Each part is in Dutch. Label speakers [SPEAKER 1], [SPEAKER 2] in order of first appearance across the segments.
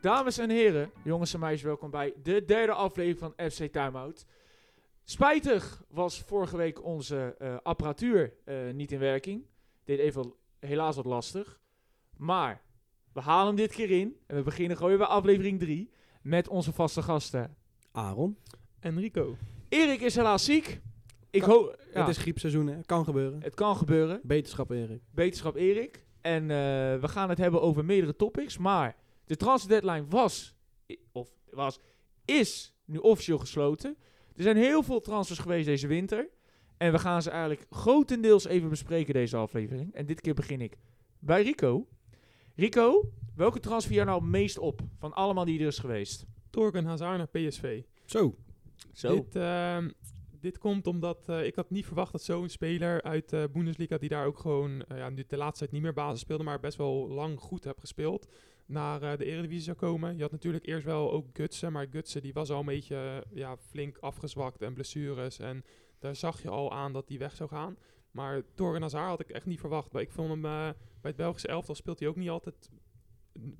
[SPEAKER 1] Dames en heren, jongens en meisjes, welkom bij de derde aflevering van FC Timeout. Spijtig was vorige week onze eh, apparatuur eh, niet in werking. Dit even helaas wat lastig. Maar we halen hem dit keer in en we beginnen gewoon weer bij aflevering 3 met onze vaste gasten.
[SPEAKER 2] Aaron.
[SPEAKER 3] Enrico.
[SPEAKER 1] Erik is helaas ziek. Ik
[SPEAKER 2] Kan-
[SPEAKER 1] hoop. ja,
[SPEAKER 2] Het is griepseizoen, hè? Kan gebeuren.
[SPEAKER 1] het kan gebeuren.
[SPEAKER 2] Beterschap, Erik.
[SPEAKER 1] Wetenschap Erik. En eh, we gaan het hebben over meerdere topics. Maar de transfer deadline was, i- of was, is nu officieel gesloten. Er zijn heel veel transfers geweest deze winter. En we gaan ze eigenlijk grotendeels even bespreken deze aflevering. En dit keer begin ik bij Rico. Rico, welke transfer jou nou het meest op van allemaal die er is geweest?
[SPEAKER 3] Torgen Hazard naar PSV.
[SPEAKER 2] Zo.
[SPEAKER 3] Dit, ehm, dit komt omdat eh, ik had niet verwacht dat zo'n speler uit de Bundesliga, die daar ook gewoon eh, ja, nu de laatste tijd niet meer basis speelde, maar best wel lang goed heb gespeeld, naar eh, de Eredivisie zou komen. Je had natuurlijk eerst wel ook Gutsen, maar Gutsen die was al een beetje eh, ja, flink afgezwakt en blessures. En daar zag je al aan dat hij weg zou gaan. Maar Torgen Hazard had ik echt niet verwacht. Maar ik vond hem eh, bij het Belgische elftal speelt hij ook niet altijd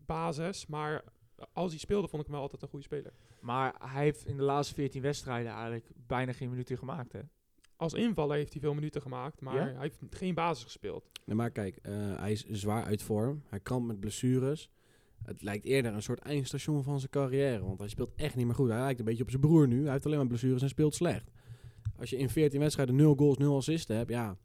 [SPEAKER 3] basis, maar als hij speelde vond ik hem wel altijd een goede speler.
[SPEAKER 1] Maar hij heeft in de laatste 14 wedstrijden eigenlijk bijna geen minuten gemaakt, hè?
[SPEAKER 3] Als invaller heeft hij veel minuten gemaakt, maar
[SPEAKER 1] Ja?
[SPEAKER 3] hij heeft geen basis gespeeld.
[SPEAKER 2] Nee, maar kijk, eh, hij is zwaar uit vorm. Hij krampt met blessures. Het lijkt eerder een soort eindstation van zijn carrière. Want hij speelt echt niet meer goed. Hij lijkt een beetje op zijn broer nu. Hij heeft alleen maar blessures en speelt slecht. Als je in 14 wedstrijden 0 goals, 0 assisten hebt, ja.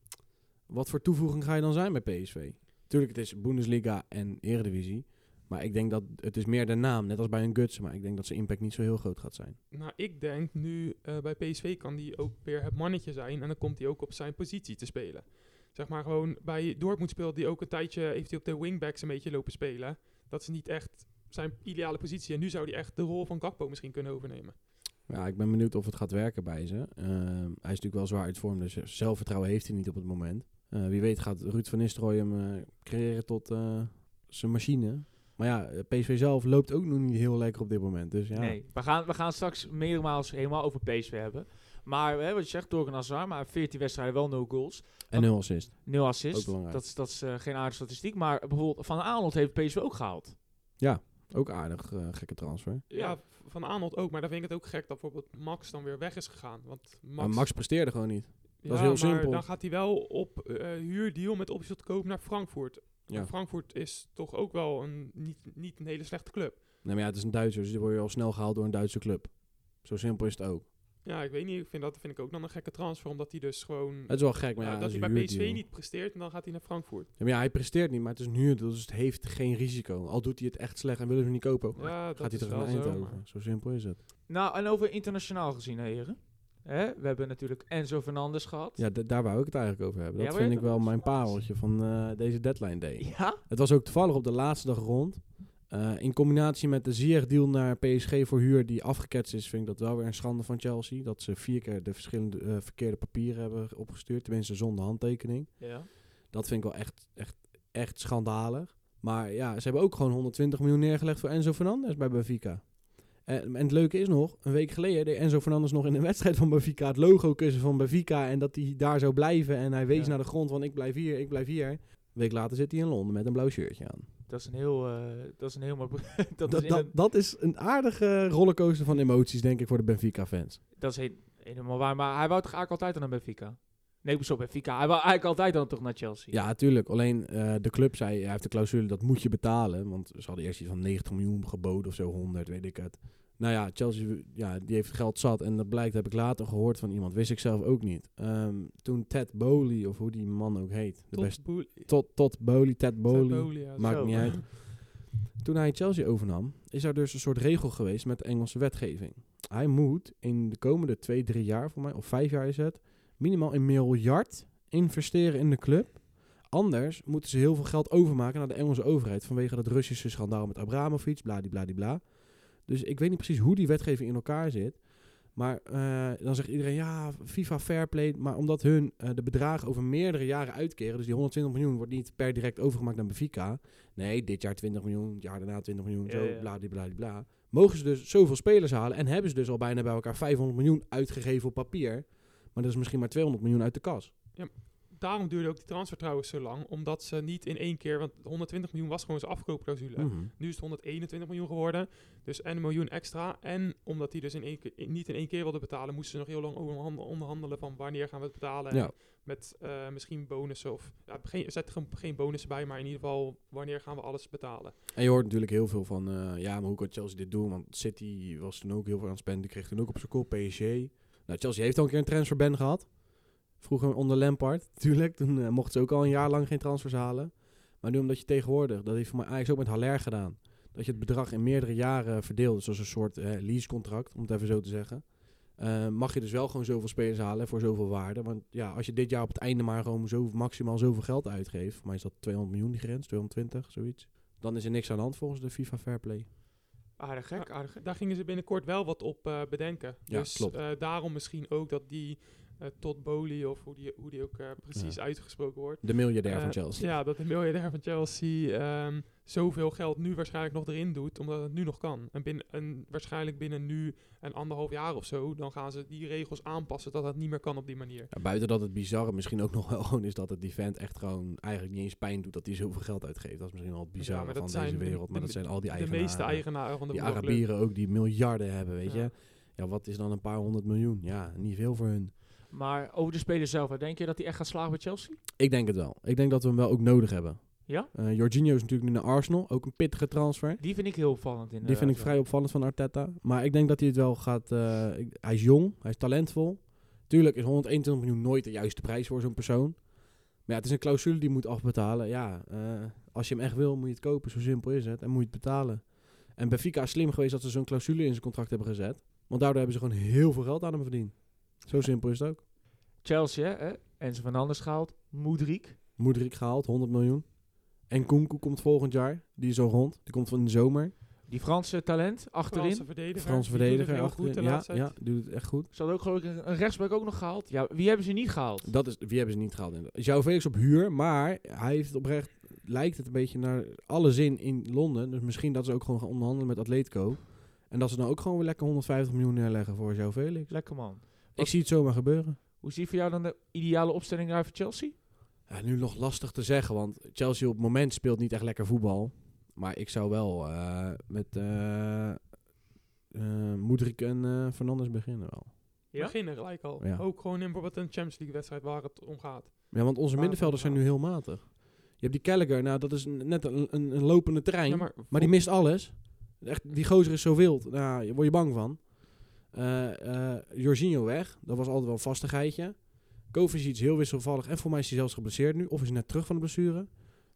[SPEAKER 2] Wat voor toevoeging ga je dan zijn bij PSV? Tuurlijk, het is Bundesliga en Eredivisie. Maar ik denk dat het is meer de naam, net als bij een Guts. Maar ik denk dat zijn impact niet zo heel groot gaat zijn.
[SPEAKER 3] Nou, ik denk nu eh, bij PSV kan hij ook weer het mannetje zijn en dan komt hij ook op zijn positie te spelen. Zeg maar gewoon bij Dortmund speelde hij ook een tijdje, heeft hij op de wingbacks een beetje lopen spelen. Dat is niet echt zijn ideale positie en nu zou hij echt de rol van Gakpo misschien kunnen overnemen.
[SPEAKER 2] Ja, ik ben benieuwd of het gaat werken bij ze. Ehm, hij is natuurlijk wel zwaar uit vorm, dus zelfvertrouwen heeft hij niet op het moment. Eh, wie weet gaat Ruud van Nistelrooy hem eh, creëren tot eh, zijn machine. Maar ja, eh, PSV zelf loopt ook nog niet heel lekker op dit moment. Dus ja,
[SPEAKER 1] Nee, we gaan, we gaan straks meermaals helemaal over PSV hebben. Maar hè, wat je zegt, Torgan Hazard, maar 14 wedstrijden wel no goals.
[SPEAKER 2] en nul assist.
[SPEAKER 1] Nul
[SPEAKER 2] Ook
[SPEAKER 1] assist.
[SPEAKER 2] belangrijk.
[SPEAKER 1] Dat is, dat is eh, geen aardige statistiek. Maar bijvoorbeeld Van Aanholt heeft PSV ook gehaald.
[SPEAKER 2] Ook aardig, eh, gekke transfer.
[SPEAKER 3] Ja, van Arnold ook, maar dan vind ik het ook gek dat bijvoorbeeld Max dan weer weg is gegaan. Want Max,
[SPEAKER 2] Maar Max presteerde gewoon niet.
[SPEAKER 3] ja,
[SPEAKER 2] is heel
[SPEAKER 3] maar
[SPEAKER 2] simpel.
[SPEAKER 3] dan gaat hij wel op eh, huurdeal met optie tot koop naar Frankfurt.
[SPEAKER 2] Ja.
[SPEAKER 3] En Frankfurt is toch ook wel een, niet, niet een hele slechte club.
[SPEAKER 2] Nee, maar ja, het is een Duitser, dus die word je al snel gehaald door een Duitse club. Zo simpel is het ook.
[SPEAKER 3] Ja, ik weet niet. Ik vind dat vind ik ook dan een gekke transfer, omdat hij dus gewoon
[SPEAKER 2] Het is wel gek, maar
[SPEAKER 3] ja,
[SPEAKER 2] ja,
[SPEAKER 3] dat
[SPEAKER 2] het is
[SPEAKER 3] hij
[SPEAKER 2] een
[SPEAKER 3] bij PSV
[SPEAKER 2] huurdeal.
[SPEAKER 3] niet presteert en dan gaat hij naar Frankfurt.
[SPEAKER 2] Ja, maar ja, hij presteert niet, maar het is een huurdeal, dus het heeft geen risico. Al doet hij het echt slecht en willen ze hem niet kopen,
[SPEAKER 3] Ja, dat
[SPEAKER 2] gaat hij
[SPEAKER 3] is
[SPEAKER 2] terug
[SPEAKER 3] wel
[SPEAKER 2] naar
[SPEAKER 3] zo.
[SPEAKER 2] Eindhoven.
[SPEAKER 3] maar-
[SPEAKER 2] Zo simpel is het.
[SPEAKER 1] Nou, en over internationaal gezien, hè, heren. Hè, we hebben natuurlijk Enzo Fernandes gehad.
[SPEAKER 2] Ja, d- daar wou ik het eigenlijk over hebben.
[SPEAKER 1] Ja,
[SPEAKER 2] Dat
[SPEAKER 1] wil je
[SPEAKER 2] vind
[SPEAKER 1] het
[SPEAKER 2] ik wel
[SPEAKER 1] over
[SPEAKER 2] mijn
[SPEAKER 1] plaatsen?
[SPEAKER 2] pareltje van eh, deze deadline day.
[SPEAKER 1] Ja?
[SPEAKER 2] Het was ook toevallig op de laatste dag rond. Eh, in combinatie met de Ziyech-deal naar PSG voor huur die afgeketst is, vind ik dat wel weer een schande van Chelsea. Dat ze vier keer de verschillende eh, verkeerde papieren hebben opgestuurd, tenminste zonder handtekening.
[SPEAKER 1] ja.
[SPEAKER 2] Dat vind ik wel echt, echt, echt schandalig. Maar ja, ze hebben ook gewoon 120 miljoen neergelegd voor Enzo Fernandes bij Benfica. En, en het leuke is nog, een week geleden deed Enzo Fernandes nog in een wedstrijd van Benfica het logo kussen van Benfica. En dat hij daar zou blijven. En hij wees
[SPEAKER 1] Ja.
[SPEAKER 2] naar de grond van ik blijf hier, ik blijf hier. Een week later zit hij in Londen met een blauw shirtje aan.
[SPEAKER 1] Dat is een heel... eh, dat is een heel mooi... pro- dat,
[SPEAKER 2] Dat,
[SPEAKER 1] is
[SPEAKER 2] dat,
[SPEAKER 1] een,
[SPEAKER 2] dat is een aardige rollercoaster van emoties, denk ik, voor de Benfica-fans.
[SPEAKER 1] dat is he- helemaal waar. Maar hij wou toch eigenlijk altijd aan naar Benfica? Nee, sorry, Benfica. Hij wou eigenlijk altijd dan toch naar Chelsea?
[SPEAKER 2] Ja, tuurlijk. Alleen eh, de club zei, hij heeft de clausule, dat moet je betalen. Want ze hadden eerst iets van 90 miljoen geboden of zo, 100, weet ik het. Nou ja, Chelsea ja, die heeft geld zat. En dat blijkt, heb ik later gehoord van iemand. Wist ik zelf ook niet. Ehm, toen Ted Bowley, of hoe die man ook heet. De
[SPEAKER 3] Tot
[SPEAKER 2] beste,
[SPEAKER 3] Boel- Tot
[SPEAKER 2] tot, tot Bowley, Ted Bowley.
[SPEAKER 3] Boel, ja,
[SPEAKER 2] Maakt
[SPEAKER 3] zo.
[SPEAKER 2] niet uit. Toen hij Chelsea overnam, is er dus een soort regel geweest met de Engelse wetgeving. Hij moet in de komende twee, drie jaar, voor mij, of vijf jaar is het, minimaal een miljard investeren in de club. Anders moeten ze heel veel geld overmaken naar de Engelse overheid vanwege dat Russische schandaal met Abramovic, bladibladibla. Dus ik weet niet precies hoe die wetgeving in elkaar zit. Maar eh, dan zegt iedereen, ja, FIFA Fair Play. Maar omdat hun eh, de bedragen over meerdere jaren uitkeren, dus die 120 miljoen wordt niet per direct overgemaakt naar Benfica. Nee, dit jaar 20 miljoen, het jaar daarna 20 miljoen,
[SPEAKER 1] Ja,
[SPEAKER 2] zo,
[SPEAKER 1] ja.
[SPEAKER 2] bladibladibla. Mogen ze dus zoveel spelers halen en hebben ze dus al bijna bij elkaar 500 miljoen uitgegeven op papier. Maar dat is misschien maar 200 miljoen uit de kas.
[SPEAKER 3] daarom duurde ook die transfer trouwens zo lang. Omdat ze niet in één keer... Want 120 miljoen was gewoon zijn afkoopclausule.
[SPEAKER 2] Mhm.
[SPEAKER 3] Nu is het 121 miljoen geworden. Dus en een miljoen extra. En omdat die dus in één keer, in- niet in één keer wilden betalen, moesten ze nog heel lang onderhan- onderhandelen van wanneer gaan we het betalen.
[SPEAKER 2] Ja.
[SPEAKER 3] En Met eh, misschien bonussen of... Ja, geen, er zitten geen- geen bonussen bij, maar in ieder geval wanneer gaan we alles betalen.
[SPEAKER 2] En je hoort natuurlijk heel veel van, eh, ja, maar hoe kan Chelsea dit doen? Want City was toen ook heel veel aan het spenden. Die kreeg toen ook op zijn kop PSG. Nou, Chelsea heeft al een keer een transferban gehad. Vroeger onder Lampard, natuurlijk. Toen eh, mochten ze ook al een jaar lang geen transfers halen. Maar nu omdat je tegenwoordig, dat heeft voor mij Ajax ook met Haller gedaan. Dat je het bedrag in meerdere jaren verdeelt. Dus als een soort eh, leasecontract, om het even zo te zeggen. Eh, mag je dus wel gewoon zoveel spelers halen voor zoveel waarde. Want ja, als je dit jaar op het einde maar gewoon zo, maximaal zoveel geld uitgeeft. Voor mij is dat 200 miljoen die grens, 220, zoiets. Dan is er niks aan de hand volgens de FIFA Fairplay.
[SPEAKER 1] Aardig gek, aardig gek.
[SPEAKER 3] Daar gingen ze binnenkort wel wat op eh, bedenken.
[SPEAKER 2] Ja,
[SPEAKER 3] dus
[SPEAKER 2] klopt.
[SPEAKER 3] eh, daarom misschien ook dat die eh, tot Todd Bowley, of hoe die, hoe die ook eh, precies uitgesproken wordt...
[SPEAKER 2] De miljardair van
[SPEAKER 3] Eh,
[SPEAKER 2] Chelsea.
[SPEAKER 3] Ja, dat de miljardair van Chelsea ehm, zoveel geld nu waarschijnlijk nog erin doet, omdat het nu nog kan. En, binnen, en waarschijnlijk binnen nu een anderhalf jaar of zo, dan gaan ze die regels aanpassen dat dat niet meer kan op die manier.
[SPEAKER 2] Ja, buiten dat het bizarre misschien ook nog wel gewoon is dat het die vent echt gewoon eigenlijk niet eens pijn doet dat hij zoveel geld uitgeeft. Dat is misschien wel het bizarre
[SPEAKER 3] maar
[SPEAKER 2] van
[SPEAKER 3] dat
[SPEAKER 2] deze
[SPEAKER 3] zijn de-
[SPEAKER 2] wereld. Maar
[SPEAKER 3] de-
[SPEAKER 2] dat zijn al die
[SPEAKER 3] De
[SPEAKER 2] eigenaren.
[SPEAKER 3] meeste eigenaren van de
[SPEAKER 2] die
[SPEAKER 3] voetbalclub.
[SPEAKER 2] Arabieren ook die miljarden hebben, weet
[SPEAKER 3] Ja.
[SPEAKER 2] je. Ja, wat is dan een paar honderd miljoen? Ja, niet veel voor hun.
[SPEAKER 1] Maar over de speler zelf, hè, denk je dat hij echt gaat slagen bij Chelsea?
[SPEAKER 2] Ik denk het wel. Ik denk dat we hem wel ook nodig hebben.
[SPEAKER 1] Ja?
[SPEAKER 2] Eh, Jorginho is natuurlijk nu naar Arsenal. Ook een pittige transfer.
[SPEAKER 1] Die vind ik heel opvallend in.
[SPEAKER 2] Die vind ik vrij opvallend van Arteta. Maar ik denk dat hij het wel gaat... eh, ik- hij is jong, hij is talentvol. Tuurlijk is 121 miljoen nooit de juiste prijs voor zo'n persoon. Maar ja, het is een clausule die je moet afbetalen. Ja, eh, als je hem echt wil, moet je het kopen. Zo simpel is het. En moet je het betalen. En Benfica is slim geweest dat ze zo'n clausule in zijn contract hebben gezet. Want daardoor hebben ze gewoon heel veel geld aan hem verdiend. Zo simpel is het ook.
[SPEAKER 1] Chelsea, hè? Enzo van Anders gehaald. Moedriek.
[SPEAKER 2] Moedrik gehaald, 100 miljoen. En Kunku komt volgend jaar. Die is al rond. Die komt van de zomer.
[SPEAKER 1] Die Franse talent achterin.
[SPEAKER 3] Franse verdediger.
[SPEAKER 2] Frans
[SPEAKER 3] die doet het
[SPEAKER 2] verdediger.
[SPEAKER 3] heel
[SPEAKER 2] achterin.
[SPEAKER 3] goed de
[SPEAKER 2] ja,
[SPEAKER 3] laatste
[SPEAKER 2] ja,
[SPEAKER 3] tijd.
[SPEAKER 2] doet het echt goed.
[SPEAKER 1] Ze hadden ook geloof ik een, een rechtsback ook nog gehaald. Ja, wie hebben ze niet gehaald?
[SPEAKER 2] Dat is, wie hebben ze niet gehaald? inderdaad. João Felix op huur, maar hij heeft oprecht, lijkt het een beetje naar alle zin in Londen. Dus misschien dat ze ook gewoon gaan onderhandelen met Atletico. En dat ze dan ook gewoon weer lekker 150 miljoen neerleggen voor João Felix.
[SPEAKER 1] Lekker man.
[SPEAKER 2] Ik zie het zomaar gebeuren.
[SPEAKER 1] Hoe zie je voor jou dan de ideale opstelling daar voor Chelsea?
[SPEAKER 2] Ja, nu nog lastig te zeggen, want Chelsea op het moment speelt niet echt lekker voetbal. Maar ik zou wel eh, met eh eh, Moedrik en eh Fernandes beginnen wel.
[SPEAKER 1] Ja?
[SPEAKER 3] Beginnen gelijk al.
[SPEAKER 2] Ja.
[SPEAKER 3] Ook gewoon in bijvoorbeeld een Champions League wedstrijd waar het om gaat.
[SPEAKER 2] Ja, want onze
[SPEAKER 3] Waarom
[SPEAKER 2] middenvelders zijn nu heel matig. Je hebt die Gallagher, nou dat is een- net een, een, een lopende trein.
[SPEAKER 3] Ja, maar,
[SPEAKER 2] Maar die mist alles. Echt, die gozer is zo wild. Nou, daar word je bang van. Eh eh Jorginho weg. Dat was altijd wel een vastigheidje. Kovacic is heel wisselvallig. En voor mij is hij zelfs geblesseerd nu. Of is hij net terug van de blessure.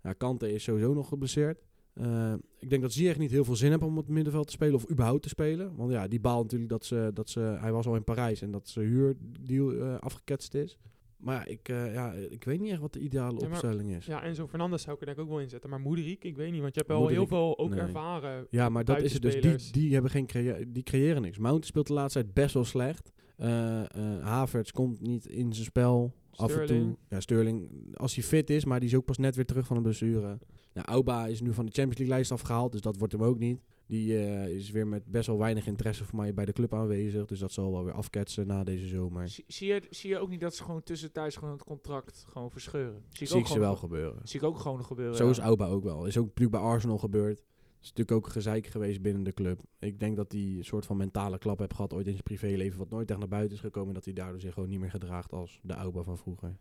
[SPEAKER 2] Nou, Kante is sowieso nog geblesseerd. Eh, ik denk dat Ziyech niet heel veel zin heeft om op het middenveld te spelen. Of überhaupt te spelen. Want ja, die baalt natuurlijk dat ze... Dat ze hij was al in Parijs en dat zijn huurdeal eh, afgeketst is. Maar ja, ik, eh, ja, ik weet niet echt wat de ideale
[SPEAKER 3] Ja, maar-
[SPEAKER 2] opstelling is.
[SPEAKER 3] ja, Enzo Fernandes zou ik er denk ik ook wel inzetten. Maar Moederik, ik weet niet, want je hebt wel
[SPEAKER 2] Moederik,
[SPEAKER 3] heel veel ook
[SPEAKER 2] nee.
[SPEAKER 3] ervaren.
[SPEAKER 2] Ja, maar dat is het dus. Die,
[SPEAKER 3] buitenspelers.
[SPEAKER 2] die, hebben geen crea- die creëren niks. Mount speelt de laatste tijd best wel slecht. Eh, eh, Havertz komt niet in zijn spel. Af en toe.
[SPEAKER 3] Sterling.
[SPEAKER 2] Ja, Sterling, als hij fit is, maar die is ook pas net weer terug van een blessure. Nou, Auba is nu van de Champions League lijst afgehaald, dus dat wordt hem ook niet. Die eh, is weer met best wel weinig interesse voor mij bij de club aanwezig. Dus dat zal wel weer afketsen na deze zomer.
[SPEAKER 1] Zie, zie je, zie je ook niet dat ze gewoon tussentijds gewoon het contract gewoon verscheuren? Zie
[SPEAKER 2] Zie ik ze
[SPEAKER 1] gewoon
[SPEAKER 2] wel
[SPEAKER 1] nog-
[SPEAKER 2] gebeuren.
[SPEAKER 1] Zie ik ook gewoon nog gebeuren.
[SPEAKER 2] Zo
[SPEAKER 1] ja.
[SPEAKER 2] is Auba ook wel. Is ook natuurlijk bij Arsenal gebeurd. Is natuurlijk ook gezeik geweest binnen de club. Ik denk dat hij een soort van mentale klap heeft gehad ooit in zijn privéleven. Wat nooit echt naar buiten is gekomen. Dat hij daardoor zich gewoon niet meer gedraagt als de Auba van vroeger.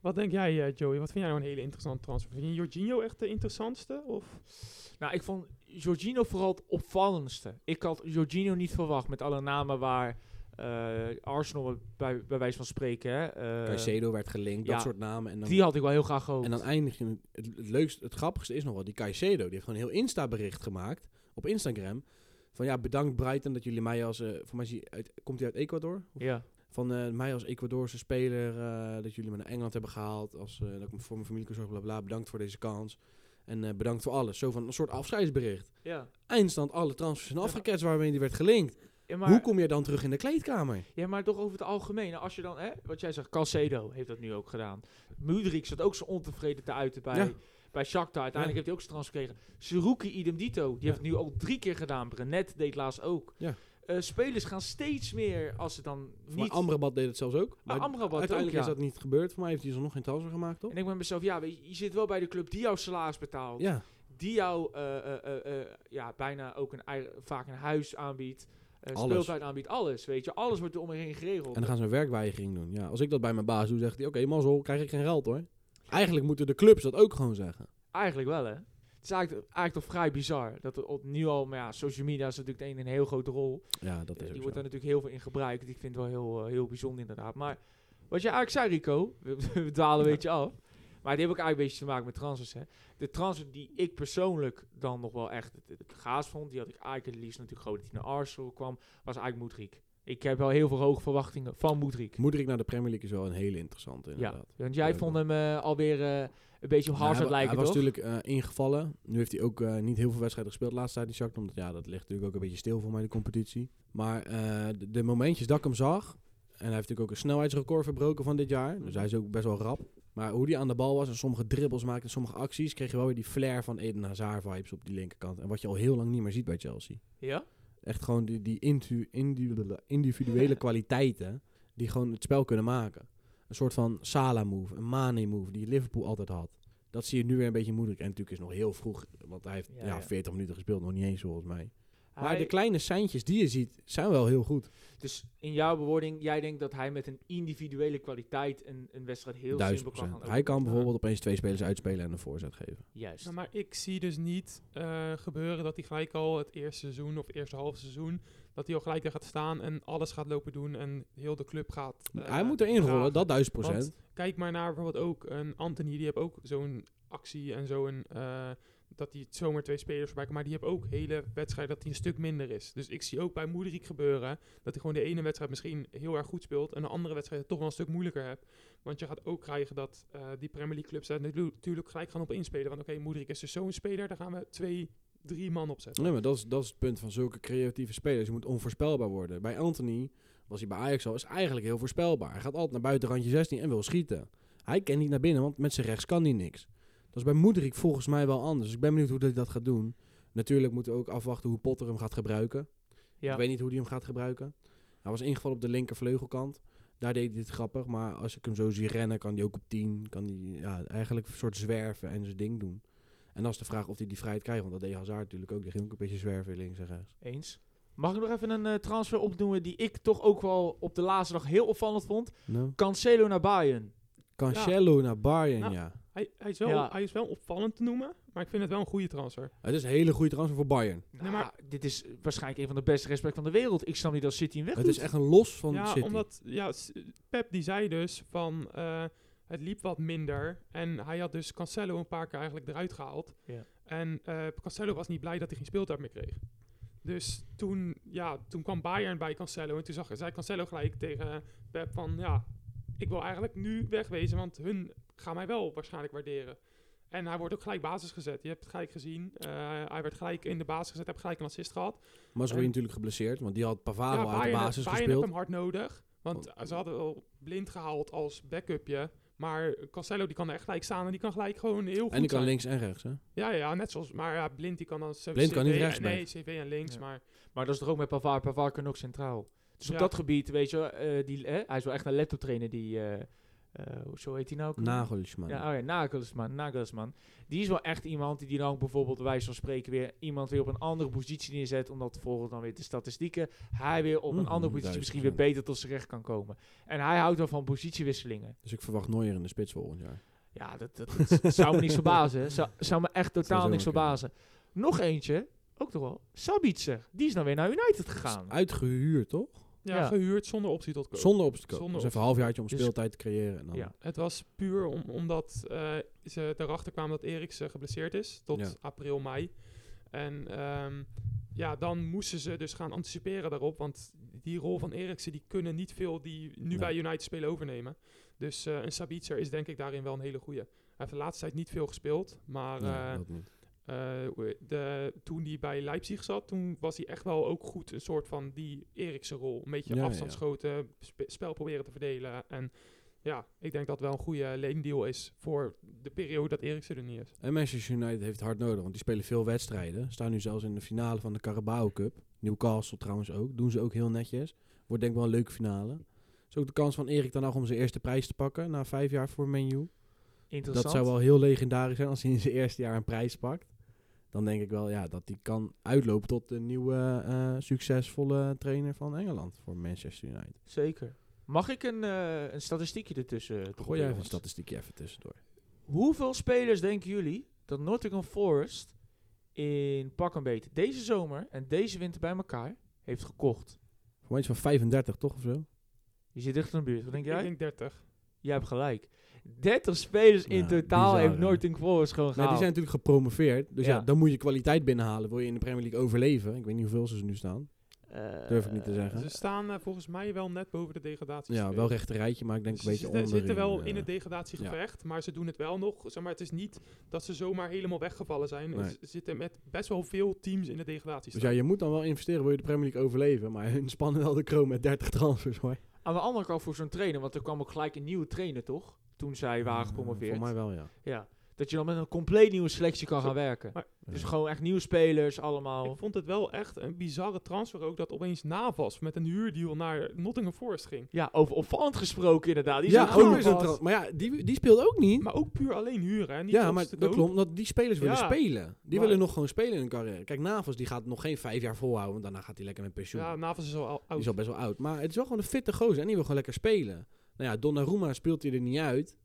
[SPEAKER 3] Wat denk jij, eh, Joey? Wat vind jij nou een hele interessante transfer? Vind je Jorginho echt de interessantste? Of?
[SPEAKER 1] Nou, ik vond Jorginho vooral het opvallendste. Ik had Jorginho niet verwacht met alle namen waar eh, Arsenal bij, bij wijze van spreken. Hè, eh,
[SPEAKER 2] Caicedo werd gelinkt,
[SPEAKER 1] ja,
[SPEAKER 2] dat soort namen. En dan,
[SPEAKER 1] die had ik wel heel graag gehoopt.
[SPEAKER 2] en dan eindig je... met- Het, het leukste, het grappigste is nog wel, die Caicedo. Die heeft gewoon een heel Insta-bericht gemaakt op Instagram. Van ja, bedankt Brighton dat jullie mij als... eh, voor mij is hij uit, komt hij uit Ecuador?
[SPEAKER 1] ja.
[SPEAKER 2] Van eh, mij als Ecuadorse speler, eh, dat jullie me naar Engeland hebben gehaald. Als, eh, dat ik voor mijn familie kan zorgen, bla bla. Bedankt voor deze kans. En eh, bedankt voor alles. Zo van een soort afscheidsbericht.
[SPEAKER 1] Ja.
[SPEAKER 2] Eindstand, alle transfers zijn afgeketst waarmee die werd gelinkt.
[SPEAKER 1] Ja, maar,
[SPEAKER 2] Hoe kom je dan terug in de kleedkamer?
[SPEAKER 1] ja, maar toch over het algemeen. Als je dan, hè, wat jij zegt, Calcedo heeft dat nu ook gedaan. Mudrik zat ook zo ontevreden te uiten bij,
[SPEAKER 2] Ja.
[SPEAKER 1] bij Shakhtar. Uiteindelijk
[SPEAKER 2] Ja.
[SPEAKER 1] heeft hij ook zijn trans gekregen. Seruki idem dito, die heeft het nu al drie keer gedaan. Brenet deed laatst ook.
[SPEAKER 2] Ja.
[SPEAKER 1] eh, spelers gaan steeds meer, als ze dan
[SPEAKER 2] Maar
[SPEAKER 1] niet...
[SPEAKER 2] Amrabat deed het zelfs ook.
[SPEAKER 1] maar
[SPEAKER 2] Maar
[SPEAKER 1] Amrabat
[SPEAKER 2] uiteindelijk
[SPEAKER 1] ook,
[SPEAKER 2] is
[SPEAKER 1] ja.
[SPEAKER 2] dat niet gebeurd. Voor mij heeft hij zo nog geen transfer gemaakt, toch?
[SPEAKER 1] En ik ben mezelf, ja, weet je, je zit wel bij de club die jouw salaris betaalt.
[SPEAKER 2] Ja.
[SPEAKER 1] Die jou eh, eh, eh, eh, ja, bijna ook een, eigen- vaak een huis aanbiedt. eh
[SPEAKER 2] Alles.
[SPEAKER 1] speeltuin aanbiedt, alles, weet je. Alles wordt er om je heen geregeld.
[SPEAKER 2] En dan gaan ze een werkweigering doen. Ja, als ik dat bij mijn baas doe, zegt hij... Oké, mazzel, krijg ik geen geld hoor. Eigenlijk moeten de clubs dat ook gewoon zeggen.
[SPEAKER 1] Eigenlijk wel, hè? Het is eigenlijk, eigenlijk toch vrij bizar. Dat er op, nu al, maar ja, social media is natuurlijk een, een heel grote rol.
[SPEAKER 2] Ja, dat
[SPEAKER 1] die
[SPEAKER 2] is ook
[SPEAKER 1] wordt daar
[SPEAKER 2] zo.
[SPEAKER 1] natuurlijk heel veel in gebruikt. Ik vind het wel heel, eh, heel bijzonder inderdaad. Maar wat je eigenlijk zei, Rico, we, we dwalen een beetje af. Maar die heeft ook eigenlijk een beetje te maken met transfers. Hè. De transfer die ik persoonlijk dan nog wel echt het, het gaas vond, die had ik eigenlijk het liefst natuurlijk gewoon dat hij naar Arsenal kwam, was eigenlijk Moedriek. Ik heb wel heel veel hoge verwachtingen van Moedriek.
[SPEAKER 2] Moederik naar de Premier League is wel een hele interessante
[SPEAKER 1] Ja,
[SPEAKER 2] inderdaad.
[SPEAKER 1] want jij
[SPEAKER 2] Ja,
[SPEAKER 1] vond hem eh, alweer eh, een beetje op Hazard
[SPEAKER 2] Nou, hij, wa-
[SPEAKER 1] lijken,
[SPEAKER 2] Hij was
[SPEAKER 1] toch?
[SPEAKER 2] natuurlijk eh, ingevallen. Nu heeft hij ook eh, niet heel veel wedstrijden gespeeld de laatste tijd, die Shakhtar. Omdat ja, dat ligt natuurlijk ook een beetje stil voor mij, de competitie. Maar eh, de, de momentjes dat ik hem zag... En hij heeft natuurlijk ook een snelheidsrecord verbroken van dit jaar. Dus hij is ook best wel rap. Maar hoe hij aan de bal was en sommige dribbels maakte en sommige acties... kreeg je wel weer die flair van Eden Hazard vibes op die linkerkant. En wat je al heel lang niet meer ziet bij Chelsea.
[SPEAKER 1] Ja?
[SPEAKER 2] Echt gewoon die, die intu- individuele, individuele kwaliteiten die gewoon het spel kunnen maken. Een soort van Salah-move, een Mane-move die Liverpool altijd had. Dat zie je nu weer een beetje moeilijk. En natuurlijk is het nog heel vroeg, want hij heeft
[SPEAKER 1] Ja,
[SPEAKER 2] ja,
[SPEAKER 1] ja.
[SPEAKER 2] 40 minuten gespeeld, nog niet eens volgens mij. Maar
[SPEAKER 1] Hij-
[SPEAKER 2] de kleine seintjes die je ziet, zijn wel heel goed.
[SPEAKER 1] Dus in jouw bewoording, jij denkt dat hij met een individuele kwaliteit een, een wedstrijd heel simpel
[SPEAKER 2] Duizend
[SPEAKER 1] kan gaan
[SPEAKER 2] procent. Hij kan
[SPEAKER 1] overwinnen.
[SPEAKER 2] bijvoorbeeld opeens twee spelers uitspelen en een voorzet geven.
[SPEAKER 1] Juist.
[SPEAKER 3] Ja, maar ik zie dus niet eh, gebeuren dat hij gelijk al het eerste seizoen of eerste half seizoen, dat hij al gelijk daar gaat staan en alles gaat lopen doen en heel de club gaat. eh,
[SPEAKER 2] hij moet erin rollen,
[SPEAKER 3] dragen.
[SPEAKER 2] dat duizend procent.
[SPEAKER 3] Kijk maar naar bijvoorbeeld ook een Anthony, die heeft ook zo'n actie en zo'n, eh, dat hij zomaar twee spelers voorbij kan, maar die heeft ook hele wedstrijden dat hij een stuk minder is. Dus ik zie ook bij Moederik gebeuren dat hij gewoon de ene wedstrijd misschien heel erg goed speelt en de andere wedstrijd het toch wel een stuk moeilijker hebt. Want je gaat ook krijgen dat eh, die Premier League clubs daar natu- natuurlijk gelijk gaan op inspelen. Want oké, Moederik is dus zo'n speler, daar gaan we twee, drie man op zetten.
[SPEAKER 2] Nee, maar dat is, dat is het punt van zulke creatieve spelers. Je moet onvoorspelbaar worden. Bij Anthony was hij bij Ajax al, is eigenlijk heel voorspelbaar. Hij gaat altijd naar buiten randje 16 en wil schieten. Hij kan niet naar binnen, want met zijn rechts kan hij niks. Dat is bij Moederik volgens mij wel anders. Dus ik ben benieuwd hoe hij dat gaat doen. Natuurlijk moeten we ook afwachten hoe Potter hem gaat gebruiken.
[SPEAKER 1] Ja.
[SPEAKER 2] Ik weet niet hoe hij hem gaat gebruiken. Hij was ingevallen op de linkervleugelkant. Daar deed hij het grappig. Maar als ik hem zo zie rennen, kan hij ook op 10. Kan hij ja, eigenlijk een soort zwerven en zijn ding doen. En dan is de vraag of hij die vrijheid krijgt. Want dat deed Hazard natuurlijk ook. Die ging ook een beetje zwerven links en rechts.
[SPEAKER 1] Eens. Mag ik nog even een eh, transfer opnoemen die ik toch ook wel op de laatste dag heel opvallend vond?
[SPEAKER 2] No.
[SPEAKER 1] Cancelo naar Bayern.
[SPEAKER 2] Cancelo naar Bayern,
[SPEAKER 3] Nou.
[SPEAKER 2] ja.
[SPEAKER 3] Hij, hij, is wel,
[SPEAKER 1] Ja.
[SPEAKER 3] hij is wel opvallend te noemen, maar ik vind het wel een goede transfer.
[SPEAKER 2] Het is een hele goede transfer voor Bayern.
[SPEAKER 1] Nou,
[SPEAKER 3] maar-
[SPEAKER 1] Dit is eh, waarschijnlijk een van de beste respect van de wereld. Ik snap niet dat City hem weg
[SPEAKER 2] Het is echt een los van
[SPEAKER 3] ja,
[SPEAKER 2] City.
[SPEAKER 3] omdat ja, s- Pep die zei dus van eh, het liep wat minder. En hij had dus Cancelo een paar keer eigenlijk eruit gehaald.
[SPEAKER 1] Ja.
[SPEAKER 3] En eh, Cancelo was niet blij dat hij geen speeltijd meer kreeg. Dus toen, ja, toen kwam Bayern bij Cancelo en toen zag, zei Cancelo gelijk tegen Pep van ja, ik wil eigenlijk nu wegwezen, want hun gaan mij wel waarschijnlijk waarderen. En hij wordt ook gelijk basis gezet. Je hebt het gelijk gezien. Eh, hij werd gelijk in de basis gezet, heb gelijk een assist gehad.
[SPEAKER 2] Mazraoui
[SPEAKER 3] En-
[SPEAKER 2] natuurlijk geblesseerd. Want die had Pavaro
[SPEAKER 3] Ja,
[SPEAKER 2] uit de
[SPEAKER 3] Bayern-
[SPEAKER 2] basis
[SPEAKER 3] Bayern
[SPEAKER 2] gespeeld. Oh.
[SPEAKER 3] heeft hem hard nodig. Want ze hadden wel blind gehaald als backupje. Maar Cancelo die kan er echt gelijk staan en die kan gelijk gewoon heel goed
[SPEAKER 2] En die kan
[SPEAKER 3] zijn.
[SPEAKER 2] links en rechts, hè?
[SPEAKER 3] Ja, ja, net zoals... Maar ja, blind die kan dan... C-
[SPEAKER 2] Blind kan
[SPEAKER 3] CV
[SPEAKER 2] niet rechts
[SPEAKER 3] Nee, CV en links,
[SPEAKER 1] Ja.
[SPEAKER 3] maar...
[SPEAKER 1] Maar dat is toch ook met Pavard. Pavard kan ook centraal. Dus op
[SPEAKER 3] Ja.
[SPEAKER 1] dat gebied, weet je, eh, die, eh, hij is wel echt een laptop trainer die... eh eh, zo heet hij nou ook?
[SPEAKER 2] Nagelsman.
[SPEAKER 1] Ja, oh ja, Nagelsman, Nagelsman. Die is wel echt iemand die dan bijvoorbeeld, wij van spreken, weer iemand weer op een andere positie neerzet. Omdat volgens dan weer de statistieken hij weer op een
[SPEAKER 2] Mhm,
[SPEAKER 1] andere positie
[SPEAKER 2] duizend
[SPEAKER 1] misschien weer
[SPEAKER 2] procent.
[SPEAKER 1] beter tot zijn recht kan komen. En hij houdt wel van positiewisselingen.
[SPEAKER 2] Dus ik verwacht Neuer in de spits volgend jaar.
[SPEAKER 1] Ja, dat, dat, dat zou me niks verbazen. hè. Zou, zou me echt totaal
[SPEAKER 2] zomaar
[SPEAKER 1] niks
[SPEAKER 2] kunnen.
[SPEAKER 1] verbazen. Nog eentje, ook toch wel, Sabitzer. Die is dan weer naar United gegaan.
[SPEAKER 2] Is Uitgehuurd, toch?
[SPEAKER 3] Ja,
[SPEAKER 1] Ja.
[SPEAKER 3] gehuurd zonder optie tot koop.
[SPEAKER 2] Zonder op te kopen.
[SPEAKER 3] Zonder
[SPEAKER 2] Dus
[SPEAKER 3] op
[SPEAKER 2] even
[SPEAKER 3] te
[SPEAKER 2] een halfjaartje om
[SPEAKER 1] Dus-
[SPEAKER 2] speeltijd te creëren. En dan
[SPEAKER 1] Ja.
[SPEAKER 3] Het was puur om, omdat eh, ze erachter kwamen dat Eriks geblesseerd is. Tot
[SPEAKER 2] Ja.
[SPEAKER 3] april, mei. En ehm, ja, dan moesten ze dus gaan anticiperen daarop. Want die rol van Eriksen, die kunnen niet veel die nu
[SPEAKER 2] Nee.
[SPEAKER 3] bij United spelen overnemen. Dus eh, een Sabitzer is denk ik daarin wel een hele goeie. Hij heeft de laatste tijd niet veel gespeeld. Maar
[SPEAKER 2] Nee,
[SPEAKER 3] eh,
[SPEAKER 2] dat niet.
[SPEAKER 3] eh, hoe- de, toen hij bij Leipzig zat, toen was hij echt wel ook goed. Een soort van die Erikse rol. Een beetje
[SPEAKER 2] Ja, ja, ja.
[SPEAKER 3] afstand schoten, spe- spel proberen te verdelen. En ja, ik denk dat wel een goede leendeal is voor de periode dat Eriksen er niet is.
[SPEAKER 2] En Manchester United heeft het hard nodig, want die spelen veel wedstrijden. Staan nu zelfs in de finale van de Carabao Cup. Newcastle trouwens ook. Doen ze ook heel netjes. Wordt denk ik wel een leuke finale. Is ook de kans van Erik daarna om zijn eerste prijs te pakken na vijf jaar voor Man U.
[SPEAKER 1] Interessant.
[SPEAKER 2] Dat zou wel heel legendarisch zijn als hij in zijn eerste jaar een prijs pakt. Dan denk ik wel ja, dat hij kan uitlopen tot de nieuwe eh, succesvolle trainer van Engeland voor Manchester United.
[SPEAKER 1] Zeker. Mag ik een, eh, een statistiekje ertussen? eh,
[SPEAKER 2] Gooi
[SPEAKER 1] droppen,
[SPEAKER 2] jij even een
[SPEAKER 1] jongens?
[SPEAKER 2] statistiekje even tussendoor.
[SPEAKER 1] Hoeveel spelers denken jullie dat Nottingham Forest in pak en beet deze zomer en deze winter bij elkaar heeft gekocht?
[SPEAKER 2] Voor mij is het van 35 toch of zo?
[SPEAKER 1] Je zit dicht in de buurt. Wat denk jij?
[SPEAKER 3] Ik denk 30.
[SPEAKER 1] Jij hebt gelijk. 30 spelers in
[SPEAKER 2] Ja,
[SPEAKER 1] totaal
[SPEAKER 2] bizar,
[SPEAKER 1] heeft
[SPEAKER 2] hè?
[SPEAKER 1] Nottingham Forest gewoon
[SPEAKER 2] Nou, die
[SPEAKER 1] gehaald.
[SPEAKER 2] zijn natuurlijk gepromoveerd. Dus ja.
[SPEAKER 1] Ja.
[SPEAKER 2] dan moet je kwaliteit binnenhalen. Wil je in de Premier League overleven? Ik weet niet hoeveel ze nu staan.
[SPEAKER 1] Eh,
[SPEAKER 2] durf ik niet te zeggen.
[SPEAKER 3] Ze staan eh, volgens mij wel net boven de degradatie.
[SPEAKER 2] Ja, wel recht een rijtje, maar ik denk
[SPEAKER 3] Ze
[SPEAKER 2] een beetje
[SPEAKER 3] zitten,
[SPEAKER 2] onder. eh,
[SPEAKER 3] zitten wel in het
[SPEAKER 2] ja.
[SPEAKER 3] degradatiegevecht, maar ze doen het wel nog. Zeg maar, het is niet dat ze zomaar helemaal weggevallen zijn.
[SPEAKER 2] Nee.
[SPEAKER 3] Ze zitten met best wel veel teams in de degradatie.
[SPEAKER 2] Dus ja, je moet dan wel investeren, wil je de Premier League overleven. Maar hun spannen wel de kroon met 30 transfers hoor.
[SPEAKER 1] Aan de andere kant voor zo'n trainer, want er kwam ook gelijk een nieuwe trainer, toch? Toen zij waren gepromoveerd.
[SPEAKER 2] Voor Nou, mij wel, ja.
[SPEAKER 1] Ja. Dat je dan met een compleet nieuwe selectie kan
[SPEAKER 3] Zo.
[SPEAKER 1] gaan werken.
[SPEAKER 3] Maar-
[SPEAKER 1] Dus gewoon echt nieuwe spelers, allemaal.
[SPEAKER 3] Ik vond het wel echt een bizarre transfer ook dat opeens Navas met een huurdeal naar Nottingham Forest ging.
[SPEAKER 1] Ja, over opvallend gesproken inderdaad. Die
[SPEAKER 2] ja,
[SPEAKER 1] zijn
[SPEAKER 2] ook
[SPEAKER 1] gewoon
[SPEAKER 2] weer zo'n
[SPEAKER 1] vast.
[SPEAKER 2] tra- Maar ja, die, die speelt ook niet.
[SPEAKER 3] Maar ook puur alleen huren. Hè? Niet
[SPEAKER 2] ja,
[SPEAKER 3] op
[SPEAKER 2] maar
[SPEAKER 3] te
[SPEAKER 2] dat
[SPEAKER 3] koop.
[SPEAKER 2] klopt, omdat die spelers willen
[SPEAKER 3] Ja.
[SPEAKER 2] spelen. Die
[SPEAKER 3] Maar-
[SPEAKER 2] willen nog gewoon spelen in hun carrière. Kijk, Navas die gaat nog geen vijf jaar volhouden, want daarna gaat hij lekker met pensioen.
[SPEAKER 3] Ja, Navas is al ou-
[SPEAKER 2] Die
[SPEAKER 3] oud.
[SPEAKER 2] is al best wel oud. Maar het is wel gewoon een fitte gozer en die wil gewoon lekker spelen. Nou ja, Donnarumma speelt hij er niet uit.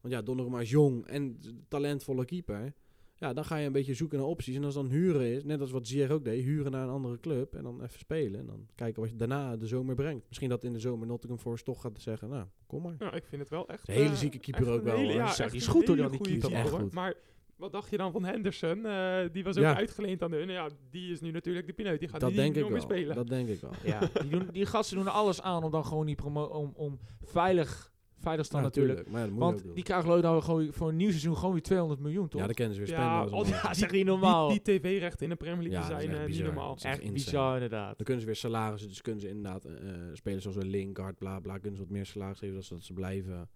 [SPEAKER 2] Want ja, Donnarumma is jong en talentvolle keeper. Ja, dan ga je een beetje zoeken naar opties. En als dan huren is, net als wat Zier ook deed, huren naar een andere club en dan even spelen. En dan kijken wat je daarna de zomer brengt. Misschien dat in de zomer Nottingham Forest toch gaat zeggen, nou, kom maar.
[SPEAKER 3] Ja, ik vind het wel echt...
[SPEAKER 2] Een hele
[SPEAKER 3] eh,
[SPEAKER 2] zieke keeper
[SPEAKER 3] echt
[SPEAKER 2] ook
[SPEAKER 3] een
[SPEAKER 2] wel,
[SPEAKER 3] hele-
[SPEAKER 2] hoor.
[SPEAKER 3] Ja,
[SPEAKER 1] Zeg,
[SPEAKER 3] echt
[SPEAKER 1] die is
[SPEAKER 3] een
[SPEAKER 1] goed, hoor, die
[SPEAKER 3] hele
[SPEAKER 1] man, die
[SPEAKER 3] goede
[SPEAKER 1] keeper.
[SPEAKER 3] keeper,
[SPEAKER 2] Echt
[SPEAKER 3] hoor.
[SPEAKER 2] goed.
[SPEAKER 3] Maar wat dacht je dan van Henderson? Eh, die was ook
[SPEAKER 2] Ja.
[SPEAKER 3] uitgeleend aan hun. Ja, die is nu natuurlijk de pineut. Die gaat
[SPEAKER 2] Dat
[SPEAKER 3] niet
[SPEAKER 2] denk
[SPEAKER 3] niet
[SPEAKER 2] ik
[SPEAKER 3] meer
[SPEAKER 2] wel.
[SPEAKER 3] spelen.
[SPEAKER 2] Dat denk ik wel.
[SPEAKER 1] Ja, die, doen, die gasten doen er alles aan om dan gewoon niet promo om, om veilig, veilig te staan
[SPEAKER 2] Ja,
[SPEAKER 1] natuurlijk.
[SPEAKER 2] tuurlijk, Maar ja, dat moet je ook
[SPEAKER 1] Want
[SPEAKER 2] doen.
[SPEAKER 1] die krijgen geloof ik nou gewoon voor een nieuw seizoen gewoon weer 200 miljoen, toch?
[SPEAKER 2] Ja, dat kennen ze weer
[SPEAKER 3] Ja,
[SPEAKER 2] spelen.
[SPEAKER 3] al die-
[SPEAKER 1] Ja, zeg niet normaal.
[SPEAKER 3] Die, die tv-rechten in de Premier League
[SPEAKER 2] Ja,
[SPEAKER 3] die
[SPEAKER 2] dat is
[SPEAKER 3] zijn
[SPEAKER 2] echt
[SPEAKER 3] eh, niet
[SPEAKER 2] bizar.
[SPEAKER 3] normaal.
[SPEAKER 2] Dat is
[SPEAKER 1] Echt
[SPEAKER 2] insane.
[SPEAKER 1] bizar inderdaad.
[SPEAKER 2] Dan kunnen ze weer salarissen, dus kunnen ze inderdaad eh, eh, spelers zoals een Lingard, bla bla, kunnen ze wat meer salaris geven, zodat ze blijven.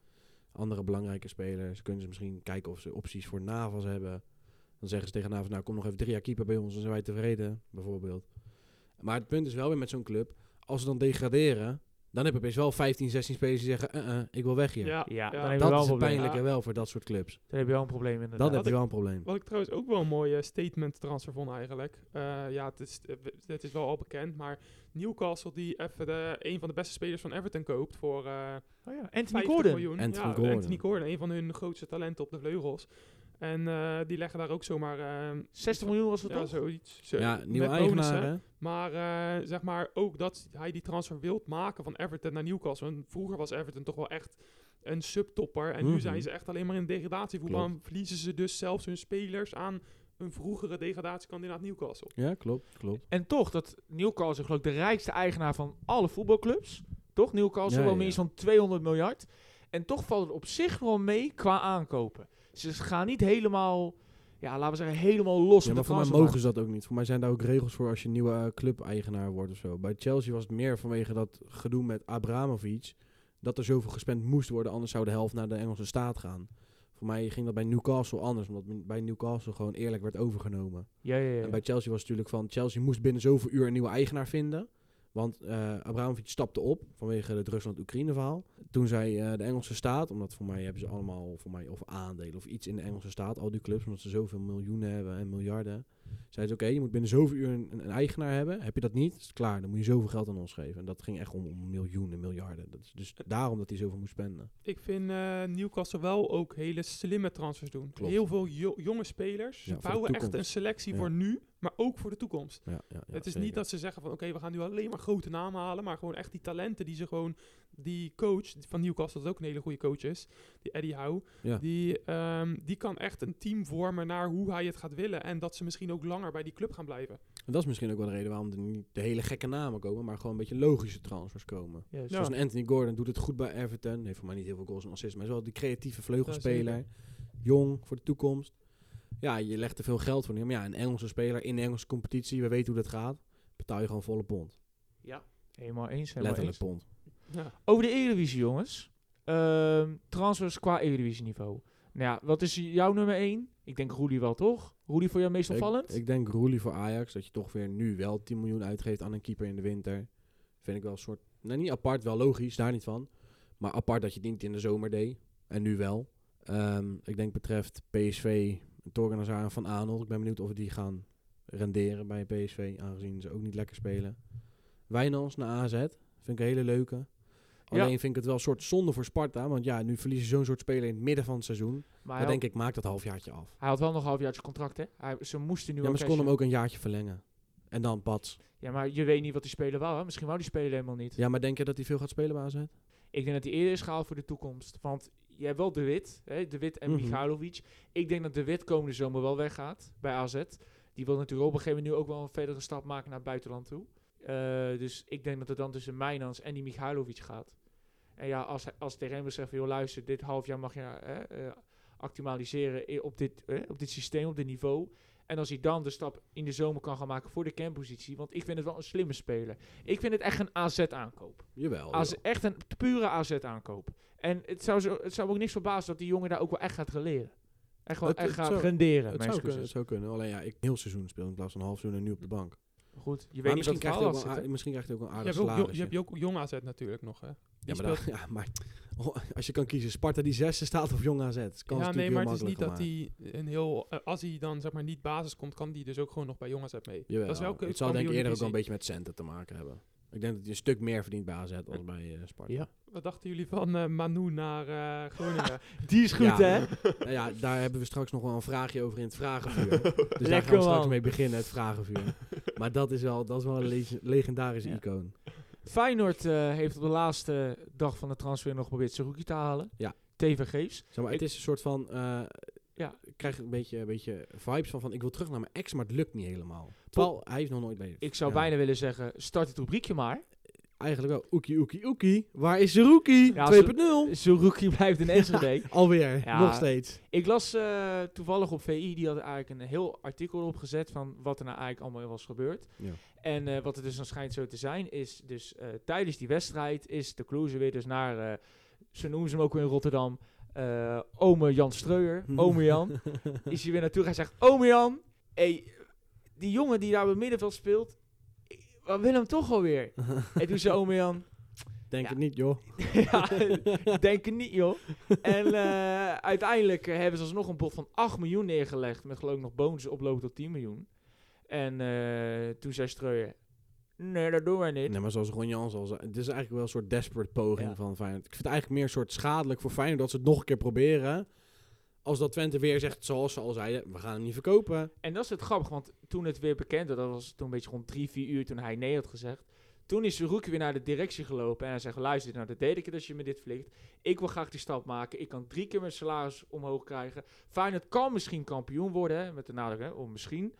[SPEAKER 2] Andere belangrijke spelers, kunnen ze misschien kijken of ze opties voor Navas hebben. Dan zeggen ze tegen Navas, nou kom nog even drie jaar keeper bij ons, dan zijn wij tevreden, bijvoorbeeld. Maar het punt is wel weer met zo'n club, als ze dan degraderen, dan heb je opeens wel 15, 16 spelers die zeggen, eh eh, ik wil weg hier.
[SPEAKER 3] Ja,
[SPEAKER 1] Ja,
[SPEAKER 3] ja.
[SPEAKER 1] dan heb je wel
[SPEAKER 2] Dat is
[SPEAKER 1] een
[SPEAKER 2] het
[SPEAKER 1] probleem.
[SPEAKER 2] pijnlijke wel voor dat soort clubs.
[SPEAKER 1] Dan heb je wel een probleem
[SPEAKER 2] Dan
[SPEAKER 1] inderdaad.
[SPEAKER 2] heb je
[SPEAKER 3] ik-
[SPEAKER 2] wel een probleem.
[SPEAKER 3] Wat ik trouwens ook wel een mooie statement transfer vond eigenlijk. Eh, ja, het is, eh, we- het is wel al bekend, maar Newcastle die even de, een van de beste spelers van Everton koopt voor eh
[SPEAKER 1] Oh ja, Anthony
[SPEAKER 3] 50
[SPEAKER 1] Gordon.
[SPEAKER 3] miljoen.
[SPEAKER 2] Anthony
[SPEAKER 3] ja,
[SPEAKER 2] Gordon.
[SPEAKER 3] Anthony Gordon, een van hun grootste talenten op de vleugels. En eh, die leggen daar ook zomaar eh,
[SPEAKER 1] 60 miljoen was het
[SPEAKER 3] ja,
[SPEAKER 1] toch?
[SPEAKER 3] zoiets. zo-
[SPEAKER 2] Ja, nieuwe
[SPEAKER 3] eh, met bonussen.
[SPEAKER 2] eigenaar, hè?
[SPEAKER 3] Maar eh, zeg maar ook dat hij die transfer wilt maken van Everton naar Newcastle. Want vroeger was Everton toch wel echt een subtopper. En nu
[SPEAKER 2] Mhm.
[SPEAKER 3] zijn ze echt alleen maar in degradatievoetbal. En verliezen ze dus zelfs hun spelers aan een vroegere degradatiekandidaat Newcastle.
[SPEAKER 2] Ja, klopt, klopt.
[SPEAKER 1] En toch, dat Newcastle is geloof ik de rijkste eigenaar van alle voetbalclubs. Toch? Newcastle
[SPEAKER 2] Ja,
[SPEAKER 1] wel
[SPEAKER 2] ja.
[SPEAKER 1] meer zo'n 200 miljard. En toch valt het op zich wel mee qua aankopen. Ze gaan niet helemaal, ja, laten we zeggen, helemaal los
[SPEAKER 2] Ja,
[SPEAKER 1] op de
[SPEAKER 2] maar voor mij
[SPEAKER 1] transfermarkt.
[SPEAKER 2] mogen ze dat ook niet. Voor mij zijn daar ook regels voor als je nieuwe eh, club-eigenaar wordt of zo. Bij Chelsea was het meer vanwege dat gedoe met Abramovic. Dat er zoveel gespend moest worden, anders zou de helft naar de Engelse staat gaan. Voor mij ging dat bij Newcastle anders, omdat men- bij Newcastle gewoon eerlijk werd overgenomen.
[SPEAKER 1] Ja, ja, ja.
[SPEAKER 2] En bij Chelsea was het natuurlijk van, Chelsea moest binnen zoveel uur een nieuwe eigenaar vinden. Want eh Abramovic stapte op vanwege het Rusland-Oekraïne verhaal. Toen zei eh, de Engelse staat, omdat voor mij hebben ze allemaal voor mij, of aandelen of iets in de Engelse staat, al die clubs, omdat ze zoveel miljoenen hebben en miljarden. Zeiden ze, oké, je moet binnen zoveel uur een, een eigenaar hebben. Heb je dat niet, is het klaar. Dan moet je zoveel geld aan ons geven. En dat ging echt om, om miljoenen, miljarden. Dat is dus daarom dat hij zoveel moest spenden.
[SPEAKER 3] Ik vind eh, Newcastle wel ook hele slimme transfers doen.
[SPEAKER 2] Klopt.
[SPEAKER 3] Heel veel jo- jonge
[SPEAKER 2] Ja,
[SPEAKER 3] spelers. Ze
[SPEAKER 2] voor de
[SPEAKER 3] bouwen echt
[SPEAKER 2] toekomst.
[SPEAKER 3] een selectie
[SPEAKER 2] Ja.
[SPEAKER 3] voor nu, maar ook voor de toekomst.
[SPEAKER 2] Ja, ja, ja,
[SPEAKER 3] het is
[SPEAKER 2] zeker.
[SPEAKER 3] niet dat ze zeggen van oké, we gaan nu alleen maar grote namen halen, maar gewoon echt die talenten die ze gewoon, die coach van Newcastle, dat ook een hele goede coach is, die Eddie Howe,
[SPEAKER 2] Ja.
[SPEAKER 3] die, ehm, die kan echt een team vormen naar hoe hij het gaat willen en dat ze misschien ook langer bij die club gaan blijven.
[SPEAKER 2] En dat is misschien ook wel de reden waarom er niet de hele gekke namen komen, maar gewoon een beetje logische transfers komen.
[SPEAKER 1] Ja,
[SPEAKER 3] Ja.
[SPEAKER 2] Dus Zoals een Anthony Gordon doet het goed bij Everton. Heeft voor mij niet heel veel goals en assists, maar is wel die creatieve vleugelspeler. Jong voor de toekomst. Ja, je legt er veel geld voor neer. Maar ja, een Engelse speler in de Engelse competitie, we weten hoe dat gaat. Betaal je gewoon volle pond.
[SPEAKER 1] Ja, helemaal eens. Helemaal
[SPEAKER 2] Letterlijk
[SPEAKER 1] eens.
[SPEAKER 2] pond.
[SPEAKER 3] Ja.
[SPEAKER 1] Over de Eredivisie, jongens. Ehm, transfers qua Eredivisie-niveau. Nou ja, wat is jouw nummer 1? Ik denk Roelie wel, toch? Roelie voor jou meest opvallend?
[SPEAKER 2] Ik, ik denk Roelie voor Ajax, dat je toch weer nu wel 10 miljoen uitgeeft aan een keeper in de winter. Vind ik wel een soort, nou niet apart, wel logisch, daar niet van. Maar apart dat je het niet in de zomer deed. En nu wel. Ehm, ik denk betreft PSV, Torgan Hazard en Van Aanholt. Ik ben benieuwd of die gaan renderen bij PSV, aangezien ze ook niet lekker spelen. Wijnans naar AZ, vind ik een hele leuke.
[SPEAKER 1] Ja.
[SPEAKER 2] Alleen vind ik het wel een soort zonde voor Sparta. Want ja, nu verliezen ze zo'n soort speler in het midden van het seizoen.
[SPEAKER 1] maar
[SPEAKER 2] Dan
[SPEAKER 1] hij,
[SPEAKER 2] denk ik, maak dat halfjaartje af.
[SPEAKER 1] hij had wel nog een halfjaartje contract, hè? Hij, ze moesten nu
[SPEAKER 2] Ja,
[SPEAKER 1] al
[SPEAKER 2] maar ze
[SPEAKER 1] cashen.
[SPEAKER 2] konden hem ook een jaartje verlengen. En dan pats.
[SPEAKER 1] Ja, maar je weet niet wat die speler wou, hè? Misschien wou die speler helemaal niet.
[SPEAKER 2] Ja, maar denk je dat hij veel gaat spelen bij AZ?
[SPEAKER 1] Ik denk dat hij eerder is gehaald voor de toekomst. Want je hebt wel De Wit, hè? De Wit en
[SPEAKER 2] Mhm.
[SPEAKER 1] Michailovic. Ik denk dat De Wit komende zomer wel weggaat bij AZ. Die wil natuurlijk op een gegeven moment nu ook wel een verdere stap maken naar het buitenland toe. Eh, dus ik denk dat het dan tussen Mijnans en die Michailovic gaat. En ja, als, hij- als tegen hem wordt gezegd van, joh, luister, dit half jaar mag je hè, eh, actualiseren i- op dit, eh, op dit systeem, op dit niveau. En als hij dan de stap in de zomer kan gaan maken voor de kernpositie. Want ik vind het wel een slimme speler. Ik vind het echt een AZ-aankoop.
[SPEAKER 2] Jawel.
[SPEAKER 1] Als echt een pure AZ-aankoop. En het zou, zo, het zou me ook niks verbazen dat die jongen daar ook wel echt gaat gaan leren. Echt wel
[SPEAKER 2] Het-
[SPEAKER 1] echt
[SPEAKER 2] het
[SPEAKER 1] gaat
[SPEAKER 2] zou-
[SPEAKER 1] renderen.
[SPEAKER 2] het,
[SPEAKER 1] mijn
[SPEAKER 2] zou kunnen, het
[SPEAKER 1] excuses.
[SPEAKER 2] zou kunnen. Alleen ja, ik heel seizoen speel in plaats van een half seizoen en nu op de bank.
[SPEAKER 1] Goed, je
[SPEAKER 2] maar
[SPEAKER 1] weet niet
[SPEAKER 2] misschien
[SPEAKER 1] wat
[SPEAKER 2] krijgt,
[SPEAKER 1] het verhaal had
[SPEAKER 2] hij ook wel aard-
[SPEAKER 1] zitten.
[SPEAKER 2] misschien krijgt hij ook een
[SPEAKER 3] Je
[SPEAKER 2] aardig
[SPEAKER 3] hebt, ook, jo-
[SPEAKER 2] salaris.
[SPEAKER 3] je hebt ook jong AZ natuurlijk nog, hè?
[SPEAKER 2] ja,
[SPEAKER 3] Die
[SPEAKER 2] maar, daar- ja, maar oh, als je kan kiezen, Sparta die zesde staat of Jong AZ. Kan
[SPEAKER 3] ja, nee, maar het is niet
[SPEAKER 2] makkelijker
[SPEAKER 3] dat hij een heel... eh, als hij dan zeg maar niet basis komt, kan die dus ook gewoon nog bij Jong AZ mee.
[SPEAKER 2] Jawel,
[SPEAKER 3] dat is wel
[SPEAKER 2] het zal denk ik eerder ook wel een beetje met centen te maken hebben. Ik denk dat hij een stuk meer verdient bij AZ dan bij eh, Sparta.
[SPEAKER 1] Ja.
[SPEAKER 3] Wat dachten jullie van eh, Manu naar eh, Groningen?
[SPEAKER 1] Die is goed,
[SPEAKER 2] Ja.
[SPEAKER 1] hè?
[SPEAKER 2] Nou ja, daar hebben we straks nog wel een vraagje over in het vragenvuur. Dus daar gaan
[SPEAKER 1] Lekker,
[SPEAKER 2] we straks
[SPEAKER 1] man.
[SPEAKER 2] mee beginnen, het vragenvuur. maar dat is wel, dat is wel een le- legendarische
[SPEAKER 1] Ja.
[SPEAKER 2] icoon.
[SPEAKER 1] Feyenoord eh, heeft op de laatste dag van de transfer nog geprobeerd zijn hoekje te halen.
[SPEAKER 2] Ja.
[SPEAKER 1] TVG's.
[SPEAKER 2] Zeg maar, het
[SPEAKER 1] Ik-
[SPEAKER 2] is een soort van... eh,
[SPEAKER 1] Ja.
[SPEAKER 2] Ik krijg een beetje, een beetje vibes van, van... Ik wil terug naar mijn ex, maar het lukt niet helemaal. Paul, hij is nog nooit bij...
[SPEAKER 1] Ik zou
[SPEAKER 2] ja,
[SPEAKER 1] bijna willen zeggen, start het rubriekje maar.
[SPEAKER 2] Eigenlijk wel. Oekie, oekie, oekie. Waar is Zerouki?
[SPEAKER 1] Ja,
[SPEAKER 2] 2.0.
[SPEAKER 1] Zo'n roekje blijft in Enschede.
[SPEAKER 2] Alweer.
[SPEAKER 1] Ja.
[SPEAKER 2] Nog steeds.
[SPEAKER 1] Ik las eh, toevallig op VI, die had eigenlijk een heel artikel opgezet van wat er nou eigenlijk allemaal was gebeurd.
[SPEAKER 2] Ja.
[SPEAKER 1] En eh, wat er dus dan schijnt zo te zijn, is dus eh, tijdens die wedstrijd is de Kloeze weer dus naar, eh, ze noemen ze hem ook weer in Rotterdam, eh ome Jan Streuer, ome Jan, is hij weer naartoe. Hij zegt, ome Jan, hey, die jongen die daar op het middenveld speelt, ik- we willen hem toch alweer. en toen zei ome Jan,
[SPEAKER 2] Denk
[SPEAKER 1] Ja.
[SPEAKER 2] het niet, joh.
[SPEAKER 1] ja, denk het niet, joh. En eh, uiteindelijk eh, hebben ze alsnog een bod van 8 miljoen neergelegd. Met geloof ik nog bonussen oplopen tot 10 miljoen. En eh, toen zei Streuer, nee, dat doen wij niet.
[SPEAKER 2] Nee, maar zoals Ron Jans al zei, het is eigenlijk wel een soort desperate poging
[SPEAKER 1] Ja.
[SPEAKER 2] van Feyenoord. Ik vind het eigenlijk meer een soort schadelijk voor Feyenoord dat ze het nog een keer proberen. Als dat Twente weer zegt, zoals ze al zeiden, we gaan hem niet verkopen.
[SPEAKER 1] En dat is het grappig, want toen het weer bekend werd, dat was toen een beetje rond 3, 4 uur toen hij nee had gezegd. Toen is Roek weer naar de directie gelopen en hij zegt, luister, nou dat deed ik dat je me dit flikt. Ik wil graag die stap maken. Ik kan drie keer mijn salaris omhoog krijgen. Feyenoord kan misschien kampioen worden, hè, met de nadruk hè, om misschien.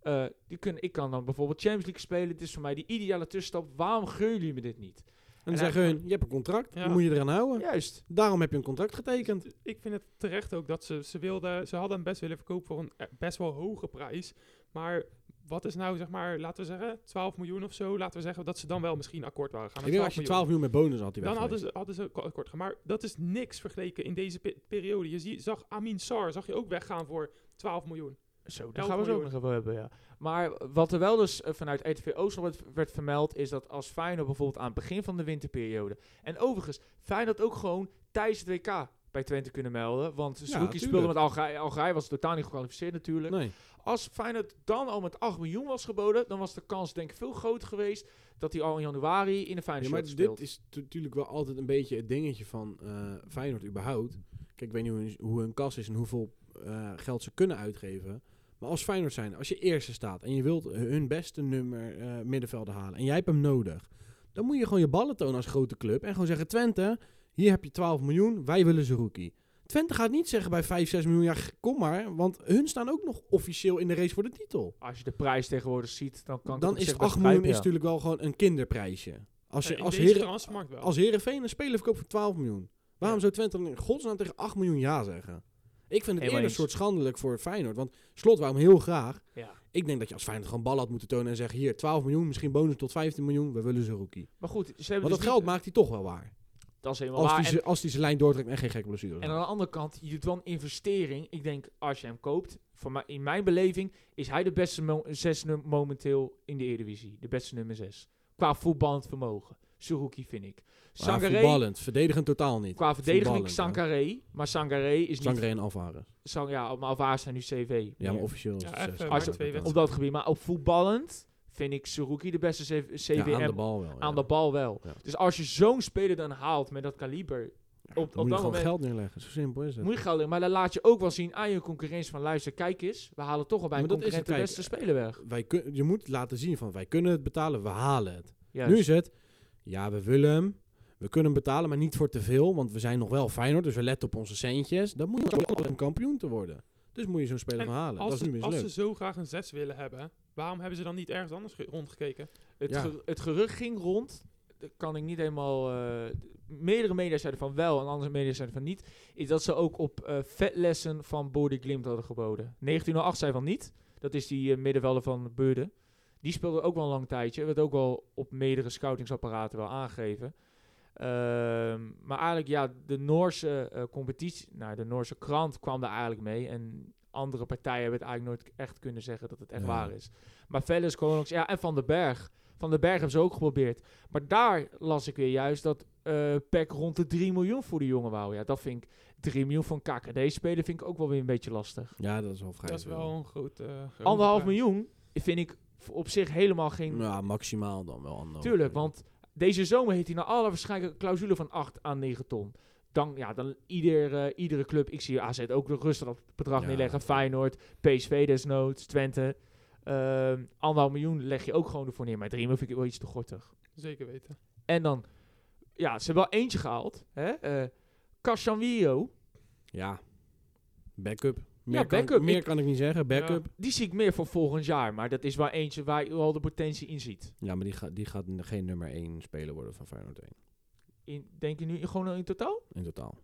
[SPEAKER 1] Eh, die kunnen, ik kan dan bijvoorbeeld Champions League spelen. Dit is voor mij die ideale tussenstap. Waarom geuren jullie me dit niet?
[SPEAKER 2] En dan
[SPEAKER 1] En
[SPEAKER 2] zeggen hun,
[SPEAKER 1] eigenlijk-
[SPEAKER 2] je hebt een contract,
[SPEAKER 3] Ja.
[SPEAKER 2] dan moet je eraan houden.
[SPEAKER 1] Juist.
[SPEAKER 2] Daarom heb je een contract getekend.
[SPEAKER 3] ik vind het terecht ook dat ze, ze wilden, ze hadden hem best willen verkopen voor een eh, best wel hoge prijs. Maar wat is nou, zeg maar, laten we zeggen, 12 miljoen of zo, laten we zeggen dat ze dan wel misschien akkoord waren gaan.
[SPEAKER 2] Ik denk als je 12 miljoen met bonus had, die
[SPEAKER 3] dan
[SPEAKER 2] weg
[SPEAKER 3] hadden
[SPEAKER 2] geweest.
[SPEAKER 3] ze, hadden ze ko- akkoord gaan. Maar dat is niks vergeleken in deze pe- periode. Je zie, zag Amin Sar, zag je ook weggaan voor 12 miljoen.
[SPEAKER 1] Zo, daar
[SPEAKER 3] Elf
[SPEAKER 1] gaan we het ook
[SPEAKER 3] miljoen.
[SPEAKER 1] nog even hebben, ja. Maar wat er wel dus eh, vanuit ETV Oost werd, werd vermeld... is dat als Feyenoord bijvoorbeeld aan het begin van de winterperiode... en overigens, Feyenoord ook gewoon tijdens het WK bij Twente kunnen melden. Want Zerouki speelde
[SPEAKER 2] tuurlijk.
[SPEAKER 1] met Algerije. Algerije was totaal niet gekwalificeerd natuurlijk.
[SPEAKER 2] Nee.
[SPEAKER 1] Als Feyenoord dan al met 8 miljoen was geboden... dan was de kans denk ik veel groter geweest... dat hij al in januari in de
[SPEAKER 2] Ja,
[SPEAKER 1] Feyenoord
[SPEAKER 2] maar
[SPEAKER 1] shirt speelt.
[SPEAKER 2] dit is natuurlijk wel altijd een beetje het dingetje van eh, Feyenoord überhaupt. Kijk, ik weet niet hoe hun, hoe hun kas is en hoeveel eh, geld ze kunnen uitgeven. Maar als Feyenoord zijn, als je eerste staat en je wilt hun beste nummer eh middenvelden halen en jij hebt hem nodig, dan moet je gewoon je ballen tonen als grote club en gewoon zeggen: Twente, hier heb je 12 miljoen, wij willen ze rookie. Twente gaat niet zeggen bij 5, 6 miljoen, ja, kom maar, want hun staan ook nog officieel in de race voor de titel
[SPEAKER 1] Als je de prijs tegenwoordig ziet, dan kan ik
[SPEAKER 2] dan
[SPEAKER 1] het op
[SPEAKER 2] is
[SPEAKER 1] zich
[SPEAKER 2] 8
[SPEAKER 1] best
[SPEAKER 2] miljoen is
[SPEAKER 1] begrijpen,
[SPEAKER 2] natuurlijk wel gewoon een kinderprijsje. Als, je,
[SPEAKER 3] Eh, in
[SPEAKER 2] als,
[SPEAKER 3] deze
[SPEAKER 2] Heren,
[SPEAKER 3] transfermarkt wel.
[SPEAKER 2] als Heerenveen een speler verkoopt voor 12 miljoen. Waarom
[SPEAKER 1] Ja.
[SPEAKER 2] zou Twente dan in godsnaam tegen 8 miljoen ja zeggen? Ik vind het
[SPEAKER 1] Helemaal
[SPEAKER 2] eerder een
[SPEAKER 1] eens.
[SPEAKER 2] soort schandelijk voor Feyenoord. Want Slot wou hem heel graag.
[SPEAKER 1] ja. Ja.
[SPEAKER 2] Ik denk dat je als Feyenoord gewoon ballen had moeten tonen en zeggen... hier, 12 miljoen, misschien bonus tot 15 miljoen, we willen ze rookie.
[SPEAKER 1] Maar goed, ze hebben
[SPEAKER 2] Want
[SPEAKER 1] dus
[SPEAKER 2] dat
[SPEAKER 1] niet-
[SPEAKER 2] geld maakt hij toch wel waar.
[SPEAKER 1] Dat is helemaal
[SPEAKER 2] Als
[SPEAKER 1] waar.
[SPEAKER 2] die,
[SPEAKER 1] En-
[SPEAKER 2] ze- als die zijn lijn doortrekt en geen gekke blessure.
[SPEAKER 1] En aan de andere kant, je doet wel een investering. Ik denk, als je hem koopt, voor mij, in mijn beleving is hij de beste mo- zes num- momenteel in de Eredivisie. De beste nummer zes. Qua voetballend vermogen. Suzuki vind ik.
[SPEAKER 2] Maar
[SPEAKER 1] Sangaré,
[SPEAKER 2] voetballend, verdedigend totaal niet.
[SPEAKER 1] qua verdediging
[SPEAKER 2] Voetballend, hè.
[SPEAKER 1] Sangaré. Maar Sangaré is niet...
[SPEAKER 2] Sangaré en Alvarez.
[SPEAKER 1] Sang, ja, maar Alvarez zijn nu CV.
[SPEAKER 2] Ja, maar
[SPEAKER 1] meer.
[SPEAKER 2] officieel is
[SPEAKER 3] Ja,
[SPEAKER 2] het
[SPEAKER 3] even
[SPEAKER 2] zes.
[SPEAKER 3] maar
[SPEAKER 2] Maar
[SPEAKER 1] twee
[SPEAKER 2] totaal.
[SPEAKER 1] op
[SPEAKER 3] wedstrijden.
[SPEAKER 1] dat gebied. Maar op voetballend vind ik Suzuki de beste CV
[SPEAKER 2] Ja,
[SPEAKER 1] CVM.
[SPEAKER 2] aan de bal wel. ja.
[SPEAKER 1] aan de bal wel.
[SPEAKER 2] Ja.
[SPEAKER 1] Dus als je zo'n speler dan haalt met dat kaliber,
[SPEAKER 2] Ja,
[SPEAKER 1] op
[SPEAKER 2] dan moet je
[SPEAKER 1] dat
[SPEAKER 2] gewoon
[SPEAKER 1] moment-
[SPEAKER 2] geld neerleggen. Zo simpel is het.
[SPEAKER 1] Moet je geld in, maar dan laat je ook wel zien aan je concurrentie van luister, kijk eens, we halen toch al bij een
[SPEAKER 2] Maar dat is het,
[SPEAKER 1] concurrent de
[SPEAKER 2] kijk,
[SPEAKER 1] beste speler weg.
[SPEAKER 2] Wij kun, je moet laten zien van wij kunnen het betalen, we halen het.
[SPEAKER 1] Juist.
[SPEAKER 2] Nu is het, ja, we willen hem. We kunnen hem betalen, maar niet voor te veel. Want we zijn nog wel Feyenoord, dus we letten op onze centjes. Dan moet je ook om kampioen te worden. Dus moet je zo'n speler
[SPEAKER 3] En
[SPEAKER 2] gaan halen. Dat
[SPEAKER 3] Als,
[SPEAKER 2] is nu
[SPEAKER 3] ze, als ze
[SPEAKER 2] mislukt.
[SPEAKER 3] zo graag een 6 willen hebben, waarom hebben ze dan niet ergens anders ge- rondgekeken?
[SPEAKER 1] het,
[SPEAKER 2] ja.
[SPEAKER 1] ge- het gerucht ging rond, dat kan ik niet helemaal, eh, meerdere media zeiden van wel en andere media zeiden van niet, is dat ze ook op eh, vetlessen van Body Glimt hadden geboden. 1908 zei van niet, dat is die eh, middenvelder van Beurden. Die speelde ook wel een lang tijdje, werd ook wel op meerdere scoutingsapparaten wel aangegeven. Ehm, maar eigenlijk, ja, de Noorse eh, competitie, nou, de Noorse krant kwam daar eigenlijk mee. En andere partijen hebben het eigenlijk nooit echt kunnen zeggen dat het echt
[SPEAKER 2] Ja.
[SPEAKER 1] waar is. Maar Velles, Konings, ja, en Van den Berg. Van den Berg hebben ze ook geprobeerd. Maar daar las ik weer juist dat eh PEC rond de 3 miljoen voor de jongen wou. Ja, dat vind ik 3 miljoen van KKD spelen vind ik ook wel weer een beetje lastig.
[SPEAKER 2] Ja, dat is wel vrij
[SPEAKER 3] Dat is
[SPEAKER 2] veel.
[SPEAKER 3] wel een groot... eh, groot
[SPEAKER 1] Anderhalf
[SPEAKER 3] bedrag.
[SPEAKER 1] miljoen vind ik v- op zich helemaal geen...
[SPEAKER 2] Ja, maximaal dan wel. Anderhalf.
[SPEAKER 1] Tuurlijk, want deze zomer heeft hij naar alle waarschijnlijke clausule van 8 aan 9 ton. Dan, ja, dan ieder, eh, iedere club, ik zie AZ ook nog rustig dat bedrag
[SPEAKER 2] Ja.
[SPEAKER 1] neerleggen. Feyenoord, PSV desnoods, Twente. Ehm anderhalf miljoen leg je ook gewoon ervoor neer. Maar 3 miljoen vind ik wel iets te gortig.
[SPEAKER 3] Zeker weten.
[SPEAKER 1] En dan, ja, ze hebben wel eentje gehaald. Hè? Eh Casanwiro,
[SPEAKER 2] Ja, backup. Meer, kan,
[SPEAKER 1] backup.
[SPEAKER 2] meer
[SPEAKER 1] Ik-
[SPEAKER 2] kan ik niet zeggen. Backup.
[SPEAKER 1] Eh, die zie ik meer voor volgend jaar. Maar dat is wel eentje waar je al de potentie in ziet.
[SPEAKER 2] Ja, maar die, gaat die gaat geen nummer 1 speler worden van Feyenoord 1.
[SPEAKER 1] In, denk je nu gewoon in totaal?
[SPEAKER 2] In totaal.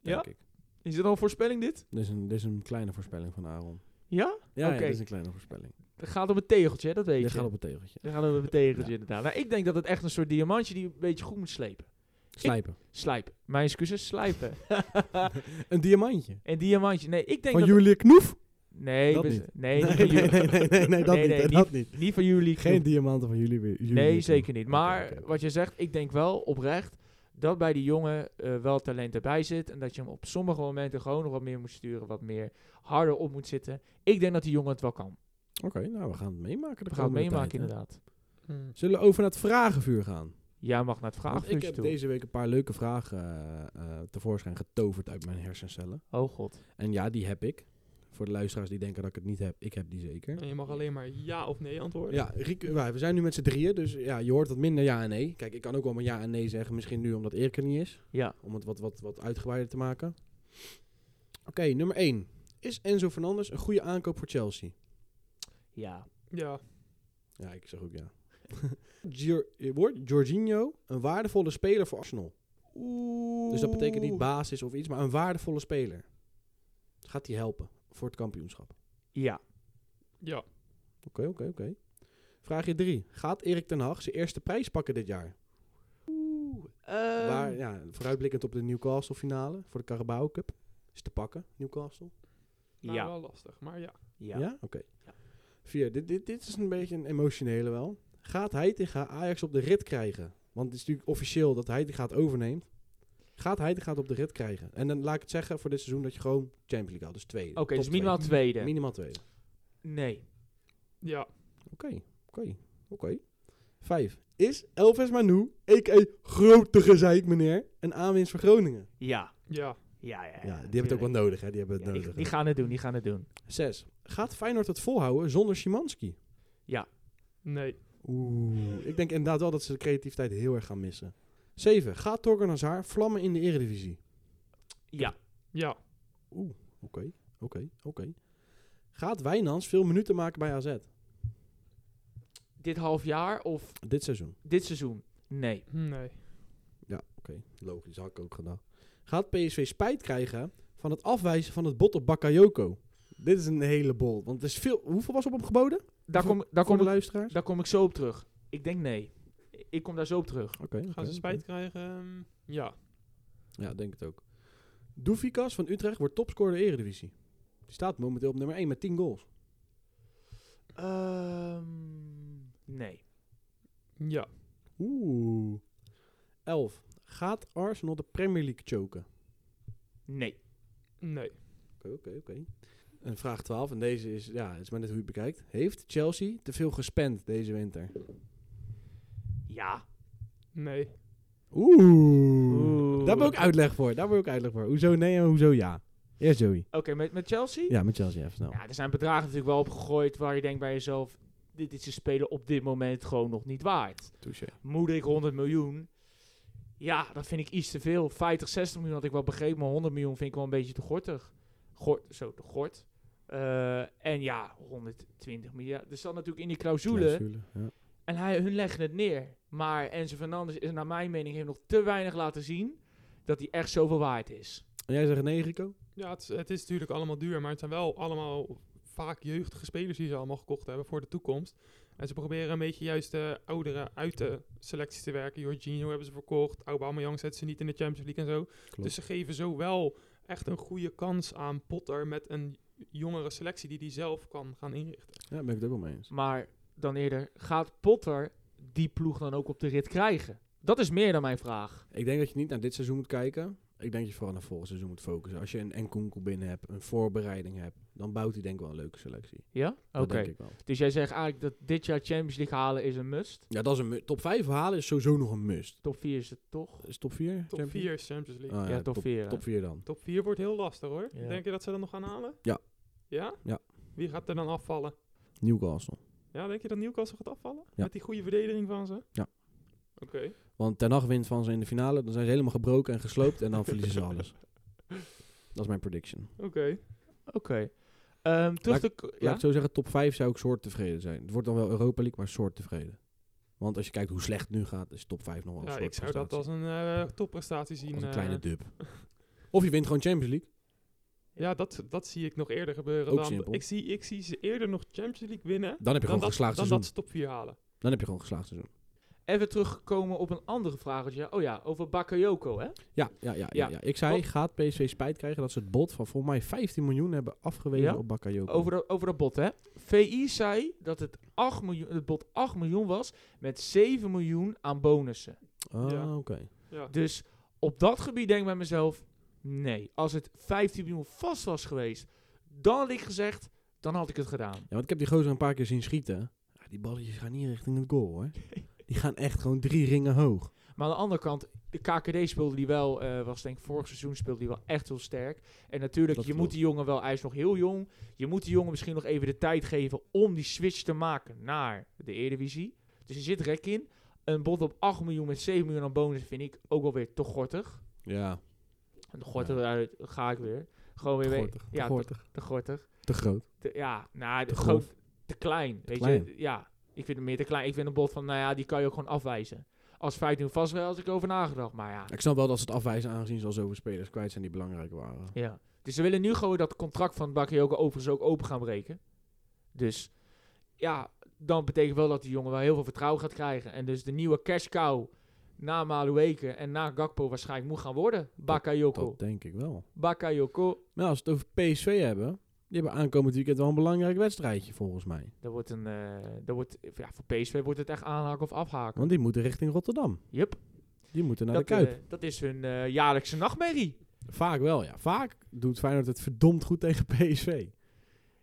[SPEAKER 1] Ja?
[SPEAKER 2] Denk ik.
[SPEAKER 1] Is dit al een voorspelling dit?
[SPEAKER 2] Dit is, een, dit is een kleine voorspelling van Aaron.
[SPEAKER 1] Ja?
[SPEAKER 2] Ja, ja,
[SPEAKER 1] Oké.
[SPEAKER 2] dit is een kleine voorspelling.
[SPEAKER 1] Het gaat om het tegeltje, hè, dat weet
[SPEAKER 2] Dit
[SPEAKER 1] je.
[SPEAKER 2] gaat op het tegeltje.
[SPEAKER 1] Dan gaan we het tegeltje inderdaad. Nou, ik denk dat het echt een soort diamantje die een beetje goed moet slepen.
[SPEAKER 2] Slijpen.
[SPEAKER 1] Slijpen. Mijn excuses, slijpen.
[SPEAKER 2] Een diamantje.
[SPEAKER 1] en diamantje. Nee, ik denk
[SPEAKER 2] Van
[SPEAKER 1] dat...
[SPEAKER 2] Julia Knoef?
[SPEAKER 1] nee,
[SPEAKER 2] dat
[SPEAKER 1] we-
[SPEAKER 2] niet.
[SPEAKER 1] nee, niet
[SPEAKER 2] nee,
[SPEAKER 1] van
[SPEAKER 2] nee,
[SPEAKER 1] jullie.
[SPEAKER 2] nee, nee, nee, nee, dat
[SPEAKER 1] Nee,
[SPEAKER 2] niet.
[SPEAKER 1] nee,
[SPEAKER 2] hè, dat niet.
[SPEAKER 1] Niet van jullie.
[SPEAKER 2] Geen diamanten van jullie weer. jullie
[SPEAKER 1] Nee,
[SPEAKER 2] weer
[SPEAKER 1] zeker
[SPEAKER 2] terug.
[SPEAKER 1] niet.
[SPEAKER 2] Oké,
[SPEAKER 1] Maar
[SPEAKER 2] oké, oké.
[SPEAKER 1] wat je zegt, ik denk wel oprecht dat bij die jongen eh, wel talent erbij zit. En dat je hem op sommige momenten gewoon nog wat meer moet sturen. Wat meer harder op moet zitten. Ik denk dat die jongen het wel kan.
[SPEAKER 2] Oké, nou, we gaan het meemaken. de
[SPEAKER 1] We gaan het
[SPEAKER 2] komende
[SPEAKER 1] meemaken
[SPEAKER 2] tijd, hè.
[SPEAKER 1] inderdaad. Hmm.
[SPEAKER 2] Zullen we over naar het vragenvuur gaan?
[SPEAKER 1] Jij mag naar het
[SPEAKER 2] Want ik
[SPEAKER 1] vraagvuurtje
[SPEAKER 2] heb
[SPEAKER 1] toe.
[SPEAKER 2] deze week een paar leuke vragen eh, eh, tevoorschijn getoverd uit mijn hersencellen.
[SPEAKER 1] Oh god.
[SPEAKER 2] En ja, die heb ik. Voor de luisteraars die denken dat ik het niet heb, ik heb die zeker.
[SPEAKER 3] En je mag alleen maar ja of nee antwoorden.
[SPEAKER 2] Ja, Riek, wij- we zijn nu met z'n drieën, dus ja, je hoort wat minder ja en nee. Kijk, ik kan ook wel mijn ja en nee zeggen, misschien nu omdat Erik er niet is.
[SPEAKER 1] Ja.
[SPEAKER 2] Om het wat, wat, wat uitgebreider te maken. Oké, nummer 1. Is Enzo Fernandes een goede aankoop voor Chelsea?
[SPEAKER 1] Ja.
[SPEAKER 3] Ja.
[SPEAKER 2] Ja, ik zeg ook ja. Gior- eh, Wordt Jorginho een waardevolle speler voor Arsenal?
[SPEAKER 1] Oeh.
[SPEAKER 2] Dus dat betekent niet basis of iets, maar een waardevolle speler. Gaat die helpen voor het kampioenschap?
[SPEAKER 1] Ja.
[SPEAKER 3] Ja.
[SPEAKER 2] Oké, oké, oké. Vraag je 3. Gaat Erik ten Hag zijn eerste prijs pakken dit jaar?
[SPEAKER 1] Oeh.
[SPEAKER 3] Eh,
[SPEAKER 1] Ehm,
[SPEAKER 2] Waar, ja, vooruitblikkend op de Newcastle finale voor de Carabao Cup. Is te pakken, Newcastle.
[SPEAKER 3] Nou,
[SPEAKER 1] ja.
[SPEAKER 3] wel lastig, maar ja.
[SPEAKER 1] Ja.
[SPEAKER 2] Ja? Oké.
[SPEAKER 1] Ja.
[SPEAKER 2] Vier, dit, dit, dit is een beetje een emotionele wel. Gaat hij tegen Ajax op de rit krijgen? Want het is natuurlijk officieel dat hij die gaat overneemt. Gaat hij die gaat op de rit krijgen? En dan laat ik het zeggen voor dit seizoen dat je gewoon Champions League had. Dus tweede.
[SPEAKER 1] Oké,
[SPEAKER 2] Top
[SPEAKER 1] dus minimaal
[SPEAKER 2] tweede.
[SPEAKER 1] tweede.
[SPEAKER 2] Minimaal tweede.
[SPEAKER 1] nee.
[SPEAKER 3] Ja.
[SPEAKER 2] Oké, oké, oké. Vijf. Is Elvis Manu, a.k.a. grote gezeik meneer, een aanwinst voor Groningen?
[SPEAKER 1] Ja.
[SPEAKER 3] Ja.
[SPEAKER 1] Ja, ja.
[SPEAKER 2] Ja, die hebben het ook wel nodig, hè? Die hebben het
[SPEAKER 1] Ja,
[SPEAKER 2] nodig.
[SPEAKER 1] die, die gaan het doen, die gaan het doen.
[SPEAKER 2] Zes. Gaat Feyenoord het volhouden zonder Szymanski?
[SPEAKER 3] Nee.
[SPEAKER 2] Oeh, ik denk inderdaad wel dat ze de creativiteit heel erg gaan missen. 7. Gaat Torgan Hazard vlammen in de eredivisie?
[SPEAKER 1] Ja.
[SPEAKER 3] Ja.
[SPEAKER 2] Oeh, oké, oké, oké. Gaat Wijnands veel minuten maken bij AZ
[SPEAKER 1] Dit half jaar of
[SPEAKER 2] dit seizoen?
[SPEAKER 1] dit seizoen? Nee.
[SPEAKER 3] Nee.
[SPEAKER 2] Ja, oké, logisch, had ik ook gedaan. Gaat PSV spijt krijgen van het afwijzen van het bot op Bakayoko? Dit is een hele bol, want er is veel... Hoeveel was op hem geboden?
[SPEAKER 1] Daar
[SPEAKER 2] Voor-
[SPEAKER 1] kom, daar,
[SPEAKER 2] Voor
[SPEAKER 1] kom
[SPEAKER 2] de
[SPEAKER 1] ik,
[SPEAKER 2] luisteraars?
[SPEAKER 1] daar kom ik zo op terug. Ik denk nee. ik kom daar zo op terug.
[SPEAKER 2] Oké. oké,
[SPEAKER 3] Gaan
[SPEAKER 2] oké.
[SPEAKER 3] ze spijt krijgen? Ja.
[SPEAKER 2] Ja, denk het ook. Doefikas van Utrecht wordt topscorer de Eredivisie. Die staat momenteel op nummer 1 met 10 goals.
[SPEAKER 1] Ehm, nee.
[SPEAKER 3] Ja.
[SPEAKER 2] Oeh. 11. Gaat Arsenal de Premier League choken?
[SPEAKER 1] Nee.
[SPEAKER 3] Nee.
[SPEAKER 2] Oké, oké, oké. En vraag 12, en deze is, ja, het is maar net hoe je het bekijkt. Heeft Chelsea te veel gespend deze winter?
[SPEAKER 1] Ja.
[SPEAKER 3] Nee.
[SPEAKER 2] Oeh.
[SPEAKER 1] Oeh.
[SPEAKER 2] Daar heb ik ook uitleg voor. Daar heb ik ook uitleg voor. Hoezo nee en hoezo ja? Eerst Joey.
[SPEAKER 1] Oké, met, met Chelsea?
[SPEAKER 2] Oh. Ja, met Chelsea even snel.
[SPEAKER 1] Ja, er zijn bedragen natuurlijk wel opgegooid waar je denkt bij jezelf, dit is een speler op dit moment gewoon nog niet waard.
[SPEAKER 2] Touché.
[SPEAKER 1] Moet ik 100 miljoen? Ja, dat vind ik iets te veel. 50, 60 miljoen had ik wel begrepen, maar 100 miljoen vind ik wel een beetje te gortig. Gort, zo, te gort. Eh, en ja, 120 miljard. Er zat natuurlijk in die clausule
[SPEAKER 2] Ja.
[SPEAKER 1] en hij, hun leggen het neer. Maar Enzo Fernandes is naar mijn mening heeft nog te weinig laten zien dat hij echt zoveel waard is.
[SPEAKER 2] En jij zegt nee, Rico?
[SPEAKER 3] Ja, het is, het is natuurlijk allemaal duur, maar het zijn wel allemaal vaak jeugdige spelers die ze allemaal gekocht hebben voor de toekomst. En ze proberen een beetje juist de ouderen uit de selecties te werken. Jorginho hebben ze verkocht, Aubameyang zetten ze niet in de Champions League en zo. Dus ze geven zo wel echt een goede kans aan Potter met een jongere selectie die hij zelf kan gaan inrichten.
[SPEAKER 2] Ja, daar ben ik het ook wel mee eens.
[SPEAKER 1] Maar dan eerder, gaat Potter die ploeg dan ook op de rit krijgen? Dat is meer dan mijn vraag.
[SPEAKER 2] Ik denk dat je niet naar dit seizoen moet kijken. Ik denk dat je vooral naar volgend seizoen moet focussen. Als je een Nkunku binnen hebt, een voorbereiding hebt, dan bouwt hij denk ik wel een leuke selectie.
[SPEAKER 1] Ja? Oké.
[SPEAKER 2] Dat denk ik wel.
[SPEAKER 1] Dus jij zegt eigenlijk dat dit jaar Champions League halen is een must.
[SPEAKER 2] Ja, dat is een mu- top 5 halen is sowieso nog een must.
[SPEAKER 1] Top 4 is het toch?
[SPEAKER 2] Is top 4?
[SPEAKER 3] Top 4 is Champions League.
[SPEAKER 1] ja, top 4.
[SPEAKER 2] Ah, Nou Top 4 dan.
[SPEAKER 3] Top 4 wordt heel lastig hoor.
[SPEAKER 1] Ja.
[SPEAKER 3] Denk je dat ze dat nog gaan halen?
[SPEAKER 2] Ja.
[SPEAKER 3] Ja?
[SPEAKER 2] Ja.
[SPEAKER 3] Wie gaat er dan afvallen?
[SPEAKER 2] Newcastle.
[SPEAKER 3] Ja, denk je dat Newcastle gaat afvallen?
[SPEAKER 2] Ja.
[SPEAKER 3] Met die goede verdediging van ze?
[SPEAKER 2] Ja.
[SPEAKER 3] Oké.
[SPEAKER 2] Want ten nacht wint van ze in de finale, dan zijn ze helemaal gebroken en gesloopt en dan verliezen ze alles. Dat is mijn prediction.
[SPEAKER 3] Oké.
[SPEAKER 1] Oké. Ehm, terug
[SPEAKER 2] Laat-
[SPEAKER 1] te...
[SPEAKER 2] Laat
[SPEAKER 1] Ja?
[SPEAKER 2] ik zo zeggen, top 5 zou ik soort tevreden zijn. Het wordt dan wel Europa League, maar soort tevreden. Want als je kijkt hoe slecht het nu gaat, is top 5 nog wel een
[SPEAKER 3] Ja,
[SPEAKER 2] soort
[SPEAKER 3] ik zou dat als
[SPEAKER 2] prestatie.
[SPEAKER 3] een eh, topprestatie zien.
[SPEAKER 2] Als een
[SPEAKER 3] eh.
[SPEAKER 2] kleine dub. Of je wint gewoon Champions League.
[SPEAKER 3] ja, dat, dat zie ik nog eerder gebeuren.
[SPEAKER 2] Ook
[SPEAKER 3] dan,
[SPEAKER 2] simpel.
[SPEAKER 3] Ik, zie, ik zie ze eerder nog Champions League winnen.
[SPEAKER 2] Dan heb je
[SPEAKER 3] dan
[SPEAKER 2] gewoon
[SPEAKER 3] dat,
[SPEAKER 2] geslaagd
[SPEAKER 3] dan
[SPEAKER 2] seizoen.
[SPEAKER 3] dat ze top 4 halen.
[SPEAKER 2] Dan heb je gewoon geslaagd seizoen.
[SPEAKER 1] Even terugkomen op een andere vraag. dat je- Oh ja, over Bakayoko, hè?
[SPEAKER 2] Ja, ja, ja. ja,
[SPEAKER 1] Ja.
[SPEAKER 2] ja. Ik zei,
[SPEAKER 1] Wat-
[SPEAKER 2] gaat PSV spijt krijgen dat ze het bod van volgens mij 15 miljoen hebben afgewezen
[SPEAKER 1] Ja?
[SPEAKER 2] op Bakayoko.
[SPEAKER 1] Over, dat- over dat bot, hè? VI zei dat het, 8 miljoen, het bot 8 miljoen was met 7 miljoen aan bonussen.
[SPEAKER 2] Ah,
[SPEAKER 3] Ja.
[SPEAKER 2] oké.
[SPEAKER 3] Ja.
[SPEAKER 1] Dus op dat gebied denk ik bij mezelf: nee, als het 15 miljoen vast was geweest, dan had ik gezegd, dan had ik het gedaan.
[SPEAKER 2] Ja, want ik heb die gozer een paar keer zien schieten. Ja, die balletjes gaan niet richting het goal, hoor. Die gaan echt gewoon drie ringen hoog.
[SPEAKER 1] Maar aan de andere kant, de KKD speelde die wel, eh, was denk ik vorig seizoen speelde die wel echt heel sterk. En natuurlijk,
[SPEAKER 2] Dat
[SPEAKER 1] je moet
[SPEAKER 2] klopt.
[SPEAKER 1] die jongen wel, hij is nog heel jong, je moet die jongen misschien nog even de tijd geven om die switch te maken naar de Eredivisie. Dus er zit rek in. Een bod op 8 miljoen met 7 miljoen aan bonus vind ik ook wel weer te gortig.
[SPEAKER 2] Ja,
[SPEAKER 1] En de gortig, daar ga ik weer. Gewoon weer
[SPEAKER 2] te
[SPEAKER 1] weer-
[SPEAKER 2] gortig. Te,
[SPEAKER 1] Ja, te-
[SPEAKER 2] gortig.
[SPEAKER 1] te gortig.
[SPEAKER 2] te groot.
[SPEAKER 1] te- ja, nou,
[SPEAKER 2] Te
[SPEAKER 1] te,
[SPEAKER 2] grof.
[SPEAKER 1] groot, te klein. weet
[SPEAKER 2] klein.
[SPEAKER 1] je, ja. Ik vind hem meer te klein. Ik vind een bod van, nou ja, die kan je ook gewoon afwijzen. Als feit nu vast wel, als ik over nagedacht, maar ja.
[SPEAKER 2] Ik snap wel dat ze het afwijzen aangezien ze al zoveel spelers kwijt zijn die belangrijk waren.
[SPEAKER 1] ja. Dus ze willen nu gewoon dat contract van Bakayoko overigens ook open gaan breken. Dus ja, dan betekent wel dat die jongen wel heel veel vertrouwen gaat krijgen. En dus de nieuwe cash cow na Malueke en na Gakpo waarschijnlijk moet gaan worden. Bakayoko.
[SPEAKER 2] Dat denk ik wel.
[SPEAKER 1] Bakayoko.
[SPEAKER 2] Maar ja, als we het over PSV hebben, die hebben aankomend weekend wel een belangrijk wedstrijdje volgens mij.
[SPEAKER 1] Dat wordt een, eh, dat wordt, ja, voor PSV wordt het echt aanhaken of afhaken.
[SPEAKER 2] Want die moeten richting Rotterdam.
[SPEAKER 1] Yup.
[SPEAKER 2] Die moeten naar
[SPEAKER 1] Dat,
[SPEAKER 2] de Kuip.
[SPEAKER 1] eh, dat is hun eh, jaarlijkse nachtmerrie.
[SPEAKER 2] Vaak wel, ja. Vaak doet Feyenoord het verdomd goed tegen PSV.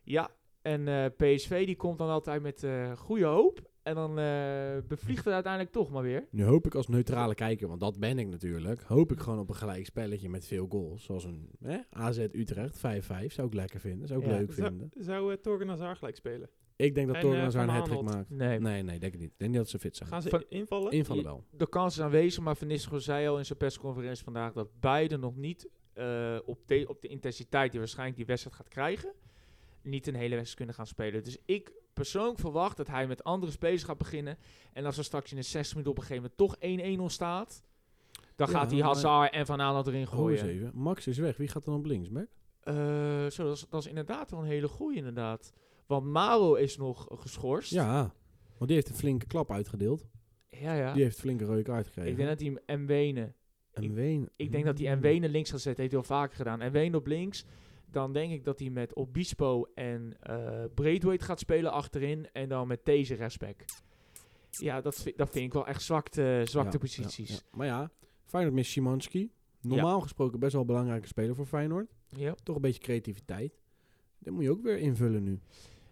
[SPEAKER 1] Ja, en eh, PSV die komt dan altijd met eh, goede hoop. En dan eh, bevliegt het uiteindelijk toch maar weer.
[SPEAKER 2] Nu hoop ik als neutrale kijker, want dat ben ik natuurlijk, hoop ik gewoon op een gelijk spelletje met veel goals. Zoals een hè, AZ Utrecht 5-5, zou ik lekker vinden. Zou ik
[SPEAKER 1] Ja.
[SPEAKER 2] leuk
[SPEAKER 3] Zou-
[SPEAKER 2] vinden.
[SPEAKER 3] Zou uh, Torgen Hazard gelijk spelen?
[SPEAKER 2] Ik denk dat
[SPEAKER 3] En,
[SPEAKER 2] Torgen
[SPEAKER 3] eh,
[SPEAKER 2] Hazard een
[SPEAKER 3] Van
[SPEAKER 2] hat-trick
[SPEAKER 3] Aanholt.
[SPEAKER 2] maakt.
[SPEAKER 1] Nee,
[SPEAKER 2] Nee, nee, denk ik niet. Ik denk niet dat ze fit zijn.
[SPEAKER 3] Gaan ze
[SPEAKER 1] Van-
[SPEAKER 3] invallen?
[SPEAKER 2] Invallen
[SPEAKER 1] Je-
[SPEAKER 2] wel.
[SPEAKER 1] de kans is aanwezig, maar Van Nistelrooy zei al in zijn persconferentie vandaag dat beide nog niet eh, op, de, op de intensiteit die waarschijnlijk die wedstrijd gaat krijgen, niet een hele wedstrijd kunnen gaan spelen. Dus ik persoonlijk verwacht dat hij met andere spelers gaat beginnen. En als er straks in de 60 minuten op een gegeven moment toch 1-1 ontstaat, dan
[SPEAKER 2] Ja,
[SPEAKER 1] gaat hij
[SPEAKER 2] maar-
[SPEAKER 1] Hazard en Van Aanholt erin
[SPEAKER 2] Gooi eens
[SPEAKER 1] gooien.
[SPEAKER 2] even. Max is weg. Wie gaat dan op links, Mac?
[SPEAKER 1] Eh, zo, dat is, dat is inderdaad wel een hele goeie, inderdaad. Want Maro is nog eh, geschorst.
[SPEAKER 2] Ja, want die heeft een flinke klap uitgedeeld.
[SPEAKER 1] Ja, ja.
[SPEAKER 2] Die heeft flinke reuk uitgekregen.
[SPEAKER 1] Ik denk dat hij hem Wenen.
[SPEAKER 2] en Ween.
[SPEAKER 1] Ik denk dat hij
[SPEAKER 2] Hmm.
[SPEAKER 1] en Wenen links gaat zetten. Heeft hij al vaker gedaan. En Wenen op links. Dan denk ik dat hij met Obispo en eh Braithwaite gaat spelen achterin. En dan met deze rechtsback. Ja, dat, vi- dat vind ik wel echt zwakte, zwakte
[SPEAKER 2] Ja,
[SPEAKER 1] posities.
[SPEAKER 2] ja, ja. Maar ja, Feyenoord mist Szymanski. Normaal gesproken best wel een belangrijke speler voor Feyenoord.
[SPEAKER 1] ja.
[SPEAKER 2] Toch een beetje creativiteit. Dat moet je ook weer invullen nu.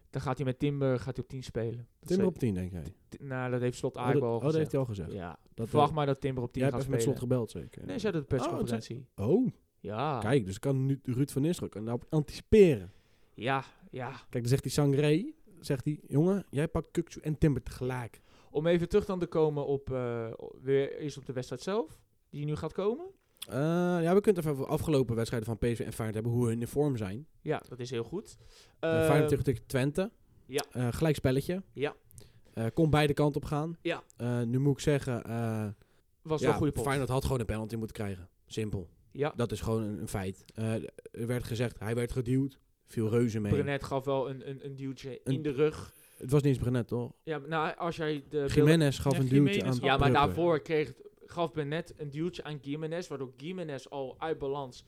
[SPEAKER 1] Dan gaat hij met Timber gaat hij op 10 spelen. Dat
[SPEAKER 2] Timber
[SPEAKER 1] zei-
[SPEAKER 2] op 10, denk jij?
[SPEAKER 1] Ti- Nou, dat heeft Slot
[SPEAKER 2] Oh, dat,
[SPEAKER 1] eigenlijk al
[SPEAKER 2] oh, dat heeft
[SPEAKER 1] gezegd.
[SPEAKER 2] hij al gezegd.
[SPEAKER 1] ja.
[SPEAKER 2] Dat
[SPEAKER 1] Verwacht
[SPEAKER 2] eh,
[SPEAKER 1] maar dat Timber op 10
[SPEAKER 2] Jij hebt
[SPEAKER 1] gaat
[SPEAKER 2] even met
[SPEAKER 1] spelen.
[SPEAKER 2] slot gebeld, zeker?
[SPEAKER 1] Nee, ze hadden Ah. de
[SPEAKER 2] Oh, dat zei-
[SPEAKER 1] persconferentie.
[SPEAKER 2] Oh,
[SPEAKER 1] ja.
[SPEAKER 2] kijk, dus kan nu Ruud van Nistelrooy kan daarop anticiperen.
[SPEAKER 1] Ja, ja.
[SPEAKER 2] Kijk, dan zegt hij Sangré, zegt hij, jongen, jij pakt Kukcu en Timber tegelijk.
[SPEAKER 1] Om even terug dan te komen op... eh, o- weer eerst op de wedstrijd zelf. Die nu gaat komen.
[SPEAKER 2] Eh, ja, we kunnen het even over de afgelopen wedstrijden van PSV en Feyenoord hebben, hoe hun in vorm zijn.
[SPEAKER 1] Ja, dat is heel goed.
[SPEAKER 2] Uh,
[SPEAKER 1] Ehm,
[SPEAKER 2] Feyenoord tegen, tegen Twente.
[SPEAKER 1] ja.
[SPEAKER 2] Eh, gelijk spelletje.
[SPEAKER 1] Ja.
[SPEAKER 2] Eh, kon beide kanten op gaan.
[SPEAKER 1] Ja.
[SPEAKER 2] Eh, nu moet ik zeggen, eh
[SPEAKER 1] was wel
[SPEAKER 2] ja,
[SPEAKER 1] een goede pot.
[SPEAKER 2] Feyenoord had gewoon een penalty moeten krijgen. Simpel.
[SPEAKER 1] Ja,
[SPEAKER 2] Dat is gewoon een, een feit. Eh, er werd gezegd, hij werd geduwd. Viel reuze mee.
[SPEAKER 1] Brenet gaf wel een, een, een duwtje
[SPEAKER 2] Een-
[SPEAKER 1] in de rug.
[SPEAKER 2] Het was niet eens Brenet, toch?
[SPEAKER 1] Ja, maar nou, als jij de...
[SPEAKER 2] Jiménez gaf
[SPEAKER 3] Ja,
[SPEAKER 2] een duwtje
[SPEAKER 3] Jiménez
[SPEAKER 2] aan
[SPEAKER 3] gaf-
[SPEAKER 1] Ja, maar
[SPEAKER 2] Prupper.
[SPEAKER 1] daarvoor kreeg, gaf Bennett een duwtje aan Gimenez, waardoor Gimenez al uit balans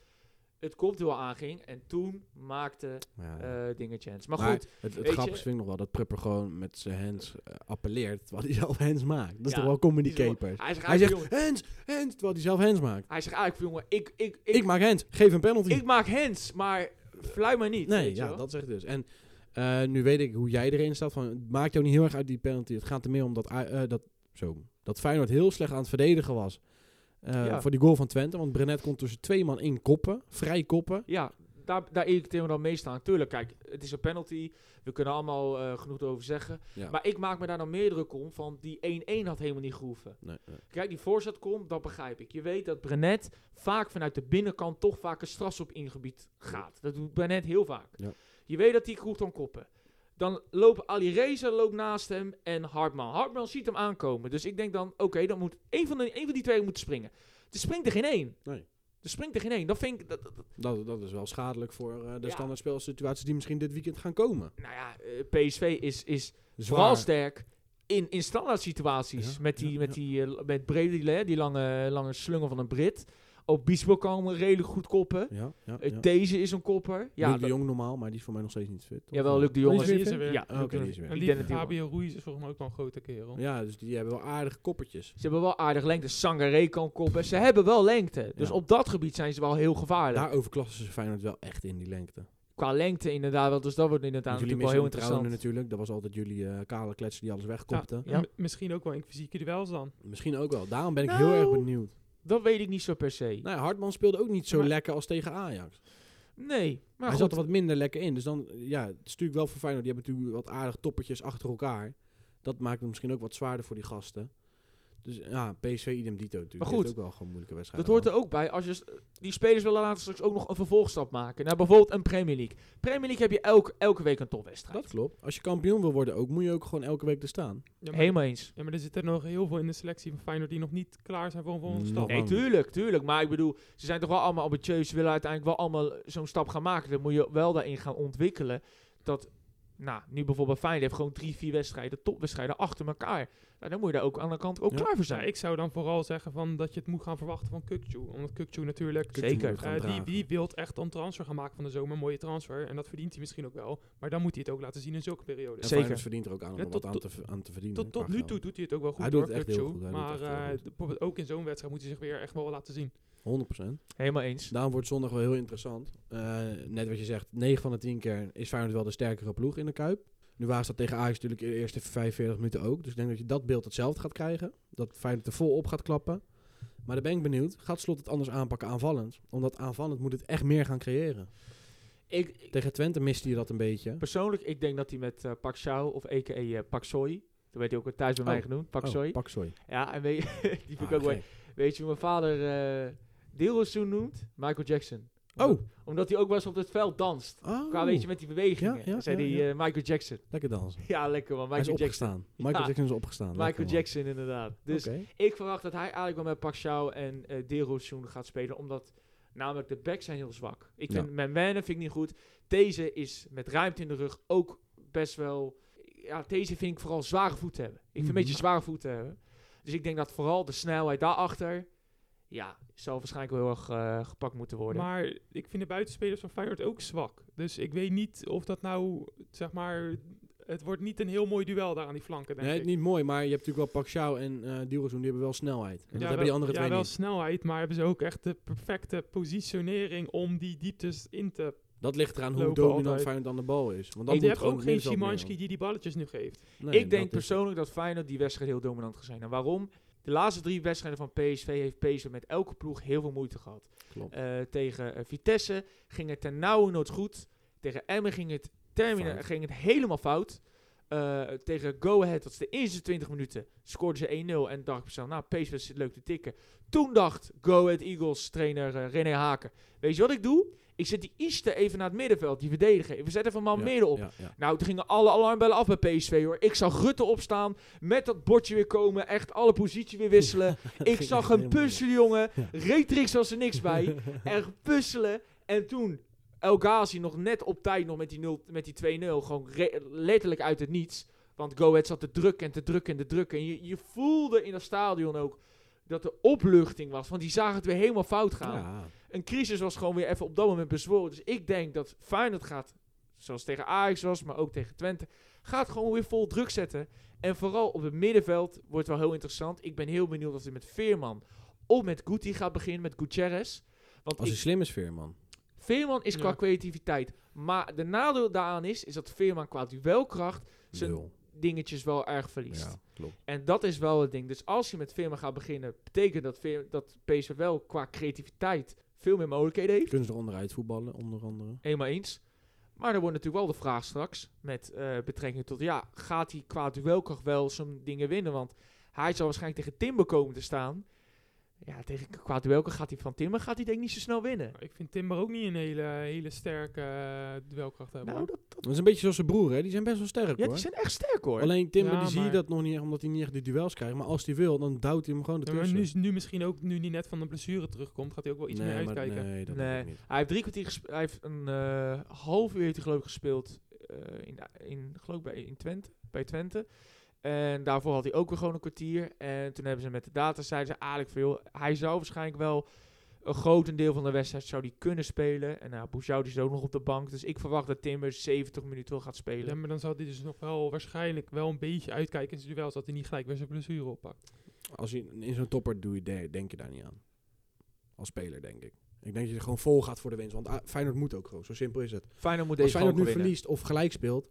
[SPEAKER 1] het kopduel aanging. En toen maakte
[SPEAKER 2] Ja.
[SPEAKER 1] eh dingen chance. Maar,
[SPEAKER 2] Maar
[SPEAKER 1] goed,
[SPEAKER 2] het, het
[SPEAKER 1] je-
[SPEAKER 2] grappige vind ik nog wel dat Prupper gewoon met zijn hands eh, appelleert, terwijl hij zelf hands maakt. Dat is
[SPEAKER 1] Ja,
[SPEAKER 2] toch wel comedy
[SPEAKER 1] die is wel-
[SPEAKER 2] capers.
[SPEAKER 1] hij zegt,
[SPEAKER 2] Hij
[SPEAKER 1] eigenlijk,
[SPEAKER 2] zegt,
[SPEAKER 1] jongen,
[SPEAKER 2] hands, hands, terwijl hij zelf hands maakt.
[SPEAKER 1] hij zegt eigenlijk, jongen, ik, ik, ik,
[SPEAKER 2] Ik,
[SPEAKER 1] ik,
[SPEAKER 2] maak hands, geef een penalty.
[SPEAKER 1] maak hands, maar fluit maar niet.
[SPEAKER 2] nee,
[SPEAKER 1] weet je
[SPEAKER 2] ja,
[SPEAKER 1] wel.
[SPEAKER 2] dat zeg ik dus. En eh, nu weet ik hoe jij erin staat. Van, het maakt jou niet heel erg uit die penalty. Het gaat er meer om dat, Ai- eh, dat, zo, dat Feyenoord heel slecht aan het verdedigen was. eh,
[SPEAKER 1] Ja.
[SPEAKER 2] Voor die goal van Twente. Want Brenet kon tussen twee man in koppen. Vrij koppen.
[SPEAKER 1] Ja, daar, daar irriteer me dan meest aan. Tuurlijk, kijk, het is een penalty. We kunnen allemaal eh, genoeg over zeggen.
[SPEAKER 2] Ja.
[SPEAKER 1] Maar ik maak me daar dan meer druk om van die 1-1 had helemaal niet gehoeven.
[SPEAKER 2] Nee, nee. eh,
[SPEAKER 1] Kijk, die voorzet komt, dat begrijp ik. Je weet dat Brenet vaak vanuit de binnenkant toch vaak een stras op ingebied gaat. Dat doet Brenet heel vaak.
[SPEAKER 2] Ja.
[SPEAKER 1] Je weet dat hij goed kan koppen. Dan loopt Ali Reza loopt naast hem en Hartman. Hartman ziet hem aankomen. Dus ik denk dan, oké, dan moet één van, de, één van die twee moet springen. Er springt er geen één.
[SPEAKER 2] Nee.
[SPEAKER 1] Er springt er geen één. Dat vind ik... Dat, dat- dat-
[SPEAKER 2] Dat, dat is wel schadelijk voor eh, de
[SPEAKER 1] Ja.
[SPEAKER 2] standaard speelsituaties die misschien dit weekend gaan komen.
[SPEAKER 1] nou ja, eh, PSV is, is
[SPEAKER 2] Zwaar.
[SPEAKER 1] vooral sterk in, in standaard situaties.
[SPEAKER 2] Ja,
[SPEAKER 1] met die,
[SPEAKER 2] ja,
[SPEAKER 1] met
[SPEAKER 2] ja.
[SPEAKER 1] die eh, met Brady, die lange, lange slungel van een Brit. Obispo kan redelijk goed koppen.
[SPEAKER 2] Ja, ja,
[SPEAKER 1] Eh,
[SPEAKER 2] ja.
[SPEAKER 1] Deze is een kopper.
[SPEAKER 2] Ja,
[SPEAKER 1] Ja,
[SPEAKER 2] Luc de
[SPEAKER 1] dat-
[SPEAKER 2] Jong normaal, maar die is voor mij nog steeds niet fit. toch?
[SPEAKER 1] Jawel, Luc de
[SPEAKER 2] Oh,
[SPEAKER 1] Jong
[SPEAKER 2] die
[SPEAKER 1] is
[SPEAKER 3] is weer
[SPEAKER 1] weer-
[SPEAKER 3] fit?
[SPEAKER 1] Ja,
[SPEAKER 2] Ah, oké, die is weer.
[SPEAKER 3] En
[SPEAKER 1] Ik
[SPEAKER 3] die
[SPEAKER 1] denk het heel
[SPEAKER 3] Fabio Ruiz is volgens mij ook wel een grote kerel.
[SPEAKER 2] Ja, dus die hebben wel aardige koppertjes.
[SPEAKER 1] Ze hebben wel aardig lengte. Sangaré kan koppen. Ze hebben wel lengte. Dus
[SPEAKER 2] Ja.
[SPEAKER 1] op dat gebied zijn ze wel heel gevaarlijk.
[SPEAKER 2] Daarover klassen ze Feyenoord wel echt in, die lengte. Want
[SPEAKER 1] Qua lengte inderdaad wel. Dus dat wordt inderdaad
[SPEAKER 2] jullie
[SPEAKER 1] natuurlijk wel heel
[SPEAKER 2] missen Trouwen
[SPEAKER 1] interessant.
[SPEAKER 2] natuurlijk. Dat was altijd jullie eh, kale kletsen die alles wegkopten.
[SPEAKER 1] Ja.
[SPEAKER 3] M- Misschien ook wel in fysieke duels dan.
[SPEAKER 2] Misschien ook wel. Daarom ben ik
[SPEAKER 1] Nou.
[SPEAKER 2] heel erg benieuwd.
[SPEAKER 1] Dat weet ik niet zo per se.
[SPEAKER 2] Nou ja, Hartman speelde ook niet zo
[SPEAKER 1] Maar-
[SPEAKER 2] lekker als tegen Ajax.
[SPEAKER 1] Nee. Maar
[SPEAKER 2] Hij
[SPEAKER 1] goed,
[SPEAKER 2] zat er wat minder lekker in. Dus dan, ja, het is natuurlijk wel voor Feyenoord. Die hebben natuurlijk wat aardig toppertjes achter elkaar. Dat maakt het misschien ook wat zwaarder voor die gasten. Dus ja, PSV idem dito natuurlijk.
[SPEAKER 1] Maar
[SPEAKER 2] Die heeft
[SPEAKER 1] goed,
[SPEAKER 2] ook wel gewoon moeilijke wedstrijd.
[SPEAKER 1] dat hoort er ook bij. Als je, s- die spelers willen later straks ook nog een vervolgstap maken. Naar bijvoorbeeld een Premier League. Premier League heb je elke, elke week een topwedstrijd.
[SPEAKER 2] Dat klopt. Als je kampioen wil worden ook, moet je ook gewoon elke week er staan.
[SPEAKER 3] Ja, maar,
[SPEAKER 1] Helemaal eens.
[SPEAKER 3] ja, maar er zitten nog heel veel in de selectie van Feyenoord die nog niet klaar zijn voor een volgende
[SPEAKER 2] Nog
[SPEAKER 3] stap.
[SPEAKER 2] wel.
[SPEAKER 1] Nee,
[SPEAKER 2] lang.
[SPEAKER 1] tuurlijk, tuurlijk. Maar ik bedoel, ze zijn toch wel allemaal ambitieus. Ze willen uiteindelijk wel allemaal zo'n stap gaan maken. Dan moet je wel daarin gaan ontwikkelen. Dat, nou, nu bijvoorbeeld Feyenoord heeft gewoon drie, vier wedstrijden, topwedstrijden achter elkaar. Nou, dan moet je daar ook aan de kant ook
[SPEAKER 2] Ja.
[SPEAKER 1] klaar voor
[SPEAKER 3] Ja,
[SPEAKER 1] zijn.
[SPEAKER 3] ik zou dan vooral zeggen van dat je het moet gaan verwachten van Kukcu. Omdat Kukcu natuurlijk...
[SPEAKER 1] Zeker.
[SPEAKER 2] Kukcu moet het gaan
[SPEAKER 3] eh, die,
[SPEAKER 2] dragen.
[SPEAKER 3] die wil echt een transfer gaan maken van de zomer. Een mooie transfer. En dat verdient hij misschien ook wel. Maar dan moet hij het ook laten zien in zulke periodes.
[SPEAKER 2] En
[SPEAKER 1] Zeker.
[SPEAKER 2] Feyenoord verdient er ook aan om
[SPEAKER 3] Ja,
[SPEAKER 2] wat
[SPEAKER 3] tot-
[SPEAKER 2] aan, te, v- aan te verdienen.
[SPEAKER 3] Tot, tot
[SPEAKER 2] qua
[SPEAKER 3] nu
[SPEAKER 2] geld.
[SPEAKER 3] toe doet hij het ook wel goed.
[SPEAKER 2] Hij doet
[SPEAKER 3] hoor,
[SPEAKER 2] het echt heel
[SPEAKER 3] Kukçu.
[SPEAKER 2] goed, hij doet
[SPEAKER 3] Maar
[SPEAKER 2] het echt heel
[SPEAKER 3] eh,
[SPEAKER 2] goed.
[SPEAKER 3] d- bijvoorbeeld ook in zo'n wedstrijd moet hij zich weer echt wel laten zien.
[SPEAKER 2] 100 procent.
[SPEAKER 1] Helemaal eens.
[SPEAKER 2] Daarom wordt zondag wel heel interessant. Eh, net wat je zegt, 9 van de 10 keer is Feyenoord wel de sterkere ploeg in de Kuip. Nu waren ze dat tegen Ajax natuurlijk in de eerste 45 minuten ook. Dus ik denk dat je dat beeld hetzelfde gaat krijgen. Dat Feyenoord er vol op gaat klappen. Maar dan ben ik benieuwd, gaat Slot het anders aanpakken aanvallend? Omdat aanvallend moet het echt meer gaan creëren.
[SPEAKER 1] Ik, ik-
[SPEAKER 2] Tegen Twente miste je dat een beetje.
[SPEAKER 1] persoonlijk, ik denk dat hij met eh Pak Chau of a.k.a. eh, Pak Soi, dat werd hij ook thuis bij
[SPEAKER 2] Oh.
[SPEAKER 1] mij genoemd, Pak Soi.
[SPEAKER 2] Oh, pak Soy.
[SPEAKER 1] Ja, en weet, die vind ik
[SPEAKER 2] Ah,
[SPEAKER 1] ook mooi.
[SPEAKER 2] gek.
[SPEAKER 1] Weet je hoe mijn vader eh Deelrozoen noemt? Michael Jackson.
[SPEAKER 2] Oh.
[SPEAKER 1] Omdat hij ook wel eens op het veld danst.
[SPEAKER 2] Oh,
[SPEAKER 1] Qua weet je met die bewegingen.
[SPEAKER 2] Ja, ja,
[SPEAKER 1] zei
[SPEAKER 2] ja,
[SPEAKER 1] hij
[SPEAKER 2] ja.
[SPEAKER 1] eh, Michael Jackson.
[SPEAKER 2] lekker dansen.
[SPEAKER 1] Ja, lekker man.
[SPEAKER 2] Hij is
[SPEAKER 1] Michael Jackson.
[SPEAKER 2] opgestaan. Michael
[SPEAKER 1] Ja.
[SPEAKER 2] Jackson is opgestaan. Lekker,
[SPEAKER 1] Michael
[SPEAKER 2] man.
[SPEAKER 1] Jackson inderdaad. Dus
[SPEAKER 2] Oké.
[SPEAKER 1] ik verwacht dat hij eigenlijk wel met Park Chau en eh Derozoen gaat spelen, omdat namelijk de backs zijn heel zwak. Ik
[SPEAKER 2] Ja.
[SPEAKER 1] vind mijn Werner vind ik niet goed. Deze is met ruimte in de rug ook best wel. Ja, deze vind ik vooral zware voeten hebben. Ik vind
[SPEAKER 2] Mhm.
[SPEAKER 1] een beetje zware voeten hebben. Dus ik denk dat vooral de snelheid daarachter, ja, zal waarschijnlijk wel heel erg eh, gepakt moeten worden.
[SPEAKER 3] Maar ik vind de buitenspelers van Feyenoord ook zwak. Dus ik weet niet of dat nou, zeg maar... Het wordt niet een heel mooi duel daar aan die flanken, denk
[SPEAKER 2] Nee,
[SPEAKER 3] ik.
[SPEAKER 2] niet mooi, maar je hebt natuurlijk wel Pacquiao en eh Dilrozoen, die hebben wel snelheid. En dat
[SPEAKER 3] Ja,
[SPEAKER 2] hebben die
[SPEAKER 3] wel-
[SPEAKER 2] andere
[SPEAKER 3] ja,
[SPEAKER 2] twee
[SPEAKER 3] wel
[SPEAKER 2] niet.
[SPEAKER 3] snelheid, maar hebben ze ook echt de perfecte positionering om die dieptes in te... Want
[SPEAKER 2] Dat ligt eraan hoe
[SPEAKER 3] Lopen
[SPEAKER 2] dominant
[SPEAKER 3] altijd.
[SPEAKER 2] Feyenoord aan de bal is. Want dan
[SPEAKER 3] je
[SPEAKER 2] moet
[SPEAKER 3] hebt
[SPEAKER 2] gewoon
[SPEAKER 3] ook
[SPEAKER 2] het
[SPEAKER 3] geen
[SPEAKER 2] middenveld meer
[SPEAKER 3] Szymanski die die balletjes nu geeft.
[SPEAKER 2] aan. Nee,
[SPEAKER 1] ik denk
[SPEAKER 2] dat is-
[SPEAKER 1] persoonlijk dat Feyenoord die wedstrijd heel dominant gaat zijn. En waarom? De laatste drie wedstrijden van PSV heeft PSV met elke ploeg heel veel moeite gehad.
[SPEAKER 2] Klopt.
[SPEAKER 1] Eh, tegen eh, Vitesse ging het ten nauwernood goed. Tegen Emmen ging het, termina-
[SPEAKER 2] Fout.
[SPEAKER 1] ging het helemaal fout. Eh, tegen Go Ahead, dat is de eerste 20 minuten, scoorden ze 1-0. En dacht ik mezelf, nou, PSV zit leuk te tikken. Toen dacht Go Ahead Eagles trainer eh, René Haken, weet je wat ik doe? Ik zet die Iste even naar het middenveld, die verdediger. We zetten even man
[SPEAKER 2] Ja,
[SPEAKER 1] midden op.
[SPEAKER 2] ja, ja.
[SPEAKER 1] Nou, toen gingen alle alarmbellen af bij PSV hoor. Ik zag Rutte opstaan, met dat bordje weer komen, echt alle positie weer wisselen. ik
[SPEAKER 2] ging
[SPEAKER 1] zag
[SPEAKER 2] echt
[SPEAKER 1] hem
[SPEAKER 2] helemaal
[SPEAKER 1] puzzelen, jongen.
[SPEAKER 2] Ja.
[SPEAKER 1] Retrix was er niks bij. echt puzzelen. En toen El Ghazi nog net op tijd nog met die, 0 met die 2-0, gewoon re- letterlijk uit het niets. Want Go Ahead zat te drukken en te drukken en te drukken. En je, je voelde in dat stadion ook dat er opluchting was, want die zagen het weer helemaal fout gaan
[SPEAKER 2] Ja,
[SPEAKER 1] een crisis was gewoon weer even op dat moment bezworen. Dus ik denk dat Feyenoord gaat, zoals tegen Ajax was, maar ook tegen Twente, gaat gewoon weer vol druk zetten. En vooral op het middenveld wordt wel heel interessant. Ik ben heel benieuwd of hij met Veerman of met Guti gaat beginnen, met Gutierrez. Want
[SPEAKER 2] als
[SPEAKER 1] ik-
[SPEAKER 2] een slimme sfeer, man.
[SPEAKER 1] Veerman is qua
[SPEAKER 3] Ja.
[SPEAKER 1] creativiteit. Maar de nadeel daaraan is, is dat Veerman qua duelkracht zijn
[SPEAKER 2] Nul.
[SPEAKER 1] dingetjes wel erg verliest.
[SPEAKER 2] Ja, klopt.
[SPEAKER 1] En dat is wel het ding. Dus als je met Veerman gaat beginnen, betekent dat, Veer, dat PSV wel qua creativiteit veel meer mogelijkheden heeft.
[SPEAKER 2] Kunnen ze er onderuit voetballen, onder andere.
[SPEAKER 1] Helemaal eens. Maar er wordt natuurlijk wel de vraag straks met eh, betrekking tot, ja, gaat hij qua duelkracht wel zijn dingen winnen? Want hij zal waarschijnlijk tegen Timber komen te staan. Ja, tegen qua duelkracht gaat hij van Timber, gaat hij denk ik niet zo snel winnen.
[SPEAKER 3] Maar Ik vind Timber ook niet een hele, hele sterke eh, duelkracht hebben.
[SPEAKER 1] Nou,
[SPEAKER 3] hoor.
[SPEAKER 1] dat, dat-
[SPEAKER 2] Dat is een beetje zoals zijn broer, hè. Die zijn best wel sterk,
[SPEAKER 1] ja,
[SPEAKER 2] hoor.
[SPEAKER 1] die zijn echt sterk hoor.
[SPEAKER 2] Alleen Timber,
[SPEAKER 3] Ja,
[SPEAKER 2] die zie je
[SPEAKER 3] maar-
[SPEAKER 2] dat nog niet echt, omdat hij niet echt de duels krijgt. Maar als hij wil, dan duwt hij hem gewoon
[SPEAKER 3] Ja, maar
[SPEAKER 2] ertussen.
[SPEAKER 3] nu, nu misschien ook, nu die net van een blessure terugkomt, gaat hij ook wel iets meer
[SPEAKER 2] nee, maar,
[SPEAKER 3] uitkijken.
[SPEAKER 2] nee, dat
[SPEAKER 1] Nee.
[SPEAKER 2] nee. niet.
[SPEAKER 1] Hij heeft drie kwartier gespeeld, hij heeft een eh, half uur heeft hij geloof ik gespeeld eh, in, in, geloof ik bij, in Twente, bij Twente. En daarvoor had hij ook weer gewoon een kwartier. En toen hebben ze met de data, zeiden ze eigenlijk veel. Hij zou waarschijnlijk wel een groot deel van de wedstrijd zou die kunnen spelen. En nou, Bouchout is ook nog op de bank. Dus ik verwacht dat Timber 70 minuten wel gaat spelen.
[SPEAKER 3] Ja, maar dan zal hij dus nog wel waarschijnlijk wel een beetje uitkijken in zijn duels, dat hij niet gelijk weer zijn blessure oppakt.
[SPEAKER 2] Als je in zo'n topper doe je, de- denk je daar niet aan. Als speler, denk ik. Ik denk dat je er gewoon vol gaat voor de winst. Want ah, Feyenoord moet ook gewoon. Zo simpel is het.
[SPEAKER 1] Feyenoord moet
[SPEAKER 2] Als
[SPEAKER 1] deze
[SPEAKER 2] Feyenoord
[SPEAKER 1] gewoon
[SPEAKER 2] nu
[SPEAKER 1] winnen.
[SPEAKER 2] verliest of gelijk speelt,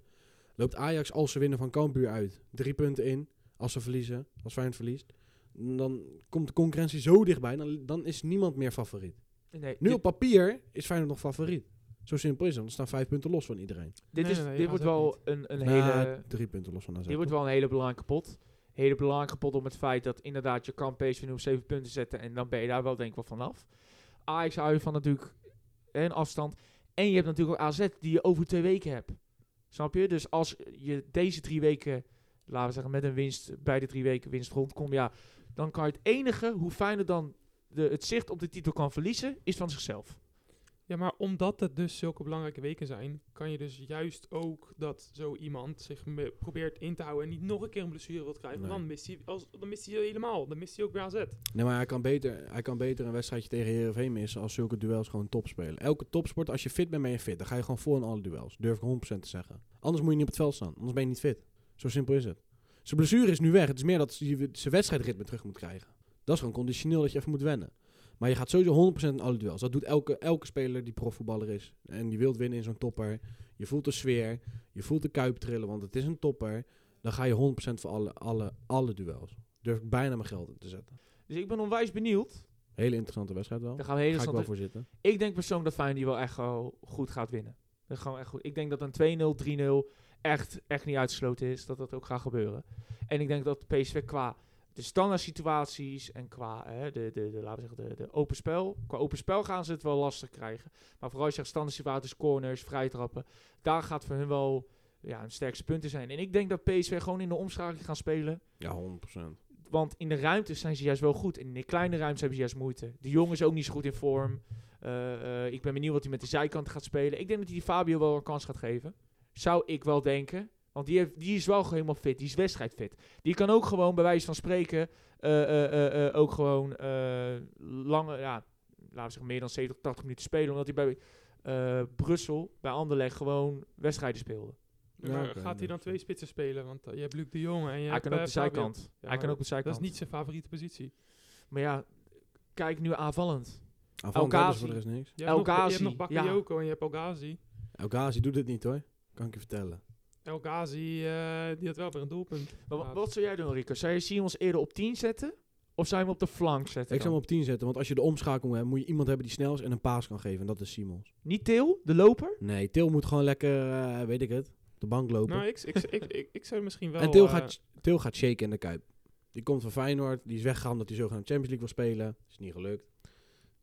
[SPEAKER 2] loopt Ajax als ze winnen van Cambuur uit. Drie punten in, als ze verliezen, als Feyenoord verliest. Dan komt de concurrentie zo dichtbij, dan, dan is niemand meer favoriet.
[SPEAKER 1] Nee,
[SPEAKER 2] Nu
[SPEAKER 1] dit-
[SPEAKER 2] op papier is Feyenoord nog favoriet. Zo simpel is het, dan staan vijf punten los van iedereen.
[SPEAKER 1] Dit,
[SPEAKER 3] Nee,
[SPEAKER 1] is,
[SPEAKER 3] nee, nee,
[SPEAKER 1] dit
[SPEAKER 3] gaan
[SPEAKER 1] wordt
[SPEAKER 3] ze ook
[SPEAKER 1] wel
[SPEAKER 3] niet.
[SPEAKER 1] een, een
[SPEAKER 2] Nou,
[SPEAKER 1] hele...
[SPEAKER 2] Drie punten los van AZ.
[SPEAKER 1] Dit wordt wel een hele belangrijke pot. Hele belangrijke pot om het feit dat inderdaad je kan PSV nu op 7 punten zetten. En dan ben je daar wel denk ik wel vanaf. Ajax hou je van natuurlijk hè, een afstand. En je hebt natuurlijk ook AZ die je over twee weken hebt. Snap je? Dus als je deze drie weken, laten we zeggen met een winst, bij de drie weken winst rondkomt. Ja, dan kan je het enige, hoe fijner dan de, het zicht op de titel kan verliezen, is van zichzelf.
[SPEAKER 3] Ja, maar omdat het dus zulke belangrijke weken zijn, kan je dus juist ook dat zo iemand zich me- probeert in te houden en niet nog een keer een blessure wilt krijgen. want
[SPEAKER 2] Nee.
[SPEAKER 3] Dan mist hij, als, dan mist hij helemaal, dan mist hij ook weer AZ.
[SPEAKER 2] Nee, maar hij kan, beter, hij kan beter een wedstrijdje tegen Heerenveen missen als zulke duels gewoon top spelen. Elke topsport, als je fit bent, ben je fit. Dan ga je gewoon voor in alle duels. Durf ik 100% te zeggen. Anders moet je niet op het veld staan. Anders ben je niet fit. Zo simpel is het. Zijn blessure is nu weg. Het is meer dat hij zijn wedstrijdritme terug moet krijgen. Dat is gewoon conditioneel dat je even moet wennen. Maar je gaat sowieso 100% in alle duels. Dat doet elke, elke speler die profvoetballer is. En die wilt winnen in zo'n topper. Je voelt de sfeer. Je voelt de kuip trillen, want het is een topper. Dan ga je 100% voor alle, alle, alle duels. Durf ik bijna mijn geld in te zetten.
[SPEAKER 1] Dus ik ben onwijs benieuwd.
[SPEAKER 2] Hele interessante wedstrijd wel.
[SPEAKER 1] Daar
[SPEAKER 2] Daar
[SPEAKER 1] gaan we hele
[SPEAKER 2] ga ik wel
[SPEAKER 1] interessante
[SPEAKER 2] voor zitten.
[SPEAKER 1] Ik denk persoonlijk dat Feyenoord die wel echt wel goed gaat winnen. Dat gaan we echt goed. Ik denk dat een 2-0, 3-0 echt, echt niet uitgesloten is. Dat dat ook gaat gebeuren. En ik denk dat PSV qua de standaard situaties en qua hè, de, de, de, laten we zeggen, de, de open spel. Qua open spel gaan ze het wel lastig krijgen. Maar vooral als je zegt standaard situaties, corners, vrijtrappen. Daar gaat voor hun wel ja, een sterkste punten zijn. En ik denk dat PSV gewoon in de omschakeling gaan spelen.
[SPEAKER 2] Ja, 100%.
[SPEAKER 1] Want in de ruimtes zijn ze juist wel goed. In de kleine ruimtes hebben ze juist moeite. De jong is ook niet zo goed in vorm. Eh, eh, ik ben benieuwd wat hij met de zijkant gaat spelen. Ik denk dat hij die Fabio wel een kans gaat geven. Zou ik wel denken. Want die, heeft, die is wel gewoon helemaal fit. Die is wedstrijdfit. Die kan ook gewoon, bij wijze van spreken, eh, eh, eh, eh, ook gewoon eh, lange, ja, laten we zeggen, meer dan 70, 80 minuten spelen. Omdat hij bij eh, Brussel, bij Anderlecht, gewoon wedstrijden speelde.
[SPEAKER 2] Ja,
[SPEAKER 3] maar
[SPEAKER 2] oké,
[SPEAKER 3] gaat hij dan
[SPEAKER 2] dat-
[SPEAKER 3] twee spitsen spelen? Want eh, je hebt Luc de Jong en je
[SPEAKER 1] hij
[SPEAKER 3] hebt,
[SPEAKER 1] kan ook
[SPEAKER 3] eh,
[SPEAKER 1] de
[SPEAKER 3] Fabian.
[SPEAKER 1] zijkant.
[SPEAKER 3] Ja,
[SPEAKER 1] hij kan
[SPEAKER 3] maar
[SPEAKER 1] ook de zijkant.
[SPEAKER 3] Dat is niet zijn favoriete positie.
[SPEAKER 1] Maar ja, kijk nu aanvallend.
[SPEAKER 2] Aanvallend
[SPEAKER 1] El
[SPEAKER 2] hebben ze voor
[SPEAKER 1] Ghazi.
[SPEAKER 2] de rest niks.
[SPEAKER 3] Je hebt, nog, je hebt
[SPEAKER 1] Elgazi,
[SPEAKER 3] nog
[SPEAKER 1] ja.
[SPEAKER 3] Bakayoko en je hebt El Ghazi.
[SPEAKER 2] El Ghazi doet dit niet hoor. Kan ik je vertellen.
[SPEAKER 3] El Ghazi, eh, die had wel weer een doelpunt.
[SPEAKER 1] Maar wa-
[SPEAKER 3] Ja.
[SPEAKER 1] wat zou jij doen, Rico? Zou je Simons eerder op 10 zetten? Of zou je hem op de flank zetten?
[SPEAKER 2] Ik
[SPEAKER 1] dan?
[SPEAKER 2] zou hem op 10 zetten, want als je de omschakeling hebt, moet je iemand hebben die snel is en een paas kan geven. En dat is Simons.
[SPEAKER 1] Niet Til, de loper?
[SPEAKER 2] Nee, Til moet gewoon lekker, eh, weet ik het, op de bank lopen.
[SPEAKER 3] Nou, ik, ik, ik, ik, ik zou misschien wel...
[SPEAKER 2] en Til
[SPEAKER 3] eh,
[SPEAKER 2] gaat, Til gaat shaken in de kuip. Die komt van Feyenoord, die is weggegaan omdat hij zogenaamd Champions League wil spelen. Is niet gelukt.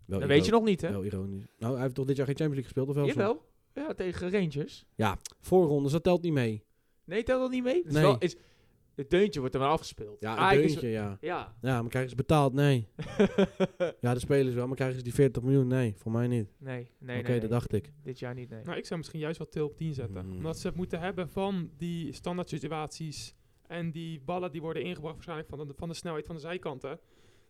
[SPEAKER 2] Wel
[SPEAKER 1] Dat weet je nog niet, hè?
[SPEAKER 2] Wel ironisch. Nou, hij heeft toch dit jaar geen Champions League gespeeld of wel? soms?
[SPEAKER 1] Jawel. Ja, tegen Rangers.
[SPEAKER 2] Voorrondes, dat telt niet mee.
[SPEAKER 1] Nee, telt dat niet mee? Het is
[SPEAKER 2] Nee.
[SPEAKER 1] wel- is, het deuntje wordt er maar afgespeeld.
[SPEAKER 2] Ja, een
[SPEAKER 1] Eigenlijk is-
[SPEAKER 2] deuntje, ja.
[SPEAKER 1] Ja.
[SPEAKER 2] Ja, maar krijgen ze betaald? Nee. ja, de spelers wel, maar krijgen ze die 40 miljoen? Nee, voor mij niet.
[SPEAKER 1] Nee, nee,
[SPEAKER 2] Oké,
[SPEAKER 1] nee,
[SPEAKER 2] dat
[SPEAKER 1] nee.
[SPEAKER 2] dacht ik.
[SPEAKER 1] Dit jaar niet, nee.
[SPEAKER 3] Nou, ik zou misschien juist wel Til op 10 zetten.
[SPEAKER 2] Mm.
[SPEAKER 3] Omdat ze het moeten hebben van die standaard situaties. En die ballen die worden ingebracht waarschijnlijk van de, van de snelheid van de zijkanten.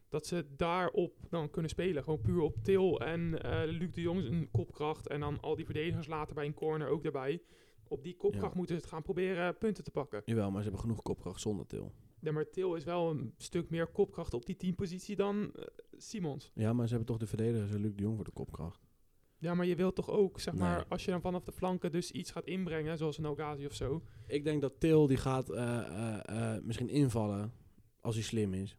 [SPEAKER 3] Dat ze daarop dan kunnen spelen. Gewoon puur op Til en eh Luc de Jong een kopkracht. En dan al die verdedigers later bij een corner ook daarbij. Op die kopkracht
[SPEAKER 2] Ja.
[SPEAKER 3] moeten ze het gaan proberen punten te pakken.
[SPEAKER 2] Jawel, maar ze hebben genoeg kopkracht zonder Til.
[SPEAKER 3] Ja, maar Til is wel een stuk meer kopkracht op die 10 positie dan eh, Simons.
[SPEAKER 2] Ja, maar ze hebben toch de verdediger, zo Luc de Jong voor de kopkracht.
[SPEAKER 3] Ja, maar je wilt toch ook, zeg
[SPEAKER 2] Nee.
[SPEAKER 3] maar, als je dan vanaf de flanken dus iets gaat inbrengen, zoals een Ogazi of zo.
[SPEAKER 2] Ik denk dat Til die gaat eh, eh, eh, misschien invallen als hij slim is.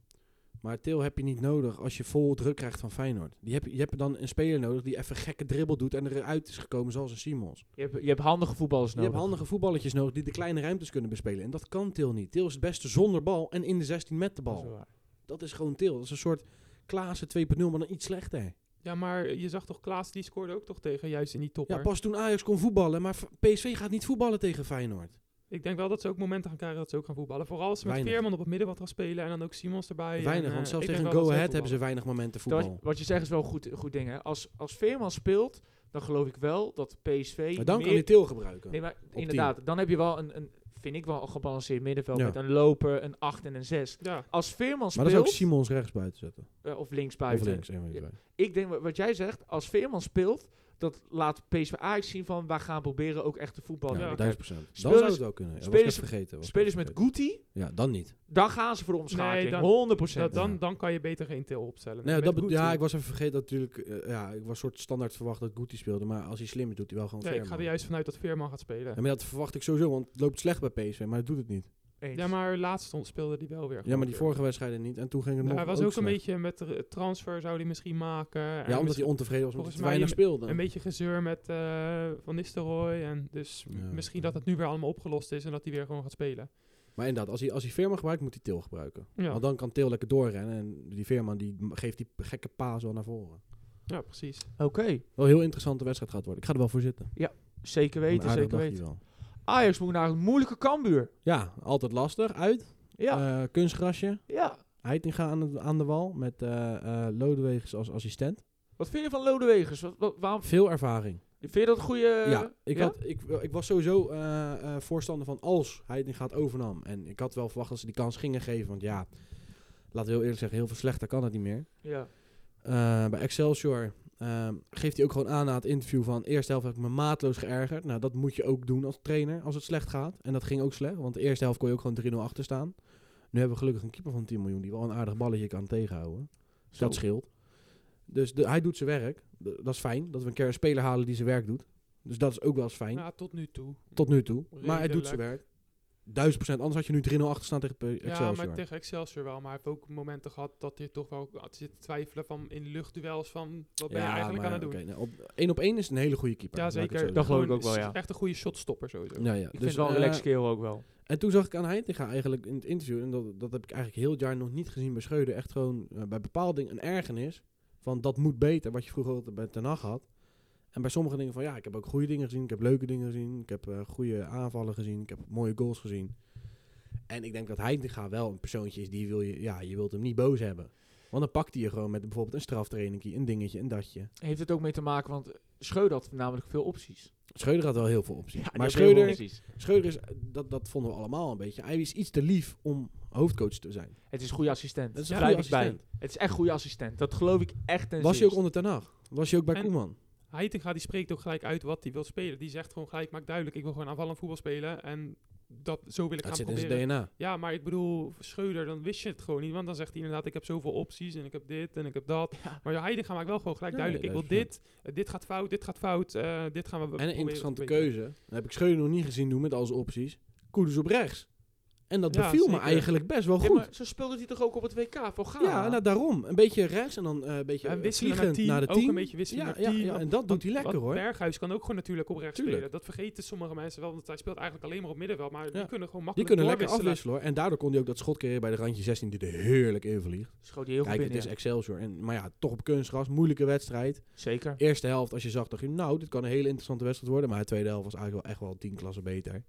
[SPEAKER 2] Maar Til heb je niet nodig als je vol druk krijgt van Feyenoord. Die heb, je hebt dan een speler nodig die even gekke dribbel doet en eruit is gekomen zoals een Simons.
[SPEAKER 1] Je, hebt, je hebt handige voetballers
[SPEAKER 2] Je
[SPEAKER 1] nodig.
[SPEAKER 2] hebt handige voetballetjes nodig die de kleine ruimtes kunnen bespelen. En dat kan Til niet. Til is het beste zonder bal en in de 16 met de
[SPEAKER 1] Dat is
[SPEAKER 2] bal.
[SPEAKER 1] wel waar.
[SPEAKER 2] Dat is gewoon Til. Dat is een soort Klaassen 2.0, maar dan iets slechter.
[SPEAKER 3] Ja, maar je zag toch Klaas, die scoorde ook toch tegen juist in die topper.
[SPEAKER 2] Ja, pas toen Ajax kon voetballen, maar v- PSV gaat niet voetballen tegen Feyenoord.
[SPEAKER 3] ik denk wel dat ze ook momenten gaan krijgen dat ze ook gaan voetballen. Vooral als ze met
[SPEAKER 2] Weinig.
[SPEAKER 3] Veerman op het middenveld gaan spelen en dan ook Simons erbij. en,
[SPEAKER 2] Weinig,
[SPEAKER 3] eh,
[SPEAKER 2] want zelfs
[SPEAKER 3] ik
[SPEAKER 2] tegen
[SPEAKER 3] denk wel dat
[SPEAKER 2] Go
[SPEAKER 3] zij
[SPEAKER 2] Ahead hebben ze
[SPEAKER 3] voetballen.
[SPEAKER 2] weinig momenten
[SPEAKER 1] Terwijl-
[SPEAKER 2] voetbal.
[SPEAKER 1] wat je zegt is wel een goed, goed ding, hè. Als, als Veerman speelt, dan geloof ik wel dat PSV...
[SPEAKER 2] Maar dan kan
[SPEAKER 1] meer-
[SPEAKER 2] je Til gebruiken.
[SPEAKER 1] Nee, maar inderdaad. Dan heb je wel een, een, vind ik wel, een gebalanceerd middenveld
[SPEAKER 2] Ja.
[SPEAKER 1] met een loper, een 8 en een 6.
[SPEAKER 3] Ja,
[SPEAKER 1] Als Veerman
[SPEAKER 2] maar
[SPEAKER 1] speelt...
[SPEAKER 2] dan zou ik Simons rechts buiten zetten.
[SPEAKER 1] eh, of linksbuiten.
[SPEAKER 2] Of links, een van die
[SPEAKER 1] Ja.
[SPEAKER 2] twee.
[SPEAKER 1] Ik denk, wa- wat jij zegt, als Veerman speelt, dat laat PSV Ajax zien van... wij gaan proberen ook echt te voetballen.
[SPEAKER 2] Ja,
[SPEAKER 3] Ja.
[SPEAKER 2] 1000 procent. Dan
[SPEAKER 1] Spelers-
[SPEAKER 2] zou het wel kunnen. Ja, was ik
[SPEAKER 1] spelers-
[SPEAKER 2] even vergeten. was ik
[SPEAKER 1] Spelers
[SPEAKER 2] even
[SPEAKER 1] met Guti,
[SPEAKER 2] vergeten. Ja, dan niet.
[SPEAKER 1] dan gaan ze voor de omschakeling.
[SPEAKER 3] Nee, dan-
[SPEAKER 1] 100%.
[SPEAKER 3] dat, dan,
[SPEAKER 2] Ja.
[SPEAKER 3] dan kan je beter geen til opstellen.
[SPEAKER 2] Nee,
[SPEAKER 3] Met
[SPEAKER 2] dat be-
[SPEAKER 3] Guti-
[SPEAKER 2] ja, ik was even vergeten dat natuurlijk... eh, ja, ik was soort standaard verwacht dat Guti speelde. Maar als hij slim is, doet hij wel gewoon
[SPEAKER 3] Ja, ik ga er
[SPEAKER 2] Veerman.
[SPEAKER 3] juist vanuit dat Veerman gaat spelen.
[SPEAKER 2] Ja, maar dat verwacht ik sowieso, want het loopt slecht bij PSV, maar dat doet het niet.
[SPEAKER 1] Eens.
[SPEAKER 3] Ja, maar laatst stond- speelde die wel weer.
[SPEAKER 2] Ja,
[SPEAKER 3] gewoon
[SPEAKER 2] maar die
[SPEAKER 3] weer.
[SPEAKER 2] vorige wedstrijden niet. En toen ging het
[SPEAKER 3] Nou,
[SPEAKER 2] nog
[SPEAKER 3] hij was ook, een
[SPEAKER 2] slecht.
[SPEAKER 3] beetje met de transfer zou hij misschien maken. en
[SPEAKER 2] Ja, omdat
[SPEAKER 3] misschien
[SPEAKER 2] hij ontevreden was omdat
[SPEAKER 3] volgens
[SPEAKER 2] hij te weinig
[SPEAKER 3] mij
[SPEAKER 2] speelde.
[SPEAKER 3] Een beetje gezeur met eh, Van Nistelrooy. En dus
[SPEAKER 2] Ja,
[SPEAKER 3] misschien
[SPEAKER 2] oké.
[SPEAKER 3] dat het nu weer allemaal opgelost is en dat hij weer gewoon gaat spelen.
[SPEAKER 2] Maar inderdaad, als hij, als hij Veerman gebruikt, moet hij Til gebruiken.
[SPEAKER 3] Ja,
[SPEAKER 2] Want dan kan Til lekker doorrennen en die Veerman die m- geeft die gekke paas wel naar voren.
[SPEAKER 3] ja precies.
[SPEAKER 1] Oké,
[SPEAKER 2] Wel een heel interessante wedstrijd gaat worden. Ik ga er wel voor zitten.
[SPEAKER 1] zeker
[SPEAKER 2] Een
[SPEAKER 1] weten,
[SPEAKER 2] aardig
[SPEAKER 1] zeker
[SPEAKER 2] dagje
[SPEAKER 1] weten.
[SPEAKER 2] wel.
[SPEAKER 1] Ajax moet naar een moeilijke kambuur.
[SPEAKER 2] Ja, altijd lastig. Uit.
[SPEAKER 1] Ja,
[SPEAKER 2] Eh, kunstgrasje.
[SPEAKER 1] ja.
[SPEAKER 2] Heitinga aan de, aan de wal met eh eh Lodewegens als assistent.
[SPEAKER 1] Wat vind je van Lodewegers? Wat, wat, waarom,
[SPEAKER 2] Veel ervaring.
[SPEAKER 1] vind je dat een eh, goede...
[SPEAKER 2] ja, ik, Had, ik, ik was sowieso eh, eh, voorstander van als Heitinga gaat overnam. En ik had wel verwacht dat ze die kans gingen geven. Want ja, laten we heel eerlijk zeggen, heel veel slechter kan het niet meer.
[SPEAKER 1] Ja.
[SPEAKER 2] Eh, bij Excelsior ehm, geeft hij ook gewoon aan na het interview van... eerste helft heb ik me maatloos geërgerd. Nou, dat moet je ook doen als trainer als het slecht gaat. En dat ging ook slecht, want de eerste helft kon je ook gewoon 3-0 achter staan. Nu hebben we gelukkig een keeper van 10 miljoen... die wel een aardig balletje kan tegenhouden. Dus
[SPEAKER 1] Zo.
[SPEAKER 2] Dat scheelt. Dus de, hij doet zijn werk. D- dat is fijn, dat we een keer een speler halen die zijn werk doet. Dus dat is ook wel eens fijn,
[SPEAKER 3] Ja, tot nu toe.
[SPEAKER 2] tot nu toe. Maar hij
[SPEAKER 3] redelijk.
[SPEAKER 2] doet zijn werk. Duizend procent, anders had je nu 3-0 achter staan tegen P- Excelsior.
[SPEAKER 3] Ja, maar tegen Excelsior wel. Maar hij heeft ook momenten gehad dat hij toch wel had zitten twijfelen van in luchtduels van wat ben je
[SPEAKER 2] Ja,
[SPEAKER 3] eigenlijk
[SPEAKER 2] maar
[SPEAKER 3] aan het doen.
[SPEAKER 2] oké, nou, op, één op één is het een hele goede keeper.
[SPEAKER 3] Ja,
[SPEAKER 2] laat ik het
[SPEAKER 3] zeker.
[SPEAKER 2] zo
[SPEAKER 1] Dat geloof ik
[SPEAKER 3] Gewoon
[SPEAKER 1] ook wel,
[SPEAKER 3] s-
[SPEAKER 1] ja.
[SPEAKER 3] Echt een goede shotstopper sowieso.
[SPEAKER 2] zeggen. Ja, ja.
[SPEAKER 1] Ik vind
[SPEAKER 2] dus,
[SPEAKER 1] het wel een
[SPEAKER 2] eh,
[SPEAKER 1] relaxed keel ook wel.
[SPEAKER 2] En toen zag ik aan Heitinga eigenlijk in het interview, en dat, dat heb ik eigenlijk heel het jaar nog niet gezien bij Schreuder, echt gewoon eh, bij bepaalde dingen een ergernis van dat moet beter, wat je vroeger altijd bij Ten Hag had. En bij sommige dingen van ja, ik heb ook goede dingen gezien, ik heb leuke dingen gezien, ik heb eh, goede aanvallen gezien, ik heb mooie goals gezien. En ik denk dat Heitinga wel een persoontje is die wil je, ja, je wilt hem niet boos hebben. Want dan pakt hij je gewoon met bijvoorbeeld een straftrainingkie, een dingetje, een datje.
[SPEAKER 1] Heeft het ook mee te maken, want Schreuder had namelijk veel opties.
[SPEAKER 2] Schreuder had wel heel veel opties.
[SPEAKER 1] Ja,
[SPEAKER 2] maar
[SPEAKER 1] dat weet ik wel
[SPEAKER 2] Schreuder,
[SPEAKER 1] precies.
[SPEAKER 2] Schreuder is, eh, dat, dat vonden we allemaal een beetje. Hij is iets te lief om hoofdcoach te zijn.
[SPEAKER 1] Het is een goede assistent.
[SPEAKER 2] Dat is
[SPEAKER 1] Dat
[SPEAKER 2] een
[SPEAKER 1] blijf
[SPEAKER 2] goede
[SPEAKER 1] ik bij.
[SPEAKER 2] assistent.
[SPEAKER 1] Het is echt een goede assistent. Dat geloof ik echt. en
[SPEAKER 2] Was hij
[SPEAKER 1] zeerst.
[SPEAKER 2] ook onder Ten Hag? Was hij ook bij
[SPEAKER 3] En-
[SPEAKER 2] Koeman?
[SPEAKER 3] Heitinga die spreekt ook gelijk uit wat hij wil spelen. Die zegt gewoon gelijk, maak duidelijk, ik wil gewoon aanvallend voetbal spelen. En dat, zo wil ik
[SPEAKER 2] Dat
[SPEAKER 3] gaan
[SPEAKER 2] zit in
[SPEAKER 3] proberen.
[SPEAKER 2] zijn DNA.
[SPEAKER 3] Ja, maar ik bedoel, Schreuder, dan wist je het gewoon niet. Want dan zegt hij inderdaad, ik heb zoveel opties en ik heb dit en ik heb dat.
[SPEAKER 1] Ja.
[SPEAKER 3] Maar Heidegger maakt wel gewoon gelijk
[SPEAKER 2] Ja,
[SPEAKER 3] duidelijk,
[SPEAKER 2] nee,
[SPEAKER 3] ik wil
[SPEAKER 2] dat is
[SPEAKER 3] dit, eh, dit gaat fout, dit gaat fout, eh, dit gaan we
[SPEAKER 2] En
[SPEAKER 3] proberen
[SPEAKER 2] een
[SPEAKER 3] te
[SPEAKER 2] interessante
[SPEAKER 3] verbeteren.
[SPEAKER 2] keuze. Dan heb ik Schreuder nog niet gezien doen met al zijn opties. Koeders op rechts. En dat
[SPEAKER 3] Ja,
[SPEAKER 2] beviel me
[SPEAKER 3] zeker.
[SPEAKER 2] eigenlijk best wel
[SPEAKER 1] Ja,
[SPEAKER 2] goed.
[SPEAKER 1] maar zo speelde hij toch ook op het WK voor Ghana?
[SPEAKER 2] Ja, nou, daarom. Een beetje rechts en dan eh, een beetje
[SPEAKER 3] En
[SPEAKER 2] eh,
[SPEAKER 3] wisselen naar
[SPEAKER 2] vliegend
[SPEAKER 3] team,
[SPEAKER 2] naar de
[SPEAKER 3] ook
[SPEAKER 2] team.
[SPEAKER 3] een beetje wisselen
[SPEAKER 2] ja,
[SPEAKER 3] naar
[SPEAKER 2] ja,
[SPEAKER 3] team.
[SPEAKER 2] ja, en dat doet hij
[SPEAKER 3] Want-
[SPEAKER 2] lekker
[SPEAKER 3] want
[SPEAKER 2] hoor.
[SPEAKER 3] Berghuis kan ook gewoon natuurlijk op rechts
[SPEAKER 2] Tuurlijk.
[SPEAKER 3] spelen. Dat vergeten sommige mensen wel, want hij speelt eigenlijk alleen maar op middenveld. Maar
[SPEAKER 2] Ja.
[SPEAKER 3] die kunnen gewoon
[SPEAKER 2] Die
[SPEAKER 3] makkelijk
[SPEAKER 2] kunnen lekker
[SPEAKER 3] doorwisselen.
[SPEAKER 2] afwisselen hoor. En daardoor kon hij ook dat schot creëren bij de randje 16 die er heerlijk in vliegt.
[SPEAKER 1] Schoot hij heel
[SPEAKER 2] Kijk,
[SPEAKER 1] goed
[SPEAKER 2] het
[SPEAKER 1] binnen.
[SPEAKER 2] is Excelsior. En, maar ja, toch op kunstgras. Moeilijke wedstrijd.
[SPEAKER 1] ja. Zeker.
[SPEAKER 2] Eerste helft, als je zag, dacht je nou, dit kan een hele interessante wedstrijd worden. Maar de tweede helft was eigenlijk wel echt wel tien klassen beter.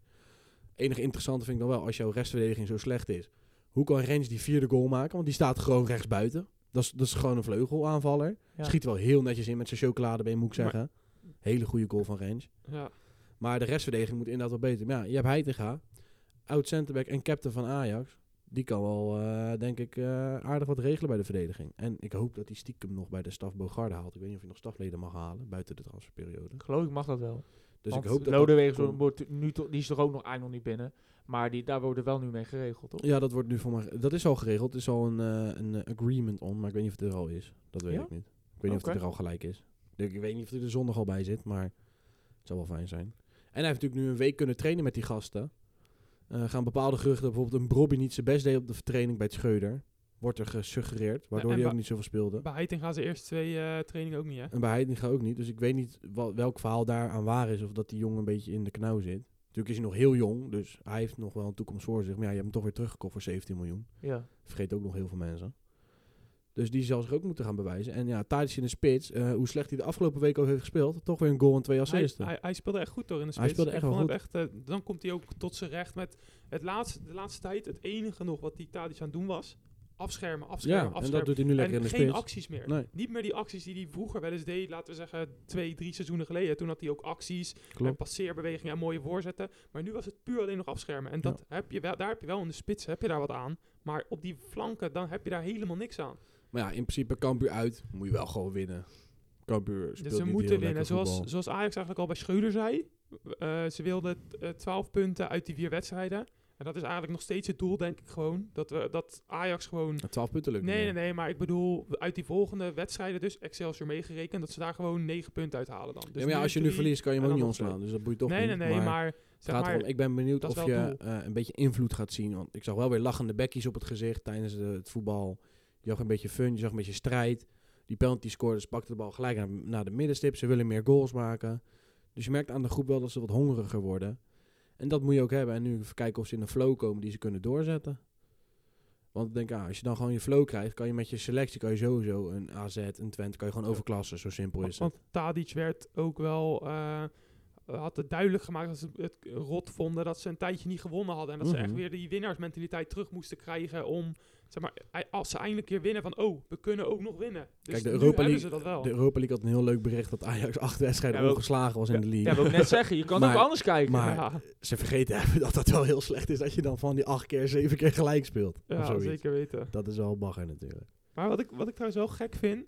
[SPEAKER 2] Enige interessante vind ik dan wel, als jouw restverdediging zo slecht is. Hoe kan Rens die vierde goal maken? Want die staat gewoon rechts buiten. Dat is, dat is gewoon een vleugelaanvaller.
[SPEAKER 1] Ja.
[SPEAKER 2] Schiet wel heel netjes in met zijn chocoladebeen, moet ik
[SPEAKER 3] Maar-
[SPEAKER 2] zeggen. Hele goede goal van Rens.
[SPEAKER 3] Ja.
[SPEAKER 2] Maar de restverdediging moet inderdaad wel beter. Maar ja, je hebt Heitinga, oud centerback en captain van Ajax. Die kan wel, eh, denk ik, eh, aardig wat regelen bij de verdediging. En ik hoop dat hij stiekem nog bij de staf Bogarde haalt. Ik weet niet of hij nog stafleden mag halen buiten de transferperiode.
[SPEAKER 1] Geloof ik mag dat wel.
[SPEAKER 2] Dus
[SPEAKER 1] Want
[SPEAKER 2] ik hoop dat
[SPEAKER 1] Lodewegers
[SPEAKER 2] dat komt.
[SPEAKER 1] wordt nu toch, die is toch ook nog eigenlijk nog niet binnen. Maar die, daar worden wel nu mee geregeld, toch?
[SPEAKER 2] Ja, dat wordt nu voor mij. Dat is al geregeld. Er is al een, eh, een eh, agreement on, maar ik weet niet of het er al is. Dat weet
[SPEAKER 1] Ja?
[SPEAKER 2] ik niet. Ik weet niet of
[SPEAKER 1] Oké.
[SPEAKER 2] het er al gelijk is. Ik ik weet niet of hij er zondag al bij zit, maar het zou wel fijn zijn. En hij heeft natuurlijk nu een week kunnen trainen met die gasten. Eh, gaan bepaalde geruchten, bijvoorbeeld een Brobby niet zijn best deed op de training bij het Scheuder. Wordt er gesuggereerd, waardoor
[SPEAKER 3] en
[SPEAKER 2] hij ook
[SPEAKER 3] ba-
[SPEAKER 2] niet zoveel speelde.
[SPEAKER 3] Bij Heiting gaan ze eerste twee eh, trainingen ook niet, hè?
[SPEAKER 2] En bij Heidinga ook niet. Dus ik weet niet wa- welk verhaal daar aan waar is. Of dat die jongen een beetje in de knauw zit. Natuurlijk is hij nog heel jong. Dus hij heeft nog wel een toekomst voor zich. Maar ja, je hebt hem toch weer teruggekocht voor 17 miljoen.
[SPEAKER 1] Ja.
[SPEAKER 2] Vergeet ook nog heel veel mensen. Dus die zal zich ook moeten gaan bewijzen. En ja, Tadic in de spits. eh, hoe slecht hij de afgelopen week ook heeft gespeeld. Toch weer een goal en twee
[SPEAKER 3] Hij,
[SPEAKER 2] assisten.
[SPEAKER 3] hij, hij speelde echt goed door in de spits.
[SPEAKER 2] Hij speelde
[SPEAKER 3] Ik
[SPEAKER 2] echt wel
[SPEAKER 3] vond hem echt, eh, dan komt hij ook tot zijn recht met het laatste, de laatste tijd het enige nog wat die Tadic aan het doen was. Afschermen, afschermen,
[SPEAKER 2] ja, en
[SPEAKER 3] afschermen.
[SPEAKER 2] dat doet hij nu lekker in
[SPEAKER 3] en
[SPEAKER 2] de
[SPEAKER 3] geen
[SPEAKER 2] spits.
[SPEAKER 3] acties meer.
[SPEAKER 2] Nee,
[SPEAKER 3] Niet meer die acties die hij vroeger wel eens deed, laten we zeggen twee, drie seizoenen geleden. Toen had hij ook acties en
[SPEAKER 2] klopt.
[SPEAKER 3] passeerbewegingen en mooie voorzetten. Maar nu was het puur alleen nog afschermen. En dat heb je wel, daar heb je wel in de spits heb je daar wat aan. Maar op die flanken, dan heb je daar helemaal niks aan.
[SPEAKER 2] Maar ja, in principe Cambuur uit. Moet je wel gewoon winnen. Cambuur speelt
[SPEAKER 3] Dus ze
[SPEAKER 2] niet
[SPEAKER 3] moeten
[SPEAKER 2] heel
[SPEAKER 3] winnen.
[SPEAKER 2] lekker
[SPEAKER 3] Zoals,
[SPEAKER 2] voetbal.
[SPEAKER 3] zoals Ajax eigenlijk al bij Schreuder zei. eh, ze wilden eh, 12 punten uit die vier wedstrijden. En dat is eigenlijk nog steeds het doel, denk ik gewoon. Dat, we, dat Ajax gewoon...
[SPEAKER 2] Nou, 12 punten lukt
[SPEAKER 3] Nee,
[SPEAKER 2] niet
[SPEAKER 3] nee,
[SPEAKER 2] meer.
[SPEAKER 3] nee, maar ik bedoel, uit die volgende wedstrijden, dus Excelsior meegerekend, dat ze daar gewoon 9 punten uithalen dan. Dus
[SPEAKER 2] Ja, maar ja, als je nu
[SPEAKER 3] drie-
[SPEAKER 2] verliest kan je hem
[SPEAKER 3] en
[SPEAKER 2] ook niet
[SPEAKER 3] dan nog twee.
[SPEAKER 2] ontslaan. Dus dat boeit toch
[SPEAKER 3] nee,
[SPEAKER 2] niet.
[SPEAKER 3] nee, nee, maar,
[SPEAKER 2] Het
[SPEAKER 3] zeg
[SPEAKER 2] gaat
[SPEAKER 3] maar,
[SPEAKER 2] erom, ik ben benieuwd
[SPEAKER 3] dat is
[SPEAKER 2] of
[SPEAKER 3] wel
[SPEAKER 2] je
[SPEAKER 3] het
[SPEAKER 2] eh, een beetje invloed gaat zien. Want ik zag wel weer lachende bekkies op het gezicht tijdens de- het voetbal. Je zag een beetje fun, je zag een beetje strijd. Die penalty scoorders pakten de bal gelijk naar, naar de middenstip. Ze willen meer goals maken. Dus je merkt aan de groep wel dat ze wat hongeriger worden. En dat moet je ook hebben. En nu even kijken of ze in een flow komen die ze kunnen doorzetten. Want ik denk, ah, als je dan gewoon je flow krijgt, kan je met je selectie kan je sowieso een AZ, een Twente, kan je gewoon overklassen. Zo simpel is het.
[SPEAKER 3] want Tadic werd ook wel, eh, had het duidelijk gemaakt dat ze het rot vonden dat ze een tijdje niet gewonnen hadden. En dat ze echt
[SPEAKER 2] Mhm.
[SPEAKER 3] weer die winnaarsmentaliteit terug moesten krijgen om, zeg maar, ei- als ze eindelijk weer winnen van, oh, we kunnen ook nog winnen. Dus
[SPEAKER 2] Kijk, de
[SPEAKER 3] nu
[SPEAKER 2] Europa
[SPEAKER 3] hebben
[SPEAKER 2] League-
[SPEAKER 3] ze dat wel.
[SPEAKER 2] De Europa League had een heel leuk bericht dat Ajax acht wedstrijden
[SPEAKER 1] Ja, we-
[SPEAKER 2] ongeslagen was in de league.
[SPEAKER 1] Ja, wil ik net zeggen. Je kan
[SPEAKER 2] Maar-
[SPEAKER 1] ook anders kijken.
[SPEAKER 2] maar-
[SPEAKER 3] ja,
[SPEAKER 2] ze vergeten hebben dat dat wel heel slecht is dat je dan van die acht keer zeven keer gelijk speelt.
[SPEAKER 3] ja,
[SPEAKER 2] of zoiets.
[SPEAKER 3] zeker weten.
[SPEAKER 2] Dat is wel bagger natuurlijk.
[SPEAKER 3] Maar wat ik, wat ik trouwens wel gek vind,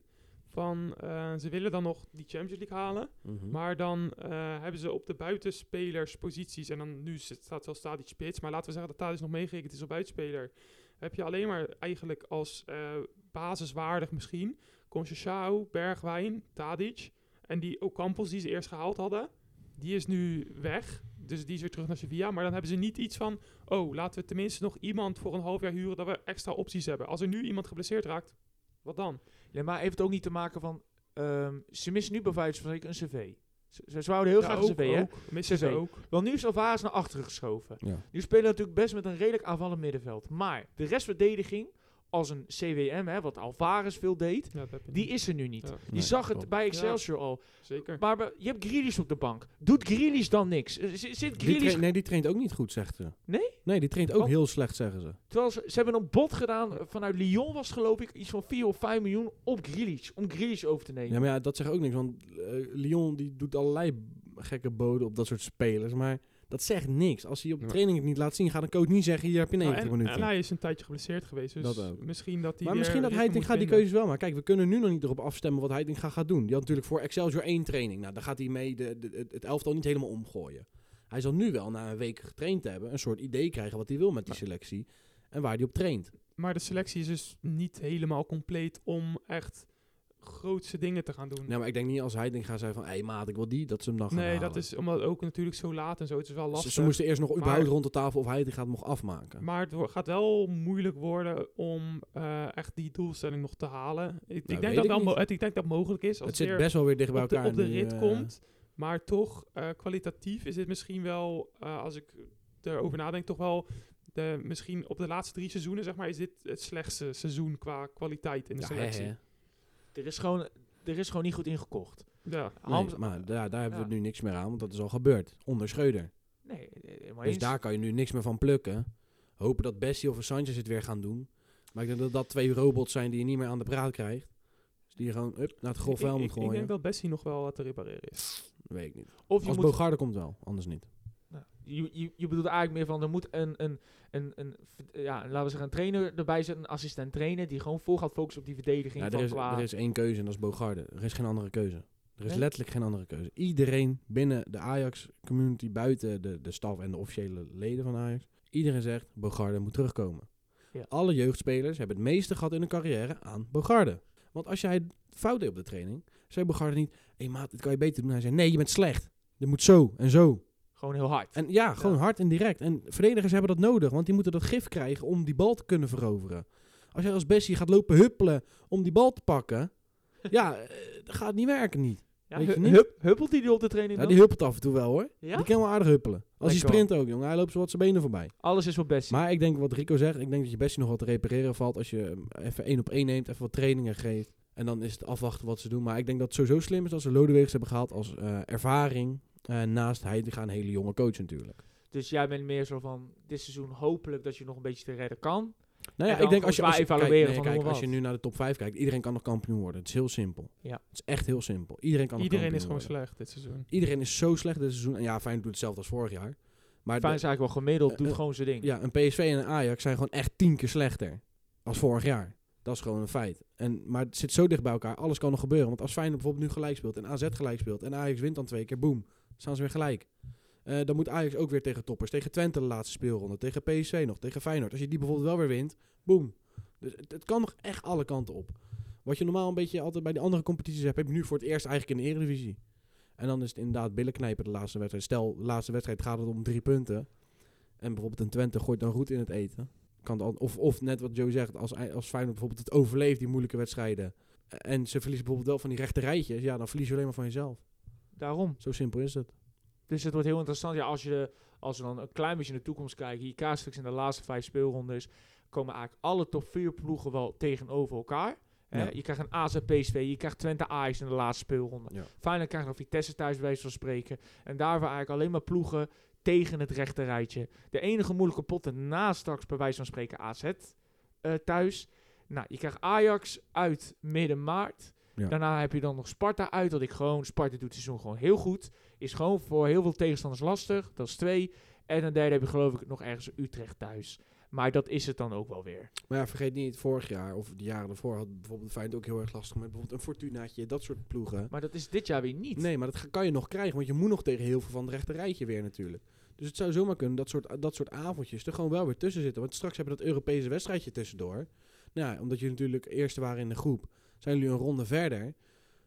[SPEAKER 3] van, eh, ze willen dan nog die Champions League halen. Maar dan eh, hebben ze op de buitenspelers posities. En dan nu zit- staat wel Tadic spits. Maar laten we zeggen dat Tadic nog meegerekend is op buitenspeler. Heb je alleen maar eigenlijk als eh, basiswaardig misschien. Conceição, Bergwijn, Tadic. En die Ocampos die ze eerst gehaald hadden. Die is nu weg. Dus die is weer terug naar Sevilla. Maar dan hebben ze niet iets van... Oh, laten we tenminste nog iemand voor een half jaar huren... dat we extra opties hebben. Als er nu iemand geblesseerd raakt, wat dan?
[SPEAKER 1] Nee, maar heeft het ook niet te maken van... ehm, ze missen nu bij wijze van spreken een CV. Ze, ze ze wouden heel
[SPEAKER 3] Ja,
[SPEAKER 1] graag
[SPEAKER 3] ook,
[SPEAKER 1] een CV, hè?
[SPEAKER 3] ook. Missen ze
[SPEAKER 1] CV.
[SPEAKER 3] ook.
[SPEAKER 1] Wel, nu is Alvarez naar achteren geschoven.
[SPEAKER 2] Ja.
[SPEAKER 1] Nu spelen we natuurlijk best met een redelijk aanvallend middenveld. Maar de restverdediging, als een CWM, hè, wat Alvarez veel deed...
[SPEAKER 3] Ja, dat heb je
[SPEAKER 1] Die
[SPEAKER 3] niet.
[SPEAKER 1] is er nu niet.
[SPEAKER 3] Ja,
[SPEAKER 1] Je
[SPEAKER 2] Nee,
[SPEAKER 1] zag het
[SPEAKER 2] klopt.
[SPEAKER 1] bij Excelsior al.
[SPEAKER 3] Zeker.
[SPEAKER 1] Maar we- je hebt Grealish op de bank. Doet Grealish dan niks? Eh, z- Zit
[SPEAKER 2] Die
[SPEAKER 1] Grealish...
[SPEAKER 2] traint- nee, die traint ook niet goed, zegt ze.
[SPEAKER 1] Nee?
[SPEAKER 2] Nee, die traint ook
[SPEAKER 3] Oh.
[SPEAKER 1] Wat?
[SPEAKER 2] heel slecht, zeggen ze.
[SPEAKER 1] Terwijl ze, ze hebben een bod gedaan eh, vanuit Lyon was het, geloof ik iets van 4 of 5 miljoen op Grealish. Om Grealish over te nemen.
[SPEAKER 2] Ja, maar ja, dat zegt ook niks, want eh, Lyon die doet allerlei gekke boden op dat soort spelers. Maar dat zegt niks. Als hij op
[SPEAKER 3] Ja.
[SPEAKER 2] training het niet laat zien, gaat een coach niet zeggen... hier heb je
[SPEAKER 3] Nou,
[SPEAKER 2] 90
[SPEAKER 3] en,
[SPEAKER 2] minuten.
[SPEAKER 3] en hij is een tijdje geblesseerd geweest. Dus
[SPEAKER 2] Dat ook.
[SPEAKER 3] misschien dat hij.
[SPEAKER 2] maar
[SPEAKER 3] weer
[SPEAKER 2] misschien dat
[SPEAKER 3] ritme moet
[SPEAKER 2] Heitinga die
[SPEAKER 3] vinden.
[SPEAKER 2] keuzes wel maakt. Kijk, we kunnen nu nog niet erop afstemmen wat Heitinga gaat doen. Die had natuurlijk voor Excelsior één training. Nou, daar gaat hij mee de, de- het- het elftal niet helemaal omgooien. Hij zal nu wel na een week getraind te hebben een soort idee krijgen wat hij wil met die
[SPEAKER 3] Ja.
[SPEAKER 2] selectie. En waar hij op traint.
[SPEAKER 3] Maar de selectie is dus niet helemaal compleet om echt grootse dingen te gaan doen.
[SPEAKER 2] Nou, maar ik denk niet als Heitinga zei van... Hé maat, ik wil die, dat ze hem dan gaan
[SPEAKER 3] nee,
[SPEAKER 2] halen.
[SPEAKER 3] dat is omdat ook natuurlijk zo laat en zo. Het is wel
[SPEAKER 2] Ze,
[SPEAKER 3] lastig.
[SPEAKER 2] ze moesten eerst nog überhaupt
[SPEAKER 3] Maar-
[SPEAKER 2] rond de tafel of Heitinga het mocht afmaken.
[SPEAKER 3] Maar het wo- gaat wel moeilijk worden om eh, echt die doelstelling nog te halen. Ik, ik,
[SPEAKER 2] Nou, weet
[SPEAKER 3] denk, dat
[SPEAKER 2] ik
[SPEAKER 3] wel mo-
[SPEAKER 2] niet.
[SPEAKER 3] het- ik denk dat het mogelijk is. Als
[SPEAKER 2] het
[SPEAKER 3] het
[SPEAKER 2] zit
[SPEAKER 3] weer
[SPEAKER 2] best wel weer dicht bij
[SPEAKER 3] op de,
[SPEAKER 2] elkaar.
[SPEAKER 3] op de
[SPEAKER 2] nu,
[SPEAKER 3] rit
[SPEAKER 2] eh,
[SPEAKER 3] komt. Maar toch, eh, kwalitatief is dit misschien wel, eh, als ik erover nadenk, toch wel... De, misschien op de laatste drie seizoenen, zeg maar, is dit het slechtste seizoen qua kwaliteit in de
[SPEAKER 2] ja,
[SPEAKER 3] selectie.
[SPEAKER 2] hè, hè.
[SPEAKER 1] Er is gewoon, er is gewoon niet goed ingekocht.
[SPEAKER 3] Ja.
[SPEAKER 2] Nee,
[SPEAKER 1] Hans-
[SPEAKER 2] maar daar, daar hebben we
[SPEAKER 1] Ja.
[SPEAKER 2] nu niks meer aan, want dat is al gebeurd. Onder Schreuder.
[SPEAKER 1] Nee, eh, helemaal
[SPEAKER 2] Dus
[SPEAKER 1] eens.
[SPEAKER 2] daar kan je nu niks meer van plukken. Hopen dat Bessie of Sanchez het weer gaan doen. Maar ik denk dat dat twee robots zijn die je niet meer aan de praat krijgt. Dus die je gewoon up, naar het grof
[SPEAKER 3] Ik-
[SPEAKER 2] vuil
[SPEAKER 3] ik,
[SPEAKER 2] moet
[SPEAKER 3] ik, ik
[SPEAKER 2] gooien.
[SPEAKER 3] denk dat Bessie nog wel wat te repareren is.
[SPEAKER 2] Weet ik niet.
[SPEAKER 1] Of je
[SPEAKER 2] Als
[SPEAKER 1] moet
[SPEAKER 2] Bogarde komt wel, anders niet.
[SPEAKER 1] Nou, Je, je, je bedoelt eigenlijk meer van, er moet een, een, een, een verd- ja, laten we zeggen, een trainer erbij zitten, een assistent trainer, die gewoon vol gaat focussen op die verdediging
[SPEAKER 2] Ja, er,
[SPEAKER 1] van
[SPEAKER 2] is,
[SPEAKER 1] qua...
[SPEAKER 2] er is één keuze en dat is Bogarde. Er is geen andere keuze. Er is
[SPEAKER 1] Nee?
[SPEAKER 2] letterlijk geen andere keuze. Iedereen binnen de Ajax-community, buiten de, de staf en de officiële leden van Ajax, iedereen zegt Bogarde moet terugkomen.
[SPEAKER 1] Ja.
[SPEAKER 2] Alle jeugdspelers hebben het meeste gehad in hun carrière aan Bogarde. Want als jij fout deed op de training, zei Bogarde niet, hé maat, dit kan je beter doen. Hij zei, nee, je bent slecht. Dit moet zo en zo.
[SPEAKER 1] Gewoon heel hard.
[SPEAKER 2] En ja, gewoon hard en direct. En verdedigers hebben dat nodig, want die moeten dat gif krijgen om die bal te kunnen veroveren. Als jij als Bessie gaat lopen huppelen om die bal te pakken, ja, eh, dat gaat niet werken niet.
[SPEAKER 1] ja,
[SPEAKER 2] weet je
[SPEAKER 1] hu-
[SPEAKER 2] niet?
[SPEAKER 1] hup- huppelt hij die op de training
[SPEAKER 2] Ja,
[SPEAKER 1] dan?
[SPEAKER 2] die huppelt af en toe wel hoor.
[SPEAKER 1] Ja?
[SPEAKER 2] Die kan wel aardig huppelen. Als hij
[SPEAKER 1] Denk
[SPEAKER 2] sprint ook, jongen. Hij loopt zo wat zijn benen voorbij.
[SPEAKER 1] Alles is voor best.
[SPEAKER 2] Maar ik denk wat Rico zegt, ik denk dat je Bessie nog wat te repareren valt als je hem even één op één neemt, even wat trainingen geeft. En dan is het afwachten wat ze doen. Maar ik denk dat het sowieso slim is als ze Lodewegens hebben gehaald als eh, ervaring. eh, naast hij, die gaan een hele jonge coach natuurlijk.
[SPEAKER 1] Dus jij bent meer zo van, dit seizoen hopelijk dat je nog een beetje te redden kan.
[SPEAKER 2] Nou ja,
[SPEAKER 1] En dan
[SPEAKER 2] ik denk als je,
[SPEAKER 1] gewoon
[SPEAKER 2] als je,
[SPEAKER 1] zwaar
[SPEAKER 2] kijk,
[SPEAKER 1] evalueren
[SPEAKER 2] nee,
[SPEAKER 1] van
[SPEAKER 2] kijk,
[SPEAKER 1] hoe
[SPEAKER 2] als je
[SPEAKER 1] wat.
[SPEAKER 2] nu naar de top 5 kijkt, iedereen kan nog kampioen worden. Het is heel simpel.
[SPEAKER 1] Ja.
[SPEAKER 2] Het is echt heel simpel. Iedereen kan nog
[SPEAKER 3] Iedereen is
[SPEAKER 2] kampioen
[SPEAKER 3] gewoon
[SPEAKER 2] worden.
[SPEAKER 3] slecht dit seizoen.
[SPEAKER 2] Iedereen is zo slecht dit seizoen. En ja, Feyenoord doet hetzelfde als vorig jaar. Maar
[SPEAKER 1] Fijn is eigenlijk wel gemiddeld,
[SPEAKER 2] Eh,
[SPEAKER 1] doet
[SPEAKER 2] eh,
[SPEAKER 1] gewoon zijn
[SPEAKER 2] de-
[SPEAKER 1] ding.
[SPEAKER 2] ja, een PSV en een Ajax zijn gewoon echt tien keer slechter als vorig jaar. Dat is gewoon een feit. En, maar het zit zo dicht bij elkaar. Alles kan nog gebeuren. Want als Feyenoord bijvoorbeeld nu gelijk speelt en AZ gelijk speelt en Ajax wint dan twee keer, boem, staan ze weer gelijk. Eh, dan moet Ajax ook weer tegen toppers. Tegen Twente de laatste speelronde. Tegen PSV nog. Tegen Feyenoord. Als je die bijvoorbeeld wel weer wint, boem. Dus het, het kan nog echt alle kanten op. Wat je normaal een beetje altijd bij de andere competities hebt, heb je nu voor het eerst eigenlijk in de Eredivisie. En dan is het inderdaad billen knijpen de laatste wedstrijd. Stel, de laatste wedstrijd gaat het om drie punten. En bijvoorbeeld een Twente gooit dan goed in het eten. Kan het al- of, of net wat Joe zegt, als, ei- als Feyenoord bijvoorbeeld het overleeft, die moeilijke wedstrijden. En ze verliezen bijvoorbeeld wel van die rechte rijtjes. Ja, dan verlies je alleen maar van jezelf.
[SPEAKER 1] Daarom.
[SPEAKER 2] Zo simpel is het.
[SPEAKER 1] Dus het wordt heel interessant. Ja, als, je, als we dan een klein beetje in de toekomst kijken, hier kaartstuks in de laatste vijf speelrondes, komen eigenlijk alle top vier ploegen wel tegenover elkaar. Hè,
[SPEAKER 2] Ja.
[SPEAKER 1] Je krijgt een AZ PSV, je krijgt Twente Ajax in de laatste speelronde.
[SPEAKER 2] Ja.
[SPEAKER 1] Feyenoord krijgt nog Vitesse thuis bij wijze van spreken. En daar waren eigenlijk alleen maar ploegen tegen het rechte rijtje. De enige moeilijke potten na straks bij wijze van spreken AZ eh, thuis. Nou, je krijgt Ajax uit midden maart.
[SPEAKER 2] Ja.
[SPEAKER 1] Daarna heb je dan nog Sparta uit. Dat ik gewoon, Sparta doet het seizoen gewoon heel goed. Is gewoon voor heel veel tegenstanders lastig. Dat is twee. En een derde heb je geloof ik nog ergens Utrecht thuis. Maar dat is het dan ook wel weer.
[SPEAKER 2] Maar ja, vergeet niet, vorig jaar of de jaren daarvoor had bijvoorbeeld Feyenoord ook heel erg lastig met bijvoorbeeld een Fortunaatje, dat soort ploegen.
[SPEAKER 1] Maar dat is dit jaar weer niet.
[SPEAKER 2] Nee, maar dat ga- kan je nog krijgen, want je moet nog tegen heel veel van het rechte rijtje weer natuurlijk. Dus het zou zomaar kunnen dat soort, dat soort avondjes er gewoon wel weer tussen zitten. Want straks hebben we dat Europese wedstrijdje tussendoor. Nou, ja, omdat jullie natuurlijk eerste waren in de groep, zijn jullie een ronde verder.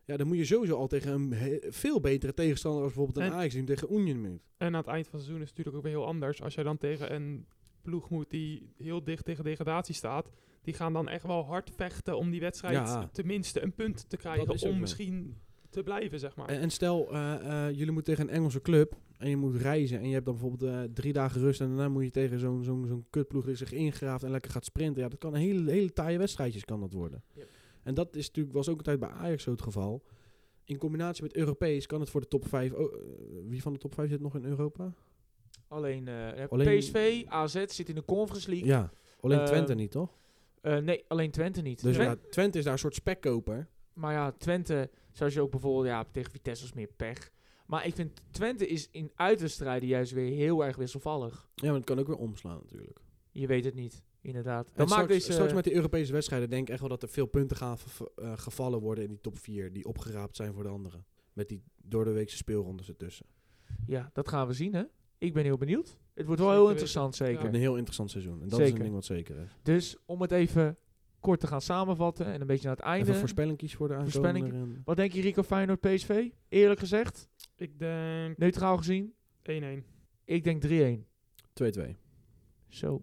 [SPEAKER 2] Ja, dan moet je sowieso al tegen een he- veel betere tegenstander als bijvoorbeeld een
[SPEAKER 3] En-
[SPEAKER 2] Ajax die tegen Union moet.
[SPEAKER 3] En aan het eind van het seizoen is het natuurlijk ook weer heel anders. Als jij dan tegen een ploeg moet die heel dicht tegen degradatie staat. Die gaan dan echt wel hard vechten om die wedstrijd
[SPEAKER 2] Ja.
[SPEAKER 3] tenminste een punt te
[SPEAKER 2] Dat
[SPEAKER 3] krijgen.
[SPEAKER 2] is ook
[SPEAKER 3] Om
[SPEAKER 2] zo.
[SPEAKER 3] misschien te blijven, zeg maar.
[SPEAKER 2] En, en stel, eh, eh, jullie moeten tegen een Engelse club en je moet reizen. En je hebt dan bijvoorbeeld eh, drie dagen rust en daarna moet je tegen zo'n zo'n zo'n kutploeg die zich ingraaft en lekker gaat sprinten. Ja, dat kan een hele, hele taaie wedstrijdjes kan dat worden.
[SPEAKER 1] Yep.
[SPEAKER 2] En dat is natuurlijk, was ook een tijd bij Ajax zo het geval. In combinatie met Europees kan het voor de top 5. wie van de top 5 zit nog in Europa?
[SPEAKER 1] Alleen, eh,
[SPEAKER 2] Alleen-
[SPEAKER 1] PSV, AZ zit in de Conference League.
[SPEAKER 2] Ja, alleen
[SPEAKER 1] Eh,
[SPEAKER 2] Twente niet, toch?
[SPEAKER 1] Eh, nee, alleen Twente niet.
[SPEAKER 2] Dus
[SPEAKER 1] Twen-
[SPEAKER 2] ja, Twente is daar een soort spekkoper.
[SPEAKER 1] Maar ja, Twente, zoals je ook bijvoorbeeld ja, tegen Vitesse was meer pech. Maar ik vind Twente is in uitwedstrijden juist weer heel erg wisselvallig.
[SPEAKER 2] Ja, maar het kan ook weer omslaan natuurlijk.
[SPEAKER 1] Je weet het niet, inderdaad. Dan
[SPEAKER 2] En
[SPEAKER 1] maakt
[SPEAKER 2] straks,
[SPEAKER 1] deze...
[SPEAKER 2] straks met de Europese wedstrijden denk ik echt wel dat er veel punten gaan v- eh, gevallen worden in die top 4. Die opgeraapt zijn voor de anderen. Met die door de weekse speelrondes ertussen.
[SPEAKER 1] Ja, dat gaan we zien, hè. Ik ben heel benieuwd. Het wordt wel
[SPEAKER 3] Zeker
[SPEAKER 1] heel interessant, zeker.
[SPEAKER 3] Ja.
[SPEAKER 2] Een heel interessant seizoen. En dat is
[SPEAKER 1] Zeker.
[SPEAKER 2] een ding wat zeker is.
[SPEAKER 1] Dus om het even kort te gaan samenvatten en een beetje naar het
[SPEAKER 2] Even
[SPEAKER 1] einde.
[SPEAKER 2] een voorspelling kiezen voor de
[SPEAKER 1] Voorspelling.
[SPEAKER 2] aankomende. en-
[SPEAKER 1] Wat denk je, Rico Feyenoord PSV? Eerlijk gezegd,
[SPEAKER 3] Ik denk 1-1.
[SPEAKER 1] neutraal gezien, ik denk 3-1.
[SPEAKER 2] 2-2.
[SPEAKER 1] Zo.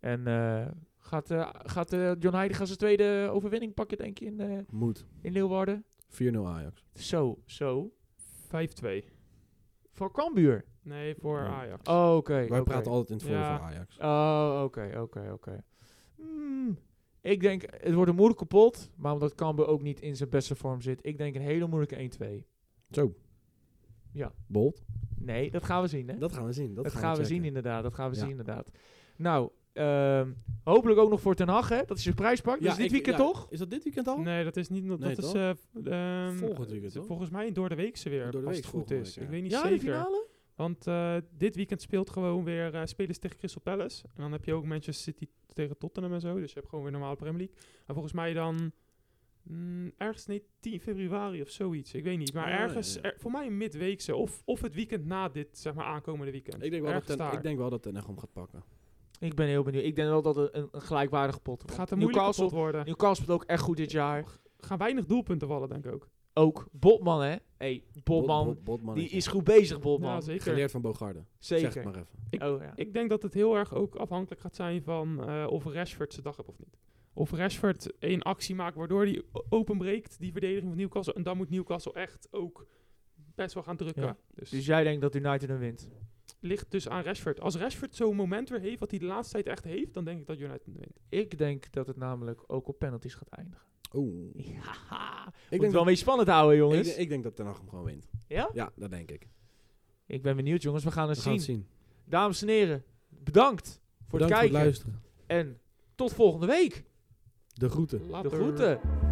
[SPEAKER 1] En eh, gaat, eh, gaat eh, John Heidegaard zijn tweede overwinning pakken, denk je, in, eh,
[SPEAKER 2] Moet.
[SPEAKER 1] in Leeuwarden?
[SPEAKER 2] 4-0 Ajax.
[SPEAKER 1] Zo, zo.
[SPEAKER 3] 5-2.
[SPEAKER 1] Voor Cambuur?
[SPEAKER 3] Nee, voor
[SPEAKER 2] Nee.
[SPEAKER 3] Ajax.
[SPEAKER 1] Oh, oké.
[SPEAKER 2] Wij
[SPEAKER 1] oké.
[SPEAKER 2] praten altijd in het volle
[SPEAKER 3] Ja.
[SPEAKER 2] voor Ajax.
[SPEAKER 1] Oh, oké, oké, oké. Hmm, Ik denk, het wordt een moeilijke pot, maar omdat Cambuur ook niet in zijn beste vorm zit, ik denk een hele moeilijke 1-2.
[SPEAKER 2] Zo.
[SPEAKER 1] Ja.
[SPEAKER 2] Bold.
[SPEAKER 1] Nee, dat gaan we zien, hè?
[SPEAKER 2] Dat gaan we zien. Dat,
[SPEAKER 1] Dat, gaan we,
[SPEAKER 2] checken.
[SPEAKER 1] zien, inderdaad. Dat gaan we
[SPEAKER 2] Ja.
[SPEAKER 1] zien, inderdaad. Nou, ehm, hopelijk ook nog voor Ten Hag, hè? Dat is je prijspak. dus dit
[SPEAKER 2] ik-
[SPEAKER 1] weekend
[SPEAKER 2] ja,
[SPEAKER 1] toch?
[SPEAKER 2] Is dat dit weekend
[SPEAKER 1] Oh.
[SPEAKER 2] al?
[SPEAKER 3] Nee, dat is niet. Dat
[SPEAKER 2] Nee,
[SPEAKER 3] is.
[SPEAKER 2] toch?
[SPEAKER 3] eh, v- ehm,
[SPEAKER 2] Volgend weekend,
[SPEAKER 3] het-
[SPEAKER 2] toch?
[SPEAKER 3] Volgens mij door de week ze weer.
[SPEAKER 2] Door de
[SPEAKER 3] als
[SPEAKER 2] week
[SPEAKER 3] het goed
[SPEAKER 2] volgende
[SPEAKER 3] is.
[SPEAKER 2] week, ja.
[SPEAKER 3] Ik weet niet
[SPEAKER 1] Ja, de
[SPEAKER 3] zeker.
[SPEAKER 1] finale?
[SPEAKER 3] Want eh, dit weekend speelt gewoon weer eh, spelers tegen Crystal Palace. En dan heb je ook Manchester City tegen Tottenham en zo. Dus je hebt gewoon weer normale Premier League. En volgens mij dan mm, ergens nee, 10 februari of zoiets. Ik weet niet. Maar
[SPEAKER 2] Ah,
[SPEAKER 3] ergens,
[SPEAKER 2] ja.
[SPEAKER 3] er- voor mij een midweekse. Of, of het weekend na dit, zeg maar, aankomende weekend.
[SPEAKER 2] Ik denk wel dat
[SPEAKER 3] Ergens
[SPEAKER 2] Ten,
[SPEAKER 3] daar.
[SPEAKER 2] ik denk wel dat Ten Hag hem gaat pakken.
[SPEAKER 1] Ik ben heel benieuwd. Ik denk wel dat het een, een gelijkwaardige pot
[SPEAKER 3] het
[SPEAKER 1] wordt.
[SPEAKER 3] gaat een moeilijke pot worden.
[SPEAKER 1] Newcastle speelt ook echt goed dit jaar.
[SPEAKER 3] Er gaan weinig doelpunten vallen, denk ik ook.
[SPEAKER 1] Ook Botman, hè? hey, Botman.
[SPEAKER 2] Bot- Bot- Botman
[SPEAKER 1] die
[SPEAKER 2] is
[SPEAKER 1] is goed bezig, Botman.
[SPEAKER 3] Ja, zeker.
[SPEAKER 2] geleerd van Bogarde.
[SPEAKER 1] zeker.
[SPEAKER 2] Zeg het maar even.
[SPEAKER 1] Oh, ja.
[SPEAKER 3] Ik denk dat het heel erg ook afhankelijk gaat zijn van eh, of Rashford zijn dag heeft of niet. Of Rashford één actie maakt waardoor hij o- openbreekt, die verdediging van Newcastle. En dan moet Newcastle echt ook best wel gaan drukken.
[SPEAKER 1] Ja.
[SPEAKER 3] Dus
[SPEAKER 1] Dus jij denkt dat United hem wint?
[SPEAKER 3] ligt dus aan Rashford. Als Rashford zo'n moment weer heeft, wat hij de laatste tijd echt heeft, dan denk ik dat United wint.
[SPEAKER 1] Ik denk dat het namelijk ook op penalties gaat eindigen.
[SPEAKER 2] Oeh.
[SPEAKER 1] Ja, ik
[SPEAKER 2] Ik denk,
[SPEAKER 1] denk wel
[SPEAKER 2] dat,
[SPEAKER 1] een beetje spannend houden,
[SPEAKER 2] ik,
[SPEAKER 1] jongens.
[SPEAKER 2] denk- ik denk dat Ten Hag hem gewoon wint.
[SPEAKER 1] ja?
[SPEAKER 2] Ja, dat denk ik.
[SPEAKER 1] Ik ben benieuwd, jongens. We gaan
[SPEAKER 2] We
[SPEAKER 1] het
[SPEAKER 2] gaan
[SPEAKER 1] zien.
[SPEAKER 2] het zien.
[SPEAKER 1] Dames en heren, bedankt voor
[SPEAKER 2] Bedankt
[SPEAKER 1] het
[SPEAKER 2] voor het
[SPEAKER 1] kijken.
[SPEAKER 2] luisteren.
[SPEAKER 1] en tot volgende week.
[SPEAKER 2] De groeten.
[SPEAKER 1] De
[SPEAKER 3] Later.
[SPEAKER 1] groeten.